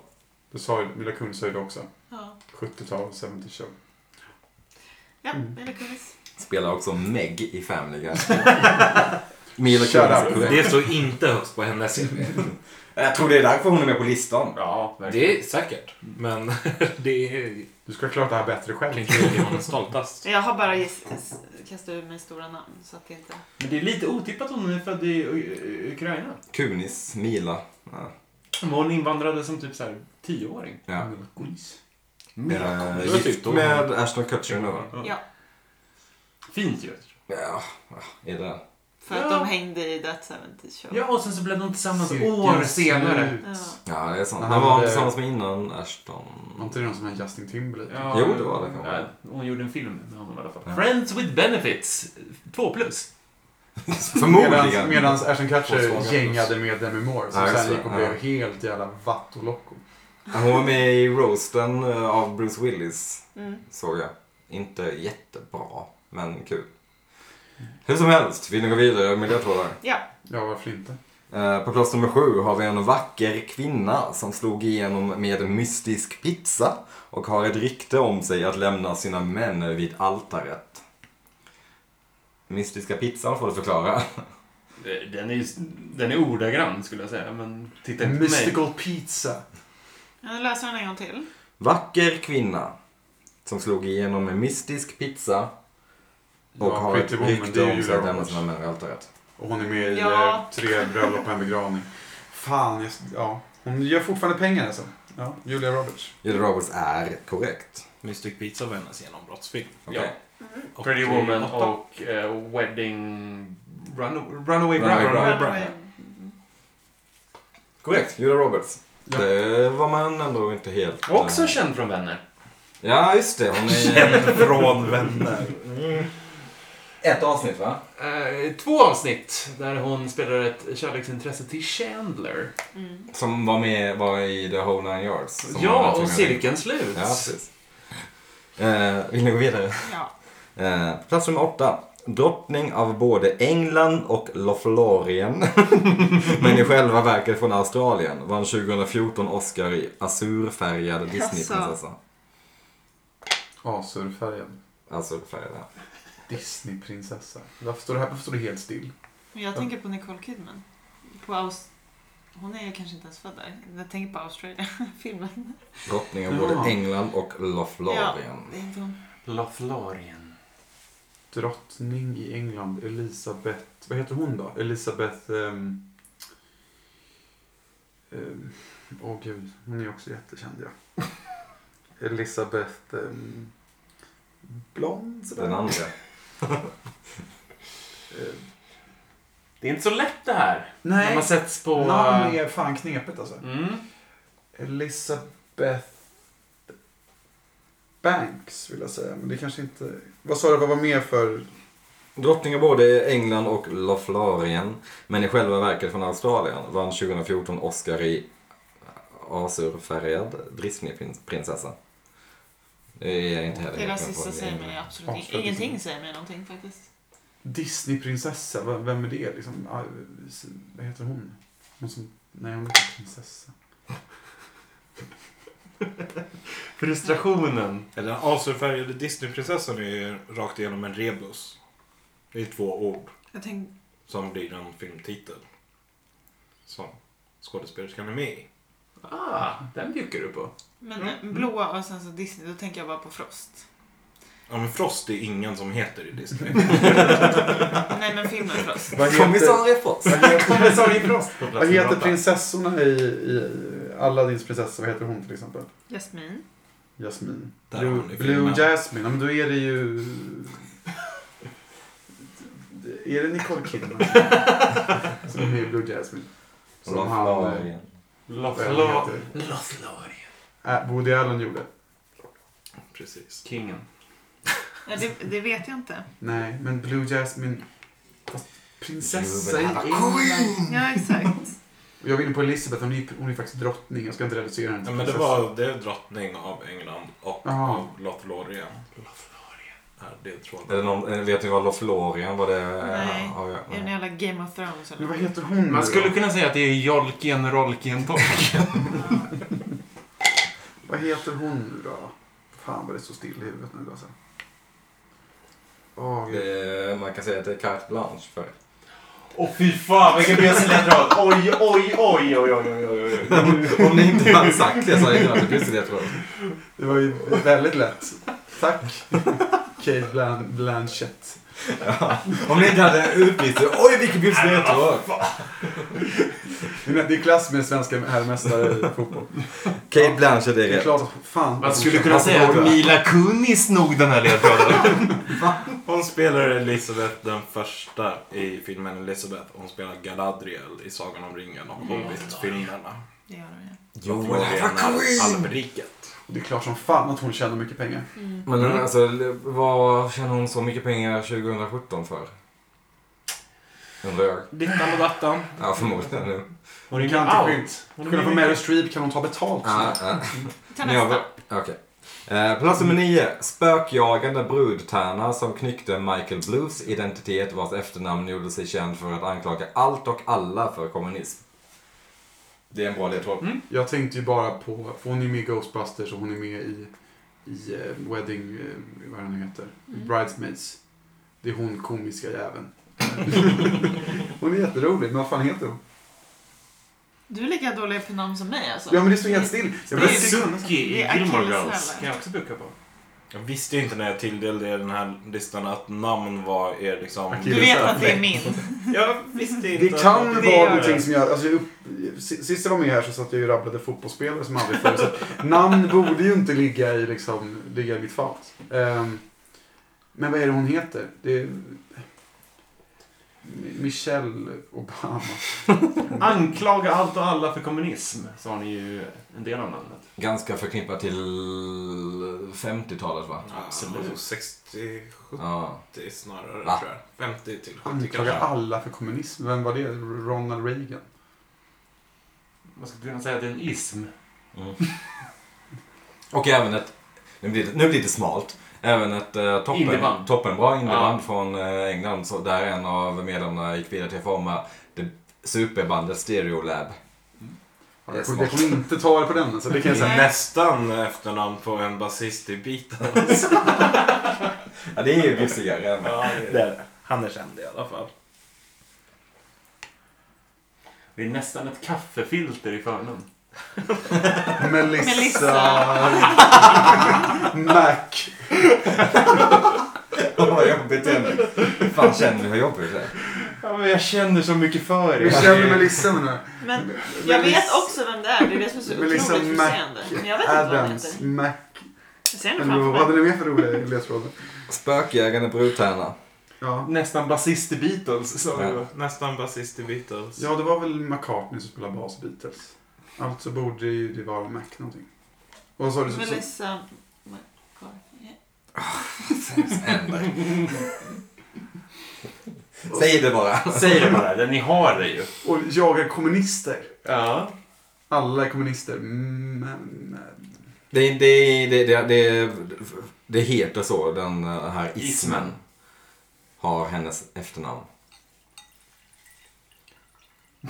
S5: Du sa ju, Mila Kunis sa ju det också.
S3: Ja,
S5: 70-tal, 70 show.
S3: ja
S5: Mm.
S3: eller kulis.
S1: Spelar också Meg i Family
S5: [LAUGHS]
S1: Guy. Mila
S5: Shut
S1: Kunis
S5: up.
S1: är
S2: Det
S1: korrekt.
S2: står inte högst på hennes CV.
S1: Jag tror det är därför hon är med på listan.
S4: Ja, verkligen.
S2: Det är säkert. Men [LAUGHS] det är
S5: Du ska klara det här bättre själv.
S2: kanske inte hon är stoltast.
S3: Jag har bara giss, giss- kastat ur mig stora namn. Så att det inte...
S4: Men det är lite otippat att hon är född i U- U- Ukraina.
S1: Kunis, Mila. Ja.
S4: Men Hon invandrade som typ så här tioåring.
S1: Ja.
S5: Mila Kunis.
S1: Eh,
S2: Mirakel.
S1: gift med Ashton Kutcher nu va?
S2: Ja.
S3: Ja.
S4: Fint ju.
S1: Ja, är det.
S3: För att
S4: Ja.
S3: de hängde i That 70 Show.
S4: Ja, och sen så blev de tillsammans
S5: Cirkeln
S4: år
S5: slut.
S4: senare.
S3: Ja.
S1: Ja, det är sant.
S5: Han
S1: Han var
S5: hade-
S1: tillsammans med innan
S5: Var
S1: Ashton.
S5: inte det någon som är Justin Timberlake?
S4: Ja,
S1: Jo, det var det kanske.
S4: ja, Hon gjorde en film med honom i alla fall.
S1: Ja.
S4: Friends with benefits. Två plus.
S1: Förmodligen.
S5: Medan Ashton
S1: Och Svaga
S5: Kutcher
S1: Plus.
S5: gängade med Demi Moore som
S1: Ja, just
S5: sen
S1: det.
S5: gick och
S1: Ja.
S5: blev helt jävla vattolocko.
S1: Hon var med i roasten eh, av Bruce Willis,
S3: Mm.
S1: såg jag. Inte jättebra, men kul. Hur som helst, vill ni gå vidare med ledtrådar?
S3: ja.
S5: Ja, varför inte?
S1: Eh, På plats nummer sju har vi en vacker kvinna som slog igenom med mystisk pizza och har ett rykte om sig att lämna sina män vid altaret. Mystiska pizzan får du förklara.
S4: Eh, Den är, den är ordagrann skulle jag säga, men titta inte på mig.
S5: Mystical Pizza.
S3: Nu läser den en gång till.
S1: Vacker kvinna som slog igenom med mystisk pizza och
S5: Ja,
S1: har ett
S5: Pretty Woman, det
S1: rykte
S5: är ju
S1: om sig att
S5: Julia
S1: lämna
S5: Roberts.
S1: sina män vid altaret.
S5: Och hon är med i
S3: Ja.
S5: eh, tre bröllop och en begravning. Fan, jag, ja. Hon gör fortfarande pengar alltså. Ja, Julia Roberts.
S1: Julia Roberts är korrekt.
S2: Mystic Pizza var hennes genombrottsfilm.
S1: Okej.
S2: Och-
S4: Pretty Woman
S2: åtta.
S4: och eh, Wedding... Run,
S1: Runaway
S4: runaway Bride.
S1: Bride.
S4: Runaway Bride.
S3: Runaway.
S1: Korrekt, Julia Roberts.
S5: Ja.
S1: Det var man ändå inte helt...
S4: Också
S1: eh,
S4: känd från Vänner.
S1: Ja, just det. Hon är...
S2: Känd från vänner.
S1: Ett avsnitt, va?
S4: Eh, två avsnitt där hon spelar ett kärleksintresse till Chandler.
S3: Mm.
S1: Som var med var i The Whole Nine Yards. som var
S4: ja,
S1: någonting
S4: och
S1: jag-
S4: cirkeln sluts.
S1: Ja, precis. Eh, vill ni gå vidare?
S3: Ja.
S1: Eh, plats nummer åtta. Drottning av både England och Lothlorien. [LAUGHS] Men i själva verket från Australien. Vann 2014 Oscar i azurfärgad Disneyprinsessa.
S5: Azurfärgad.
S1: Azurfärgad. ja.
S5: Disneyprinsessa. Varför står det här? Varför står det helt still?
S3: Men jag tänker på Nicole Kidman. På Aus- hon är ju kanske inte ens född där. Jag tänker på Australien-filmen.
S1: Drottning av både
S5: Ja.
S1: England och Lothlorien.
S3: Det är inte hon.
S4: Lothlorien.
S5: Drottning i England, Elisabeth... Vad heter hon då? Elisabeth... ehm, ehm, Åh gud, hon är också jättekänd ja. Elisabeth... Um, blond sådär.
S1: Den andra.
S5: Eh,
S4: Det är inte så lätt det här. När
S5: nej,
S4: man sätts på... eh,
S5: namn är fan knepigt alltså.
S4: Mm.
S5: Elisabeth Banks vill jag säga, men det kanske inte... Vad sa du, vad var mer för...
S1: Drottning av både England och Lothlorien, men i själva verket från Australien, vann 2014 Oscar i azurfärgad Disneyprinsessa. Det är jag inte heller
S3: Det där
S1: helt med på.
S3: sista säger mig absolut in-
S5: Avslutning.
S3: ingenting. säger mig någonting faktiskt.
S5: Disneyprinsessa, v- vem är det liksom? Ah, s- Vad heter hon? Hon som... Nej, hon heter prinsessa.
S4: Frustrationen.
S2: Eller den azurfärgade Disneyprinsessan är rakt igenom en rebus. Det är två ord
S3: Jag tänk-
S2: som blir en filmtitel. Som skådespelerskan är med i.
S4: Ah, den bjucker du på.
S3: men
S5: Mm.
S3: eh, blåa och sen så Disney, då tänker jag bara på
S5: [LAUGHS]
S3: Frost.
S2: Ja men Frost är ingen som heter
S4: [LAUGHS]
S2: i Disney.
S3: Nej men filmen Frost.
S5: Vad
S1: Kommissarie Foss!
S5: vad heter,
S4: Kommissarie Frost på
S5: vad
S4: plats nummer
S5: heter
S4: åtta.
S5: prinsessorna i, i Aladdins prinsessa? Vad heter hon till exempel?
S3: Jasmin.
S5: Jasmine.
S2: Där har
S5: Blue,
S2: ni
S5: Blue
S2: filmen.
S5: Jasmine, ja, men då är det ju... Är det Nicole Kidman? som är med i Blue Jasmine. Som han... eh,
S1: Lothlorien.
S4: Lothlor-
S5: Vad heter
S4: Lothlorien.
S5: Äh, Woody Allen gjorde.
S2: Precis.
S4: Kingen.
S3: Ja, det, det vet jag inte.
S5: Nej, men Blue Jasmine... Fast Prinsessa i
S1: Jubel.
S5: England.
S3: Ja exakt.
S5: Och Jag var inne på Elisabeth, hon är, hon är faktiskt drottning. Jag ska inte reducera henne
S2: Ja, men det var det är drottning av England och
S5: Jaha.
S2: av Lothlorien. Ja, det tror
S1: Är det
S2: jag.
S1: någon, eh, vet ni vad Lothlorien var det?
S3: Nej.
S1: Ja, ja,
S3: Är det en
S1: ja.
S3: jävla Game of Thrones eller?
S5: Men vad
S3: något?
S5: heter hon
S4: Man
S5: nu
S4: skulle
S5: då?
S4: kunna säga att det är Jolkien Rolkien Tork.
S5: Vad heter hon nu då? Fan vad det står still i huvudet nu alltså. Åh, gud.
S1: Det är- Man kan säga att det är carte blanche för [LAUGHS]
S4: Åh fy fan
S2: [LAUGHS]
S4: vilken beseletrad! Oj, oj, oj, oj, oj, oj, oj,
S1: Om ni inte hade sagt det så hade jag inte varit plussigt jag tror.
S5: Det var ju väldigt lätt. Tack. Kate Blan- Blanchett.
S1: Om ni inte hade utbytt Oj vilken plussigt jag tror.
S5: Det är det är klass med svenska herrmästare i fotboll.
S1: Kate Blanchett är
S5: Det är
S1: rätt.
S5: klart att fan.
S4: Man skulle kunna säga att Mila Kunis snod den här ledtråden.
S2: Hon spelar Elisabeth den första i filmen Elisabeth. Hon spelar Galadriel i Sagan om ringen och Hobbit-filmerna.
S3: Det gör de ju.
S1: Jo,
S2: Från almriket.
S5: Det är klart som fan att hon tjänar mycket pengar.
S1: Men alltså, vad tjänar hon så mycket pengar 2017 för? Undrar jag.
S2: Dittan och dattan.
S1: Ja, förmodligen. nu.
S5: Hon
S2: ringer
S5: kan
S2: allt.
S5: inte skit.
S2: Hon
S5: Kunna få
S2: ringer-
S5: Meryl Streep kan hon ta betalt.
S1: Ja, ja.
S3: Ta
S1: Men jag
S3: nästa.
S1: vill- Okej. Eh, plats nummer nio. Spökjagande brudtärna som knyckte Michael Blues identitet vars efternamn gjorde sig känd för att anklaga allt och alla för kommunism. Det är en bra ledtråd.
S4: Mm.
S5: Jag tänkte ju bara på, för hon är ju med i Ghostbusters och hon är med i, i eh, Wedding, eh, vad är det nu heter,
S3: Mm.
S5: Bridesmaids. Det är hon komiska jäveln. hon är jätterolig, men vad fan heter hon?
S3: Du är lika dålig på namn som mig alltså.
S5: Ja men det står helt still. Jag
S3: Det är
S5: vet inte-
S3: Suki i Gilmore Girls. kan jag
S2: också buka på. Jag visste ju inte när jag tilldelade er den här listan att namn var er liksom...
S5: Akilleshäl.
S3: Du vet att det är min.
S2: Jag visste inte.
S5: det kan
S2: att-
S3: det
S5: vara
S3: gör
S5: någonting
S2: det.
S5: som jag... Alltså, jag upp- si- sist jag var med här så satt jag ju och rabblade fotbollsspelare som aldrig förut. så att Namn borde ju inte ligga i, liksom, ligga i mitt fat. Ehm, men vad är det hon heter? Det är... Mi- Michelle Obama.
S6: Anklaga allt och alla för kommunism, sa ni ju en del av namnet.
S1: Ganska förknippat till 50-talet va?
S6: Absolut.
S2: 60,
S1: Ja.
S2: 70 snarare
S1: Va?
S2: tror jag. 50 till 70
S5: Anklagar
S2: kanske.
S5: alla för kommunism. Vem var det? Ronald Reagan?
S6: Man skulle kunna säga att det är en ism.
S1: Och även ett, nu blir det, nu blir det smalt, även ett eh, toppen,
S6: Indieband.
S1: toppenbra indieband
S6: Ja.
S1: från eh, England så där en av medlemmarna gick vidare till att forma det superbandet Stereolab.
S5: Ja,
S1: Det är
S5: Jag kommer jag
S1: smart.
S5: kommer inte ta det på den. Så det kan jag
S2: Det
S5: säga.
S2: är nästan efternamn på en basist i [LAUGHS] Beatles.
S1: Ja, det är ju bjussigare. än-
S2: Ja, det är det. Han är känd i alla fall.
S6: Det är nästan ett kaffefilter i förnamn.
S5: Melissa... Mac.
S1: Åh, [LAUGHS] Vad jobbigt det är nu. Fan känner du hur jobbigt det är?
S6: Ja, men jag känner så mycket för
S5: Vi känner Melissa nu.
S3: Men jag
S5: Melissa-
S3: vet också vem det är. Det är det som är
S5: [LAUGHS]
S3: så otroligt
S5: Melissa
S3: frustrerande. Men jag vet inte vad han
S5: liksom Adams.
S3: heter.
S5: Mac.
S3: Jag ser henne
S5: Eller vad hade
S3: framför mig.
S5: ni mer för roliga ledtrådar?
S1: Spökjägande brudtärna.
S5: Ja.
S6: Nästan basist i Beatles, sa
S1: Ja.
S6: du.
S2: Nästan basist i Beatles.
S5: ja, det var väl McCartney som spelade bas i Beatles. Alltså borde ju det vara Mac någonting. Och vad sa du? Liksom Så,
S3: Melissa McCartney.
S1: Sämst ändå. [LAUGHS] Säg det bara.
S6: Säg det bara, det- ni har det ju.
S5: och jagar kommunister.
S6: Ja.
S5: Alla är kommunister. Men...
S1: Det, det, det, det, det, det heter så, den eh, här ismen.
S6: Ismen.
S1: Har hennes efternamn.
S6: [LAUGHS]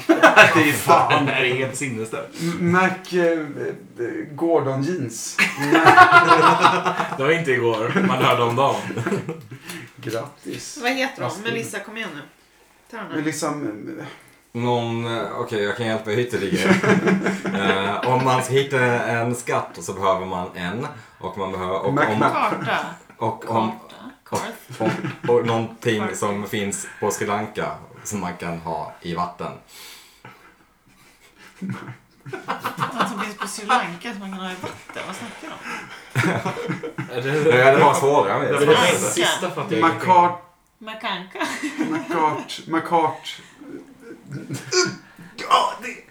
S6: Det är fan, det här är helt sinnesstört.
S5: Mac eh, eh, Gordon Jeans. Mac.
S2: Det var inte igår. Man hörde om dem.
S3: [LAUGHS]
S5: Grattis.
S3: Vad heter hon?
S5: Astrid.
S3: Melissa, kom igen nu. Ta den här.
S5: Melissa... eh,
S1: Någon, eh, okej jag kan hjälpa er ytterligare.
S2: [LAUGHS]
S1: eh, om man ska hitta en skatt så behöver man en. Och man behöver, och,
S5: Mac,
S1: om,
S5: Mac.
S3: Karta.
S1: och, om,
S3: Karta. Karth.
S1: och, och någonting som finns på Sri Lanka som man kan ha i vatten.
S3: Något som finns på Sri Lanka som man kan ha i vatten. Vad snackar du om?
S1: Det var svårare med
S2: Det var det sista fattiga
S5: McCart...
S3: Macanka.
S5: McCart... McCart...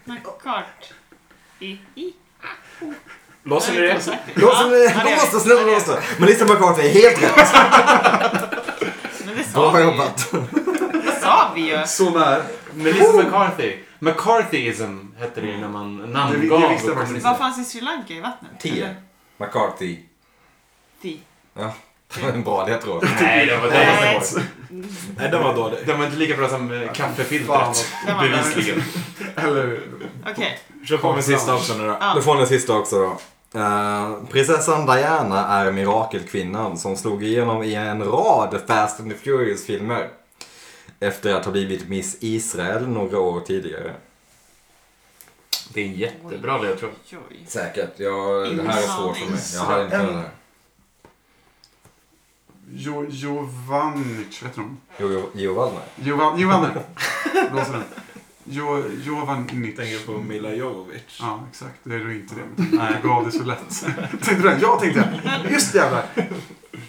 S3: Macart. I. I.
S2: Låser ni det?
S1: Låser ni
S3: Ja, det
S1: det?
S3: är
S1: Låser,
S3: det.
S1: snälla låser! Melissa McCarthy är helt rätt!
S3: Men det sa
S1: Bra
S3: vi ju.
S1: jobbat!
S3: Det sa vi ju.
S5: Så nära.
S6: Melissa McCarthy. McCarthyism hette det ju när man
S5: Det- det
S6: namngav
S5: visste jag faktiskt
S3: Vad
S6: kommunister.
S3: fanns i Sri Lanka i vattnet?
S1: T.
S3: Eller?
S1: McCarthy.
S3: Ti.
S1: Ja, det var en bra ledtråd.
S6: Nej, det var det.
S3: Nej,
S6: var-
S2: Nej, den var dålig.
S6: Den var inte lika bra som eh,
S5: Fan,
S6: kaffefiltret.
S3: det var
S6: [LAUGHS]
S3: den.
S6: Bevisligen.
S5: Eller...
S3: Okej.
S2: Kör på med sista också nu då.
S1: Då får ni den sista också då. Eh, prinsessan Diana är mirakelkvinnan som slog igenom i en rad Fast and the Furious-filmer. Efter att ha blivit Miss Israel några år tidigare.
S6: Det är en jättebra ledtråd.
S3: Oj.
S1: Säkert. Jag, det här är svårt för mig. Jag hade inte kunnat det här.
S5: Jo, Jovanic, vet du hon?
S1: Jo, Jo, Jovan, nej.
S3: [LAUGHS]
S5: Jovan, Jovanna. Blåser den. Jo, Jovan Nitsch.
S2: Tänker på Mila Jovovich.
S5: Ja, exakt. Det är du inte det.
S2: [LAUGHS]
S5: Men jag gav det så lätt. [LAUGHS] tänkte du det? Ja, tänkte jag. Just
S2: [LAUGHS]
S5: det jävlar.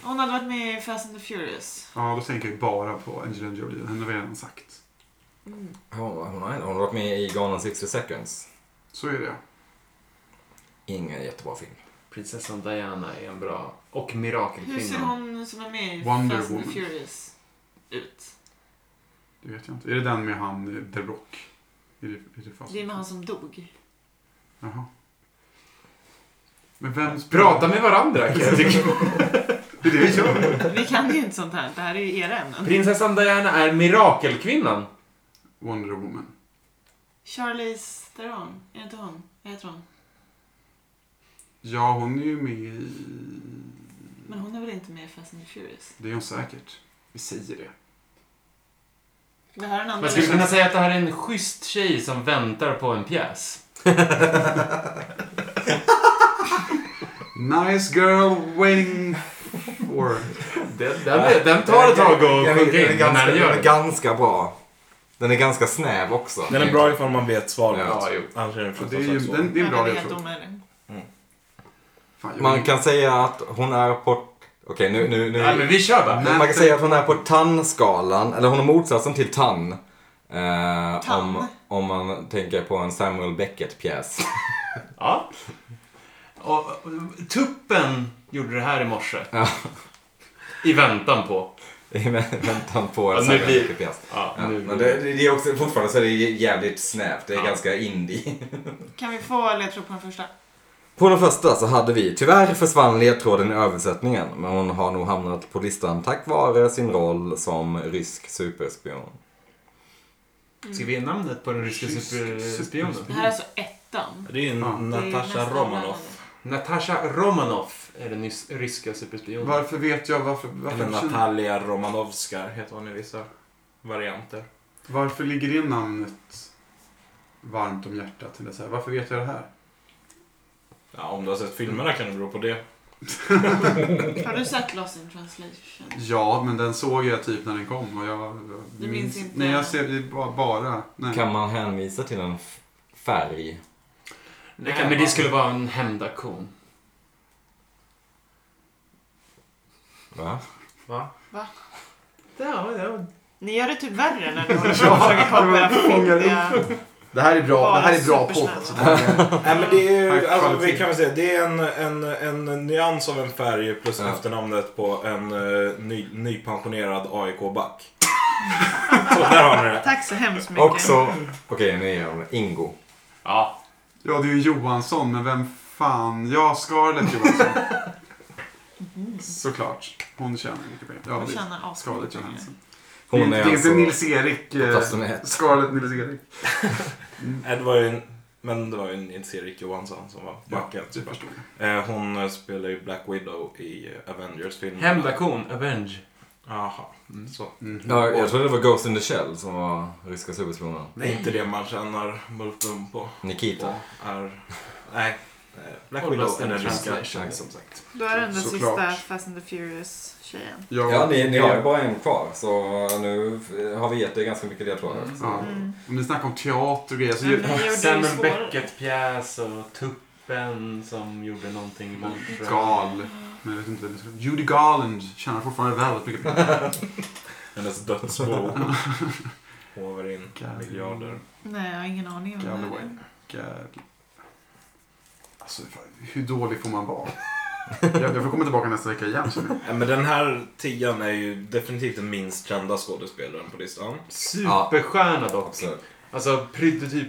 S3: Hon hade varit med i Fast and the Furious.
S5: Ja, då tänker jag bara på Angelina Jolie. Henne har vi redan sagt.
S3: Mm.
S1: Hon, hon, har, hon har varit med i Gone in 60 seconds.
S5: Så är det.
S1: Ingen jättebra film.
S6: Prinsessan Diana är en bra... Och
S3: Hur ser
S6: mirakelkvinnan.
S3: hon som är med i
S5: Wonder
S3: Fast and the
S5: Woman.
S3: Furious ut?
S5: Det vet jag inte. Är det den med han eh, The Rock? Är det, är det fast?
S3: Det är med han som dog.
S5: Jaha. Men vem spelar-
S6: Prata med varandra kan jag [LAUGHS] tycka.
S5: Det är det vi
S2: [LAUGHS]
S5: gör.
S3: Vi kan ju inte sånt här. Det här är ju era ämnen.
S6: Prinsessan Diana är mirakelkvinnan.
S5: Wonder Woman.
S3: Charlize Theron, är det inte hon? Vad heter hon?
S5: Ja, hon är ju med i...
S3: Men hon är väl inte med i Fast and the Furious?
S5: Det är hon säkert. Vi säger det.
S3: Det här är en annan
S6: Man skulle kunna
S3: version.
S6: säga att det här är en schysst tjej som väntar på en pjäs.
S5: Nice girl waiting for...
S6: Den, den, den tar ett tag att sjunka in, men när den gör
S1: Den är
S6: det.
S1: ganska bra. Den är ganska snäv också.
S2: Den är bra ifall man vet svaret.
S1: Ja,
S6: jo.
S2: Annars är den
S5: Ja, det, är ju,
S2: fruktansvärt svår.
S5: den, det är en bra
S3: Ja, helt
S5: ledtråd.
S3: omöjlig.
S5: Fan, jag-
S1: Man kan säga att hon är på... Okej, nu... nu, nu.
S6: Nej, men vi kör bara.
S1: Man kan säga att hon är på tannskalan, eller hon är motsatsen till tann. Eh,
S3: Tann?
S1: Om, om man tänker på en Samuel Beckett-pjäs. [LAUGHS]
S6: Ja.
S4: Och, och, tuppen gjorde det här i morse.
S1: Ja.
S6: I väntan på.
S1: I väntan på
S6: Ja,
S1: en
S6: nu
S1: Samuel
S6: blir-
S1: Beckett-pjäs.
S6: Ja,
S1: Ja,
S6: nu-
S1: men det, det är också, fortfarande så är det jävligt snävt. Det är
S6: Ja.
S1: ganska indie. [LAUGHS]
S3: Kan vi få ledtråd på den första?
S1: På den första så hade vi, tyvärr försvann ledtråden i översättningen, men hon har nog hamnat på listan tack vare sin roll som rysk superspion.
S4: Ska vi ge namnet på den ryska
S5: Rysk
S4: superspionen?
S5: superspion.
S3: Mm. Det här är alltså ettan.
S2: Det är ju
S3: Det
S5: Ja.
S3: är ju
S2: Natasha
S3: nästan
S2: Romanoff.
S4: Natasha Romanoff är den nys- ryska superspionen.
S5: Varför vet jag varför...
S2: Eller
S5: Varför, varför,
S2: Natalia Romanovska heter hon i vissa varianter.
S5: varför ligger det namnet varmt om hjärtat? Eller så här, varför vet jag det här?
S2: Ja, om du har sett filmerna kan det bero på det.
S3: annan. Har du sett Lost in translation?
S5: Ja, men den såg jag typ när den kom och jag... jag
S3: Du minns inte?
S5: Nej, jag ser det bara... bara
S6: Mm.
S5: nej.
S1: Kan man hänvisa till en f- färg?
S6: Nej, men det skulle vara en hämndaktion.
S1: Va?
S2: Va?
S6: Ja, ja.
S3: Ni gör det typ värre när ni håller på och försöker komma era fyndiga...
S5: Det här är bra,
S3: Bara
S5: det här är bra
S3: supersnälla.
S5: podd. Alltså, det här är-
S2: [LAUGHS] Nej men det är ju,
S5: High
S2: alltså,
S5: quality.
S2: vi kan väl säga, det är en, en, en nyans av en färg plus
S1: Ja.
S2: efternamnet på en eh, ny, nypensionerad AIK-back. [LAUGHS] Så där har ni det.
S3: Tack så hemskt mycket.
S1: Också, okej nu ger jag dem Ingo.
S6: ja.
S5: ja, det är ju Johansson, men vem fan... Ja, Scarlett Johansson. Såklart. Hon tjänar mycket pengar. Ja,
S3: Jag
S5: det-
S3: känner
S5: Scarlett
S3: Mm. asmycket.
S5: Johansson. Det är
S1: Hon
S5: inte,
S1: är
S5: det är
S1: alltså
S5: inte Nils-Erik. eh,
S1: bastonet.
S5: Scarlett Nils-Erik.
S2: Nej, det var ju en, men det var ju Nils-Erik Johansson som var backen.
S5: det förstår jag.
S2: Eh, hon eh, spelar ju Black Widow i eh, Avengers-filmen.
S6: Hämndaktion, Avenge.
S2: Jaha, så.
S5: Mhm.
S1: Ja, jag trodde det var Ghost in the Shell som var ryska superspionen.
S2: Det är inte det man tjänar multum på.
S1: Nikita.
S2: Och är... Nej. eh, Black
S6: Och Lost
S2: Widow
S6: in
S2: är den ryska
S6: translation.
S2: som sagt.
S3: Då är det den där
S5: Såklart.
S3: sista Fast and the Furious-tjejen.
S1: Ja, ni, ni har ju bara en kvar så nu f- har vi gett er ganska mycket ledtrådar.
S6: Mm.
S5: Ja.
S3: Mm.
S5: Om ni snackar om teater och grejer. Så
S3: Men ni
S5: ju,
S3: gjorde ju
S6: Samuel
S3: svårare.
S6: Beckett-pjäs och Tuppen som gjorde någonting i morse.
S5: gal. Men jag vet inte vem det skulle Judy Garland tjänar fortfarande väldigt
S1: [LAUGHS]
S5: mycket pengar.
S2: Hennes dödsbo [LAUGHS] håvar in
S5: Gav-
S2: miljarder.
S3: Nej, jag har ingen aning om det
S5: Galloway.
S3: här.
S5: God. eh, Alltså, fan, hur dålig får man vara? Jag, jag får komma tillbaka nästa vecka igen. känner jag.
S2: Ja, men den här tian är ju definitivt den minst kända skådespelaren på listan.
S6: Superstjärna dock.
S1: Absolut.
S6: Alltså prototyp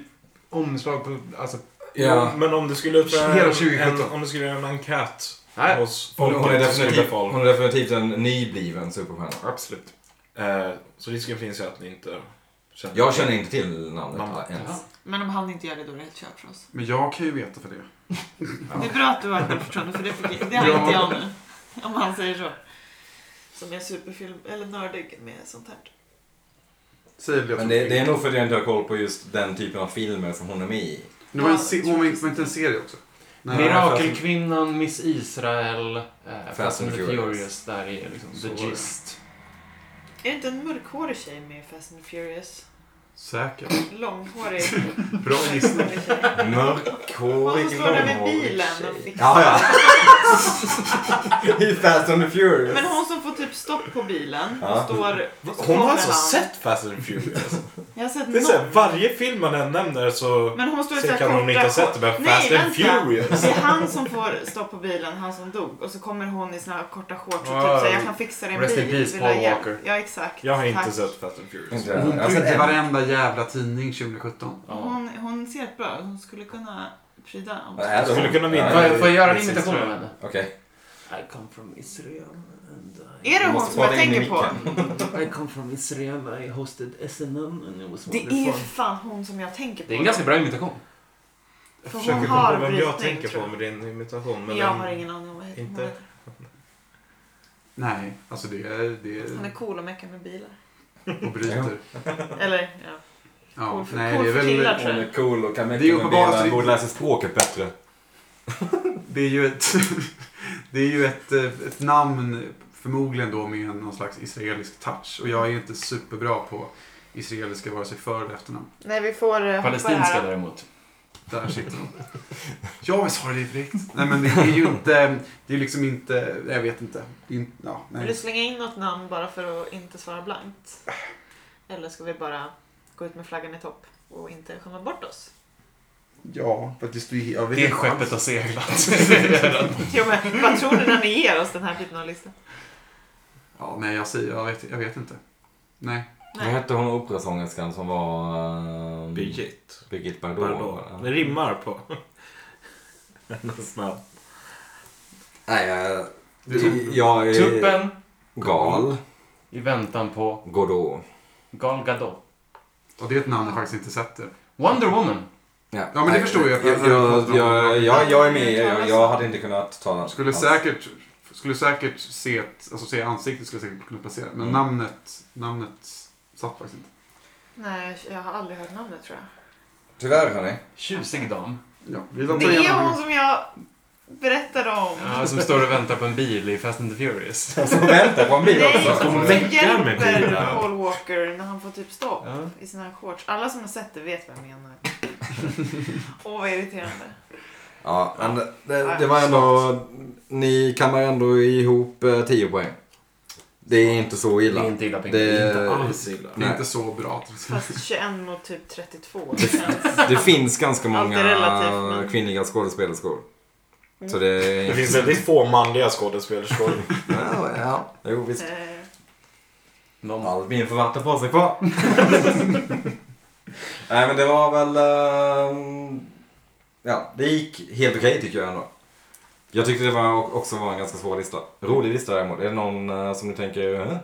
S6: omslag på... Alltså,
S1: Ja.
S2: Men om du skulle upp
S6: Hela
S2: en,
S6: 2017.
S2: en, om du skulle göra en enkät
S6: Nej.
S2: hos
S1: Hon, hon, är
S2: så skulle
S1: definitivt,
S2: folk-
S1: hon är definitivt en nybliven superstjärna.
S2: Absolut. Eh, så risken finns ju att ni inte känner
S1: Jag känner inte till namnet
S2: Mamma.
S1: ens.
S3: Men om han inte gör det, då är det helt kört för oss.
S5: Men jag kan ju veta för det.
S3: Det är bra att du har ett självförtroende, för det, fick, det har inte jag nu. Om han säger så. Som är superfilm, eller nördig med sånt här.
S5: Säger det,
S1: Men det, det är nog för att jag inte har koll på just den typen av filmer som hon är med i.
S5: det var en, se- hon var inte var inte en serie också. Nej,
S6: Mirakelkvinnan, Miss Israel, eh, Fast and the
S1: Furious.
S6: Furious. Där är liksom
S5: Så
S6: the
S5: var det.
S6: gist.
S3: Är det inte en mörkhårig tjej med i Fast and Furious?
S5: Säkert.
S3: Långhårig.
S5: Bra gissning.
S3: Hon
S1: Mörkhårig
S3: står där med
S1: långhårig
S3: bilen och
S1: tjej.
S3: fixar.
S1: Ja, ja. [LAUGHS] I Fast and the Furious.
S3: Men hon som får typ stopp på bilen. Hon
S1: Ja.
S3: står... och så
S2: Hon har
S3: kommer
S2: alltså
S3: han.
S2: sett Fast
S3: [LAUGHS]
S2: and Furious.
S3: Jag har sett
S2: Det är såhär,
S3: någon.
S2: varje film man än nämner så...
S3: Men hon står i
S2: Så
S3: såhär
S2: kan hon inte ha sett det, men Fast
S3: Nej,
S2: and
S3: vänta. [LAUGHS]
S2: Furious.
S3: Det är han som får stopp på bilen, han som dog. Och så kommer hon i såna här korta shorts och typ
S2: Ah,
S3: säger jag kan fixa din bil.
S4: rest in peace,
S3: vill du ha
S4: Paul
S3: hjälp?"
S4: Walker.
S3: Ja, exakt.
S2: Jag har inte
S3: Tack.
S2: sett Fast and Furious.
S1: Inte
S5: Hon
S1: jag. Jag har sett
S5: prydde
S1: alltså en.
S5: varenda jävla tidning 2017.
S3: Hon, hon ser ett bra ut. Hon skulle kunna pryda om
S1: Vad är det?
S2: Skulle kunna vinna.
S1: Ja,
S2: Får
S1: ja.
S2: jag- får jag göra en
S6: Precis,
S2: imitation
S6: tror jag.
S2: av henne?
S1: Okej.
S6: I come from Israel. And I...
S3: Är det hon
S1: måste
S3: som jag
S1: prata in i
S3: tänker på?
S6: I come from Israel. I hosted SNM and it was
S3: Det är ju fan hon som jag tänker på.
S4: Det är en ganska bra imitation.
S2: Jag
S3: För
S2: försöker
S3: hon
S2: komma
S3: har
S2: på vem jag
S3: brytning
S2: tänker på
S3: tror
S2: med din imitation.
S3: jag.
S2: Men
S3: Jag
S2: den-
S3: har ingen aning om vad heter hon
S2: Inte.
S3: heter.
S5: Nej, alltså det är... Det
S3: Han är
S5: är
S3: cool och meckar med bilar.
S5: och bryter.
S3: Eller ja.
S5: Ja,
S3: Cool för-
S5: nej,
S3: cool
S5: det är
S3: för killar.
S5: väl...
S1: Hon är cool och kan
S5: Det är
S1: mäkta med
S5: uppenbart att
S1: bilar.
S5: det-
S1: Borde läsa språket bättre.
S5: Det är ju ett... [LAUGHS] Det är ju ett, eh, ett namn förmodligen då med någon slags israelisk touch. Och jag är inte superbra på israeliska vare sig för eller efternamn.
S3: Nej vi får eh, hoppa
S4: Palestinska
S3: här.
S4: däremot.
S5: Där sitter de. [LAUGHS] Ja, men sa det direkt. Nej, men det är ju inte... Det är liksom inte... Jag vet inte. Det är inte ja,
S3: Vill du
S5: nej.
S3: slänga in något namn bara för att inte svara blankt? Eller ska vi bara gå ut med flaggan i topp och inte skämma bort oss? [LAUGHS]
S5: Ja, faktiskt. Jag vet
S4: Det är
S5: inte
S4: skeppet har
S5: alls.
S4: seglat.
S3: Jo, men, vad tror ni när ni ger oss den här typen av lista?
S5: Ja, nej, jag säger... Jag vet, jag vet inte. Nej.
S1: Vad hette hon operasångerskan som var... ehm,
S2: Birgit.
S1: Birgit Bardot.
S2: Bardot. Det rimmar på [LAUGHS] hennes namn.
S1: Nej, jag...
S5: Det är som-
S1: Jag är...
S4: Tuppen
S1: Gal.
S4: i väntan på
S1: Godot.
S4: Gal Gadot.
S5: Och det är ett namn jag faktiskt inte sätter.
S4: Wonder Woman.
S5: Ja, men det förstår jag.
S1: Jag, jag, jag, jag, jag är med. Jag, jag hade inte kunnat tala.
S5: Skulle säkert, skulle säkert se ett, alltså se ansiktet skulle jag säkert kunna placera. Men
S1: Mm.
S5: namnet, namnet satt faktiskt inte.
S3: Nej, jag har aldrig hört namnet tror jag.
S1: Tyvärr hörni.
S4: Tjusig dam.
S5: Ja, vi tar
S3: Det är hon
S5: igenom.
S3: som jag berättade om.
S4: Ja, som står och väntar på en bil i Fast and the Furious.
S1: Som väntar på en bil
S3: Nej,
S1: också.
S3: hon
S2: meckar med
S3: hjälper
S2: bilar.
S3: Paul Walker när han får typ stopp
S4: Ja.
S3: i sina shorts. Alla som har sett det vet vad jag menar. Åh, vad irriterande.
S1: Ja, men det, det var ändå... Ni kammar ändå ihop eh, 10 poäng. Det är inte så
S4: Det
S1: illa.
S4: är inte illa Pink.
S1: Det,
S2: Inte alls illa.
S5: Det är
S1: Nej.
S5: inte så bra.
S3: Fast 21 mot typ 32. Det känns...
S1: det finns ganska
S3: Allt är
S1: många
S3: relativt, men- Mm.
S1: kvinnliga skådespelerskor. Så det är...
S2: Det finns väldigt få manliga skådespelerskor.
S1: Ja, ja. Jo, visst.
S3: eh,
S4: De
S1: Albin får vatten på sig kvar. [LAUGHS] Nej men det var väl... ehm, ja, det gick helt okej tycker jag ändå. Jag tyckte det var också var en ganska svår lista. Rolig lista däremot. Är det någon eh, som ni tänker... Eh?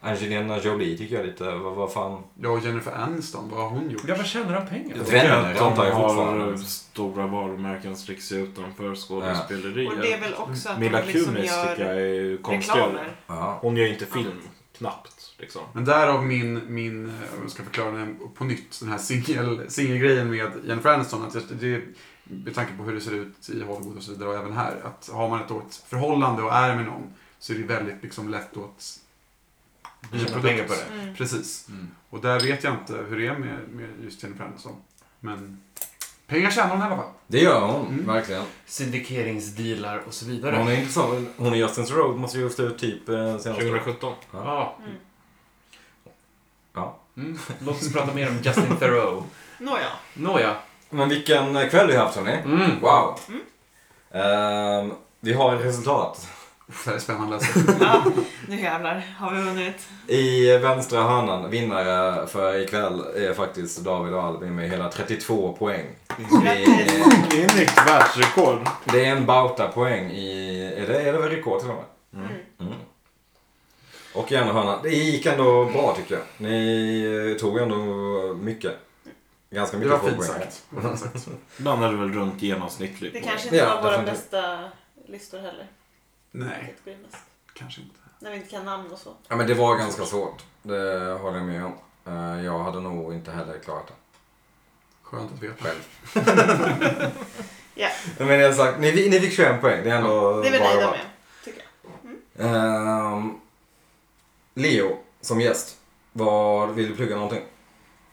S1: Angelina Jolie tycker jag lite. Vad, vad fan...
S5: Jag och Jennifer Aniston, vad har hon gjort?
S4: Ja, vad tjänar de pengar
S1: Jag
S4: på?
S1: tycker att de
S2: de
S1: tar ju
S2: har Mm.
S1: fortfarande.
S2: stora varumärken som sträcker sig utanför
S3: och det är
S2: skådespeleriet.
S3: väl också att
S2: Milla
S3: de liksom
S2: Kunis tycker jag
S3: gör
S2: är konstgjord.
S3: reklamer.
S1: Ja.
S2: Hon gör ju inte film, knappt. Liksom.
S5: Men därav min, min, eh, om jag ska förklara den på nytt, den här singel- singelgrejen med Jennifer Aniston. Att just det, med tanke på hur det ser ut i Hollywood och så vidare och även här. Att har man ett dåligt förhållande och är med någon så är det väldigt liksom, lätt åt...
S4: Du tjänar pengar på det.
S3: Mm.
S5: Precis.
S4: Mm.
S5: Och där vet jag inte hur det är med, med just Jennifer Aniston. Men pengar tjänar hon i alla fall.
S1: Det gör hon,
S5: Mm.
S1: verkligen.
S4: Syndikeringsdealar och så vidare.
S1: Hon är intressant. Hon och Justin's Road måste ju stå ut typ eh, senaste...
S2: 2017.
S4: Ja.
S3: Mm.
S1: Ja.
S4: Mm. Låt oss prata mer om Justin Theroux.
S3: Nåja.
S4: Nåja.
S1: Men vilken eh, kväll vi har haft hörni.
S4: Mm.
S1: Wow. Ehm, vi har ett resultat.
S5: Uff, Det här är spännande att läsa.
S3: Ja, nu jävlar har vi vunnit.
S1: I vänstra hörnan, vinnare för ikväll är faktiskt David och Albin med hela 32 poäng. Det är,
S2: Det är nytt världsrekord.
S1: det är en bauta-poäng i... Är det, är det väl rekord till och med?
S3: Mm.
S1: Mm. Och i andra hörnan, det gick ändå bra tycker jag. Ni eh, tog ändå mycket. Ganska
S5: Det
S1: mycket
S5: var
S1: få
S5: fint
S1: poäng.
S5: sagt. Det var fint sagt.
S2: Landade väl runt genomsnittligt.
S3: Det
S2: på-
S3: kanske inte
S1: Ja,
S3: var våra
S1: definitivt.
S3: bästa listor heller.
S5: Nej,
S3: Kategorimest.
S5: kanske inte.
S3: När vi inte kan namn och så.
S1: Ja men det var ganska svårt. Det håller jag med om. Eh, Jag hade nog inte heller klarat det.
S5: Skönt att veta.
S1: Själv.
S3: Ja.
S1: Men jag sagt, ni, ni fick 21 poäng. Det är ändå
S3: Det är vi
S1: bra
S3: nöjda
S1: jobbat.
S3: med, tycker jag.
S1: Ehm, Leo, som gäst. Vad, vill du plugga någonting?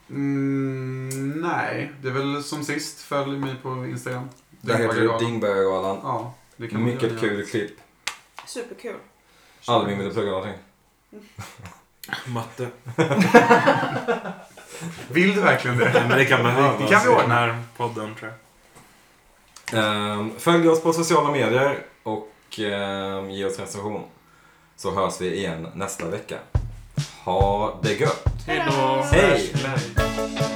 S5: Mm, nej, det är väl som sist. Följ mig på Instagram.
S1: Där heter det
S5: Dyngbaggegalan.
S1: Dyngbaggegalan.
S5: Ja, det kan man
S1: Mycket
S5: göra.
S1: kul klipp.
S3: Superkul.
S1: Alvin ville plugga någonting.
S2: Matte.
S5: Vill du verkligen det?
S2: Men det kan behövas.
S5: Det kan vi ordna.
S2: i den här podden tror jag.
S1: Ehm, följ oss på sociala medier och ehm, ge oss recension. Så hörs vi igen nästa vecka. Ha det gött!
S3: Hej då!
S1: Hej!
S5: Nej.
S3: Hej!